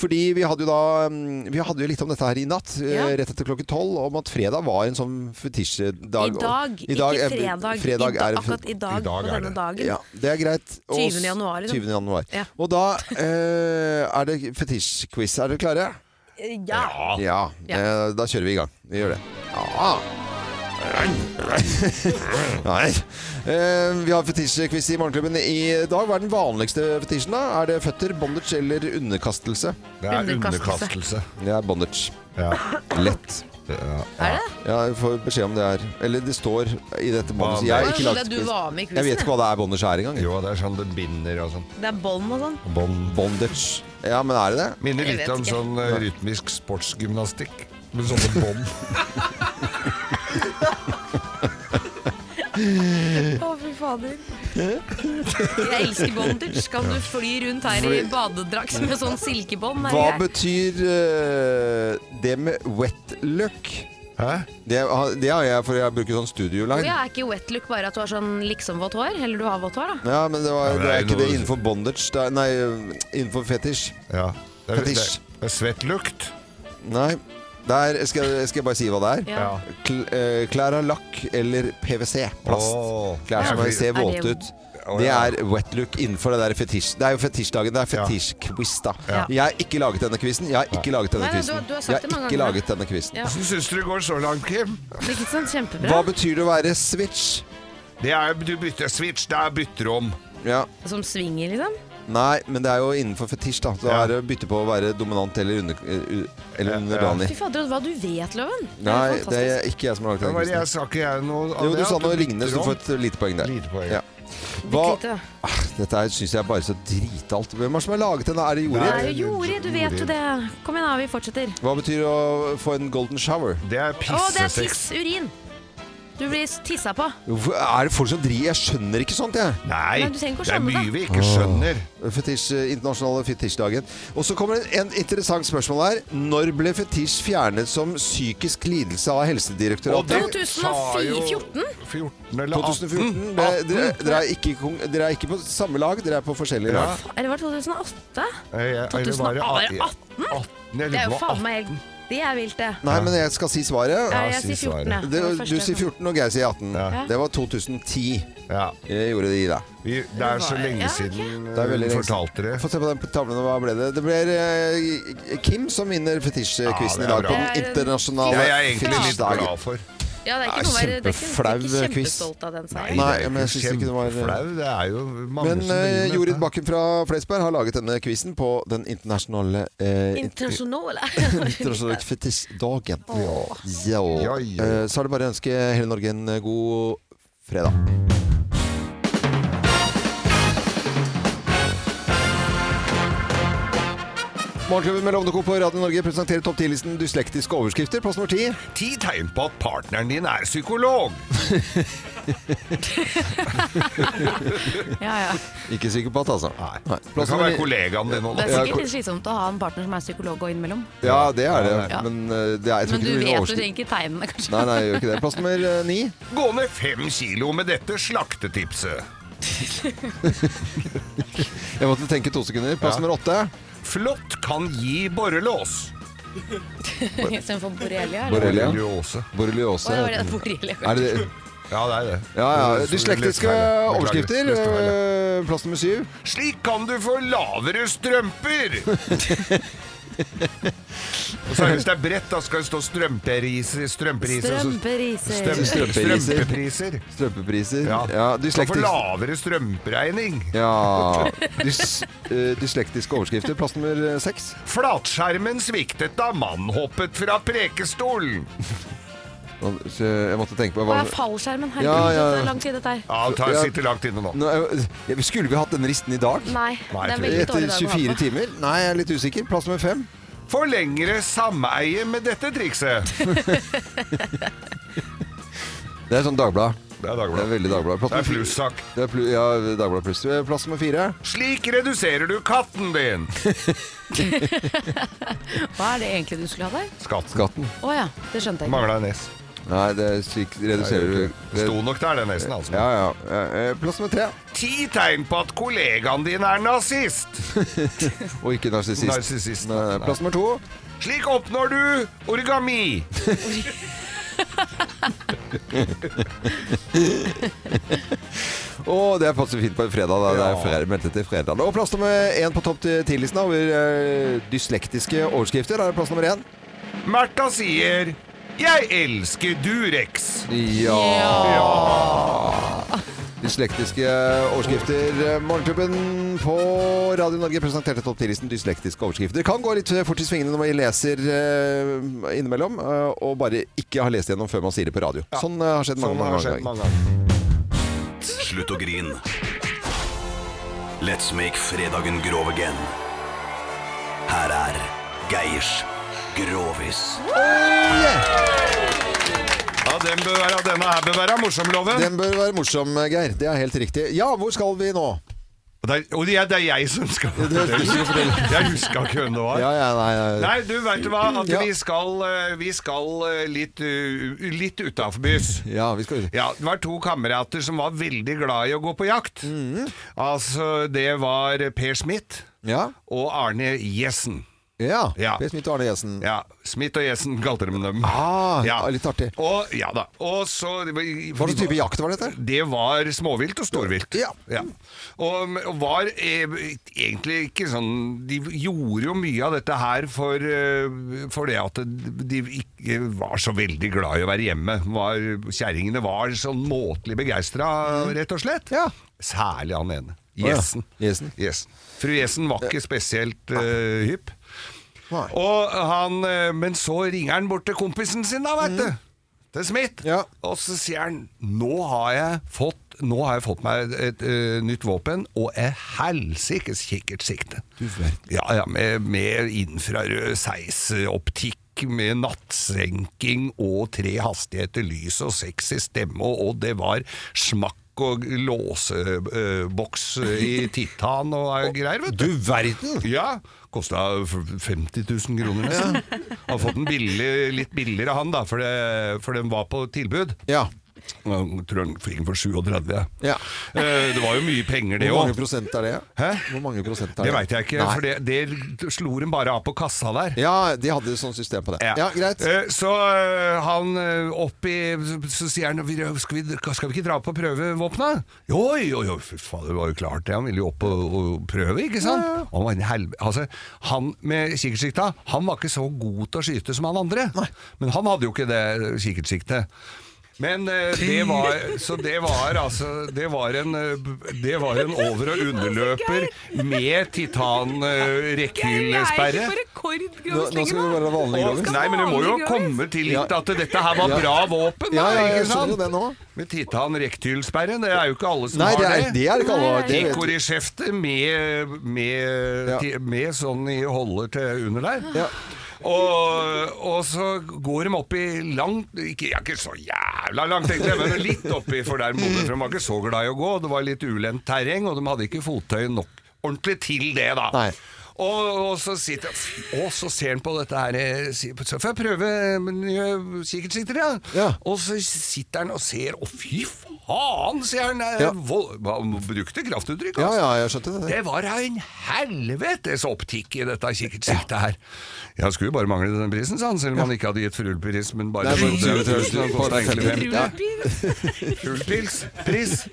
S1: Fordi vi hadde jo da mm, Vi hadde jo litt om dette her i natt, eh,
S3: Ja.
S1: rett etter klokken tolv, om at fredag var en sånn fetisjdag.
S3: I dag,
S1: I dag,
S3: ikke
S1: eh,
S3: fredag.
S1: fredag
S3: I da-
S1: er-
S3: akkurat i dag, på denne dagen.
S1: Ja, det er greit. Og-
S3: 20. januar, liksom.
S1: 20. januar.
S3: Ja.
S1: Og da eh, er det fetisj-quiz. Er dere klare?
S3: Ja.
S1: Ja. eh, da kjører vi i gang. Vi gjør det. Ja. [LAUGHS] Nei. Eh, vi har fetisj-quiz i Morgenklubben i dag. Hva er den vanligste fetisjen? da? Er det føtter, bondage eller underkastelse?
S2: Det er underkastelse.
S1: Det er bondage. Lett.
S3: Er det?
S1: Ja, jeg får beskjed om det er Eller det står i dette manuset. Jeg, har ikke
S3: Bondage.
S1: lagt-
S3: Du var med i quizen,
S1: jeg vet ikke hva det er bondage er engang.
S2: Jo, det er sånn det binder og sånn.
S3: Det er bånd og sånn.
S1: Bondage. Ja, men er det det?
S2: Minner
S3: Jeg
S2: litt
S3: vet
S2: om
S3: ikke.
S2: sånn eh, rytmisk sportsgymnastikk. Med sånne
S1: [LAUGHS]
S2: bånd.
S3: Å, fy fader. Jeg elsker bondage. Kan du fly rundt her i
S1: Fly.
S3: badedrakt med sånn silkebånd? er
S1: Hva
S3: det greit?
S1: betyr eh, det med wet look? Det, har- det har jeg, for jeg bruker sånn
S3: Å
S1: studioline.
S3: ja, er ikke wet look bare at du har sånn liksom-vått hår? Eller du har vått hår, da?
S1: Ja, men det, var,
S2: Ja, men
S1: det
S2: det er
S1: er ikke
S2: noe-
S1: det innenfor bondage. Det er, nei, innenfor fetisj.
S2: Ja. Det er, det
S1: Fetisj.
S2: er, det er svett lukt.
S1: Nei. Der skal, jeg- skal jeg bare si hva det er.
S2: Ja.
S1: Kl- eh, Klær av lakk eller PwC, plast.
S2: Åh.
S1: Klær som
S2: Ja.
S1: ser
S2: Er det-
S1: våte ut.
S2: Å,
S1: Det
S2: ja.
S1: er wet look innenfor det der fetisj... Det er jo fetisjdagen. Det er fetisjquiz, da.
S2: Ja.
S1: Jeg har ikke laget denne quizen. Jeg har ikke laget denne
S3: Nei, nei, du har-
S1: quizen.
S3: du har sagt
S1: Jeg har
S3: det mange
S1: ikke
S3: ganger.
S1: laget denne quizen.
S3: Ja.
S2: Hvordan syns du det går så langt, Kim?
S3: Ikke sant?
S1: Hva
S3: Kjempebra.
S1: betyr det å være switch?
S2: Det er, du bytter switch, det er bytterom.
S1: Ja.
S3: Som svinger, liksom?
S1: Nei, men det er jo innenfor fetisj, da. Så er det å bytte på å være dominant eller, under, eh, u- eller underdanig.
S3: Fy fader, hva du vet, Loven. Det er jo
S1: Nei, det
S3: fantastisk.
S1: er ikke jeg som har laget
S2: Det
S1: den
S2: var, jeg
S1: quizen.
S2: sa ikke jeg noe av
S1: Jo,
S2: det,
S1: du
S2: at
S1: sa noe
S2: bytter
S1: lignende, så du
S2: om.
S1: får et lite poeng der. Ja. Hva,
S3: Bitte lite, da.
S1: Ah, dette syns jeg bare er så dritalt. Hvem er det som har laget denne? Er det
S3: Det er
S1: Jorid?
S3: jo Jorid, du vet jo det. Kom igjen, da. Vi fortsetter.
S1: Hva betyr å få en golden shower?
S2: Det er
S3: Å, det er tiss! Urin!
S21: Du blir tissa på.
S1: Hvorfor Er det folk som driver? Jeg skjønner ikke sånt, jeg.
S2: Nei,
S21: Nei, du trenger ikke å det er skjønne mye det. vi
S2: ikke skjønner.
S1: Fetisj, eh, internasjonale fetisjdagen. Og så kommer det en interessant spørsmål her. Når ble fetisj fjernet som psykisk lidelse av Helsedirektoratet?
S21: 2014?
S2: 14 eller
S1: 2014.
S2: 18.
S1: Dere, dere, dere, er ikke, kon- dere er ikke på samme lag, dere er på forskjellige
S2: Ja.
S1: lag.
S21: Eller var det 2008?
S2: Eh, jeg- eller var det
S21: 2018?
S2: 18? Jeg
S21: Det er
S1: lurer
S21: jo
S1: på
S21: faen meg helt Det er vilt, det.
S1: Nei, men jeg skal si svaret.
S21: Ja, jeg Ja, si sier 14, ja.
S1: Det,
S21: Det var det første
S1: du
S21: jeg
S1: sier
S21: kom
S1: 14, og Geir sier 18.
S21: Ja.
S1: Det var 2010. Jeg gjorde de, da.
S2: det er så lenge Ja, ok. siden,
S1: Det er veldig
S2: hun
S1: lenge siden.
S2: fortalte det.
S1: Få se på den tavlen, hva ble det? Det ble eh, Kim som vinner fetisjquizen
S2: Ja,
S1: i
S2: det er
S1: dag på
S2: bra.
S1: den internasjonale
S2: Det er jeg egentlig litt
S1: fetisjdagen.
S2: glad for.
S21: Ja, det er ikke noe å være det er ikke-
S1: Kjempeflau
S21: jeg
S2: eh,
S21: er ikke
S1: quiz.
S21: kjempestolt av den
S1: Nei,
S21: seieren.
S1: men jeg synes ikke det var-
S2: Kjempeflau, det er jo mange
S1: Men
S2: som driver
S1: eh,
S2: med
S1: Jorid Bakken fra Flesberg har laget denne quizen på den internasjonale eh, [LAUGHS]
S21: Internasjonale.
S1: Internasjonale fetisjdagen.
S21: Åh.
S1: Ja. Eh, Så er det bare å ønske hele Norge en eh, god fredag. Morgenklubben med Lovende Co. på Radio Norge presenterer topp 10-listen dyslektiske overskrifter. Plass nummer ti.
S2: Ti tegn på at partneren din er psykolog.
S21: Ja, ja.
S1: Ikke psykopat, altså. Nei.
S2: Det kan
S1: nummer
S2: være
S1: ni.
S2: kollegaen din
S21: Det
S2: også.
S21: er sikkert litt slitsomt å ha en partner som er psykolog og innimellom.
S1: Ja, det er det.
S21: Ja.
S1: Men eh, det er, jeg tror
S21: Men du
S1: ikke det blir noe
S21: vet jo
S1: overskrift.
S21: ikke tegnene, kanskje.
S1: Nei,
S21: [LAUGHS]
S1: nei, jeg gjør ikke det. Plass nummer eh, ni.
S2: Gå ned fem kilo med dette slaktetipset.
S1: Jeg måtte tenke to sekunder. Plass
S2: Ja.
S1: nummer åtte.
S2: Flått kan gi borrelås.
S21: Istedenfor borrelia. eller?
S1: Borrelia.
S2: Borreliose.
S21: Å,
S1: Borreliose.
S21: det var det, borrelia.
S1: Er det det?
S2: Ja, det er det.
S1: Ja, ja.
S2: Så
S1: Dyslektiske
S2: lestfeil. Beklager.
S1: overskrifter.
S2: Lestfeil, ja.
S1: eh, Plass nummer syv.
S2: Slik kan du få lavere
S1: [LAUGHS]
S2: strømper! Og så er det hvis det er bredt, da skal det stå strømperiser. Strømperiser. så-
S21: Strømperiser.
S2: Strøm,
S1: Strømpepriser.
S2: strømpepriser.
S1: Strømpepriser. Ja.
S2: Du kan
S1: dyslektisk-
S2: få lavere strømregning.
S1: Ja. Dys, eh, dyslektiske overskrifter. Plass nummer eh, seks.
S2: Flatskjermen sviktet da mannen hoppet fra prekestolen.
S1: Nå- så Jeg måtte tenke
S21: Å,
S1: på
S21: ja, fallskjermen. Herregud,
S1: Ja, ja.
S21: det er lang tid dette her.
S2: Ja, det tar- sitter langt inne nå.
S1: ja, eh, Skulle vi hatt den risten i dag?
S21: Nei, det er en veldig
S1: Etter
S21: dårlig dag å ha
S1: 24
S21: på.
S1: timer? Nei, jeg er litt usikker. Plass nummer fem.
S2: Få lengre sameie med dette trikset.
S1: Det er sånn Dagblad.
S2: Det er Dagbladet.
S1: Det er veldig Dagblad.
S2: Det er
S1: nummer-
S2: plussak.
S1: Det er plu- ja, Dagblad pluss. Eh, Plass nummer fire.
S21: [LAUGHS]
S2: Slik reduserer du katten
S1: [LAUGHS]
S2: din.
S21: Hva er det egentlig du skulle ha der?
S2: Skatten.
S1: Skatten.
S21: Å ja, det skjønte jeg ikke.
S2: Mangla en S.
S1: Nei, det er slik reduserer
S2: Det er
S1: du
S2: jo ikke- det sto nok der, den S-en, altså.
S1: Ja, ja. Eh, eh, Plass nummer tre.
S2: Ti tegn på at kollegaen din er nazist.
S1: [LAUGHS] Og ikke narsissist.
S2: Narsissist.
S1: Nei, Plass nummer to.
S2: Slik oppnår du origami.
S1: Og det passer fint på en fredag. Da. Det er fredag, meldt etter fredag. Og plass nummer én på topp ti-listen over eh, dyslektiske overskrifter. Da er det plass nummer én.
S2: Märtha sier 'Jeg elsker Durex'.
S1: Ja. Ah, Dyslektiske overskrifter. Morgenklubben på Radio Norge presenterte topp 10-listen dyslektiske overskrifter. Kan gå litt fort i svingene når man leser eh, innimellom, eh, og bare ikke har lest gjennom før man sier det på radio. Sånn eh, har skjedd mange,
S2: Sånn har
S1: mange
S2: skjedd
S1: ganger.
S2: mange ganger.
S22: Slutt å grin. Let's make fredagen grov again. Her er Geirs Grovis.
S2: Ja, den bør være, denne her bør være morsom, Loven.
S1: Den bør være morsom, Geir. Det er helt riktig. Ja, hvor skal vi nå?
S2: Og det er, og det er, det er jeg som skal
S1: er du som skal fortelle.
S2: Jeg huska ikke hvem det var.
S1: Ja, ja, nei, nei.
S2: Nei, du veit du hva. At
S1: Ja.
S2: vi skal, eh, vi skal eh, litt, eh, litt utaforbys.
S1: Ja, vi skal
S2: Ja, det var to kamerater som var veldig glad i å gå på jakt.
S1: Mhm.
S2: Altså, det var Per Smith og Arne Jessen.
S1: Ja. Per Smith og Arne Jessen.
S2: Ja, Smith og Jessen kalte de dem.
S1: Ah,
S2: ja.
S1: Litt artig.
S2: Og, ja da. Og så Hva
S1: slags type jakt var dette?
S2: Det var småvilt og storvilt. Ja. Og, og var eh, egentlig ikke sånn De gjorde jo mye av dette her for, eh, for det at de ikke var så veldig glad i å være hjemme. Var- Kjerringene var sånn måtelig begeistra,
S1: Mm.
S2: rett og slett. Særlig han ene.
S1: Å, ja.
S2: Jessen. Jessen. Fru Jessen var ikke spesielt eh, hypp. Og han, eh, men så ringer han bort til kompisen sin, da, vet du.
S1: Mm.
S2: Til Smith. Og så sier han Nå har jeg fått, nå har jeg fått meg et, eh, nytt våpen, og jeg helsikes kikkertsikte. Ja, ja, med, med infrarød seisoptikk musikk med nattsenking og tre hastigheter lys og sexy stemme, og det var smakk og låseboks
S1: [LAUGHS]
S2: i titan og er greier, vet du.
S1: Du verden!
S2: Ja. Kosta f- 50 000 kroner, nesten. Har fått den billig, litt billigere, han, da, for, det, for den var på tilbud.
S1: Ja.
S2: Jeg tror han fikk den for 37. Eh, Det var jo mye penger, det
S1: Hvor
S2: òg.
S1: mange prosent er det? Hæ? Hvor mange prosent er det?
S2: Det veit jeg ikke,
S1: Nei.
S2: for det, det slo de bare av på kassa der.
S1: Ja, de hadde sånn system på det. Ja, greit.
S2: Eh, Så eh, han eh, opp i Så så sier han "Vi- skal vi, skal vi ikke dra på prøvevåpna? Jo, jo, jo, fy faen, det var jo klart det. Han ville jo opp og, og prøve, ikke sant? Han, var en helv- altså, han med kikkertsikta, han var ikke så god til å skyte som han andre. Men han hadde jo ikke det kikkertsiktet. Men eh, det var Så det var altså Det var en, eh, b- det var en over- og underløper med eh, titan-rekkehyllesperre.
S1: Nå, nå skal vi være vanlige
S2: Og-
S1: grovis.
S2: Nei, men det må jo komme til litt at dette her var
S1: Ja.
S2: bra våpen. da,
S1: Ja, ja, jeg
S2: ikke
S1: skjønner
S2: sant?
S1: jo det nå.
S2: Med titan rektylsperre, det er jo ikke alle som
S1: Nei,
S2: har
S1: det
S2: det.
S1: er- det er ikke alle, det vet du.
S2: Hickoryskjefte med, med, ti- med sånn i holder til under der. Og, og så går de opp i langt ikke, ja, ikke så jævla langt, tenkte jeg, men litt oppi, for der bodde de. for De var ikke så glad i å gå. Det var litt ulendt terreng, og de hadde ikke fottøy nok ordentlig til det, da. Og, og, så sitter, og så ser han på dette her eh, si- Så får jeg prøve eh, nye kikkertsikter, ja. Og så sitter han og ser Å, fy faen, sier han. eh,
S1: Ja.
S2: vold- Han brukte kraftuttrykk,
S1: Ja, ja, jeg skjønte det.
S2: det var da en helvetes optikk i dette kikkertsiktet her. Jeg skulle jo bare mangle den prisen, sa han, selv om han ikke hadde gitt furullpris, men bare
S1: Nei, bare sånn 20 000 på
S2: Kostet egentlig
S1: den.
S2: fem.
S1: Ja.
S2: Furullpils, pris.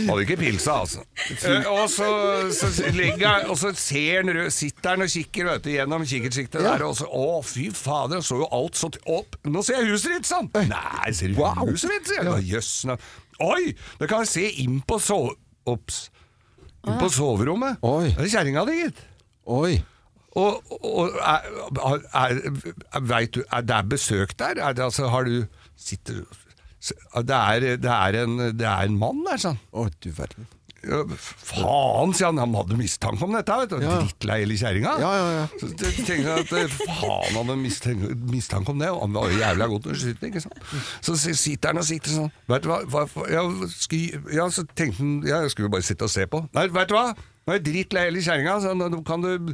S2: Hadde ikke pilsa, altså. Eh, Og så, så ligger han, og så ser han, rød- sitter han og kikker vet du, gjennom kikkertsiktet der, og så Å, fy fader, jeg så jo alt så til Opp! Nå ser jeg huset ditt, sa han! Nei, ser du huset mitt, sier jeg. «Å, Jøss. nei. Oi! Det kan jeg se inn på sove... Ops. Inn på soverommet. Det er kjerringa di, gitt. Og, og er, er, er, vet du, er det er besøk der? Er det, altså, har du sitter, det, er, det, er en, det er en mann der, sånn.
S1: Å, du verden.
S2: Ja, faen, sier han. Han hadde mistanke om dette. vet du Drittlei hele kjerringa.
S1: Ja, ja, ja.
S2: Så te- tenkte jeg at eh, faen, han hadde mistenke, mistanke om det. Og han var jo jævla god til å skyte, ikke sant. Så si- sitter han og sitter sånn. Vet du hva, hva ja, skal, ja, så tenkte han ja, jeg skulle jo bare sitte og se på. Nei, vet du hva. Nå er jeg drittlei hele kjerringa. så nå kan du-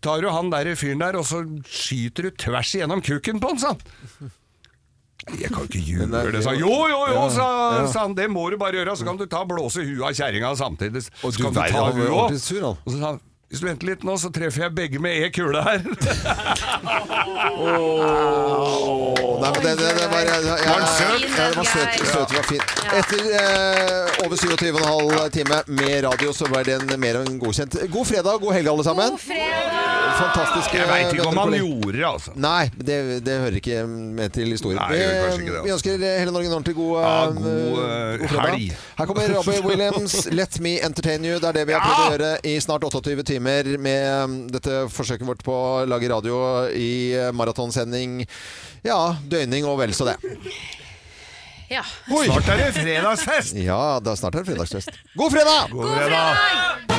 S2: Tar du han der fyren der, og så skyter du tvers igjennom kuken på han, sa han. Jeg kan ikke gjøre det, sa han. Jo, jo, jo,
S1: Ja,
S2: sa,
S1: ja.
S2: sa han. Det må du bare gjøre. Så kan du ta og blåse huet av kjerringa samtidig. Så
S1: du
S2: kan du
S1: verden,
S2: ta
S1: han var
S2: huet
S1: ordentlig
S2: også.
S1: sur, han.
S2: Og så sa han hvis du venter litt nå, så treffer jeg begge med e kule her.
S1: Nei, men det, det, det var, ja, ja, ja, ja, det var søt. søt, det var fin. Etter eh, over 27,5 time med radio, så var den mer enn godkjent. God fredag, god helg, alle sammen. Fantastisk.
S2: Jeg veit ikke
S1: eh,
S2: om han
S1: vennekollega.
S2: gjorde det, altså.
S1: Nei, det, det hører ikke med til historien.
S2: Nei, det gjør kanskje ikke det, altså.
S1: Eh, Vi ønsker hele Norge en ordentlig god,
S2: Ja,
S1: eh,
S2: god, eh,
S1: god fredag.
S2: helg.
S1: Her kommer Robbie
S2: [LAUGHS]
S1: Williams, 'Let Me Entertain You'. Det er det vi har prøvd å gjøre i snart 28 timer med eh, dette forsøket vårt på å lage radio i eh, maratonsending. Ja, døgning og vel så det.
S21: Ja.
S1: Oi.
S2: Snart er det fredagsfest!
S1: Ja, da snart er det fredagsfest. God fredag!
S2: God fredag!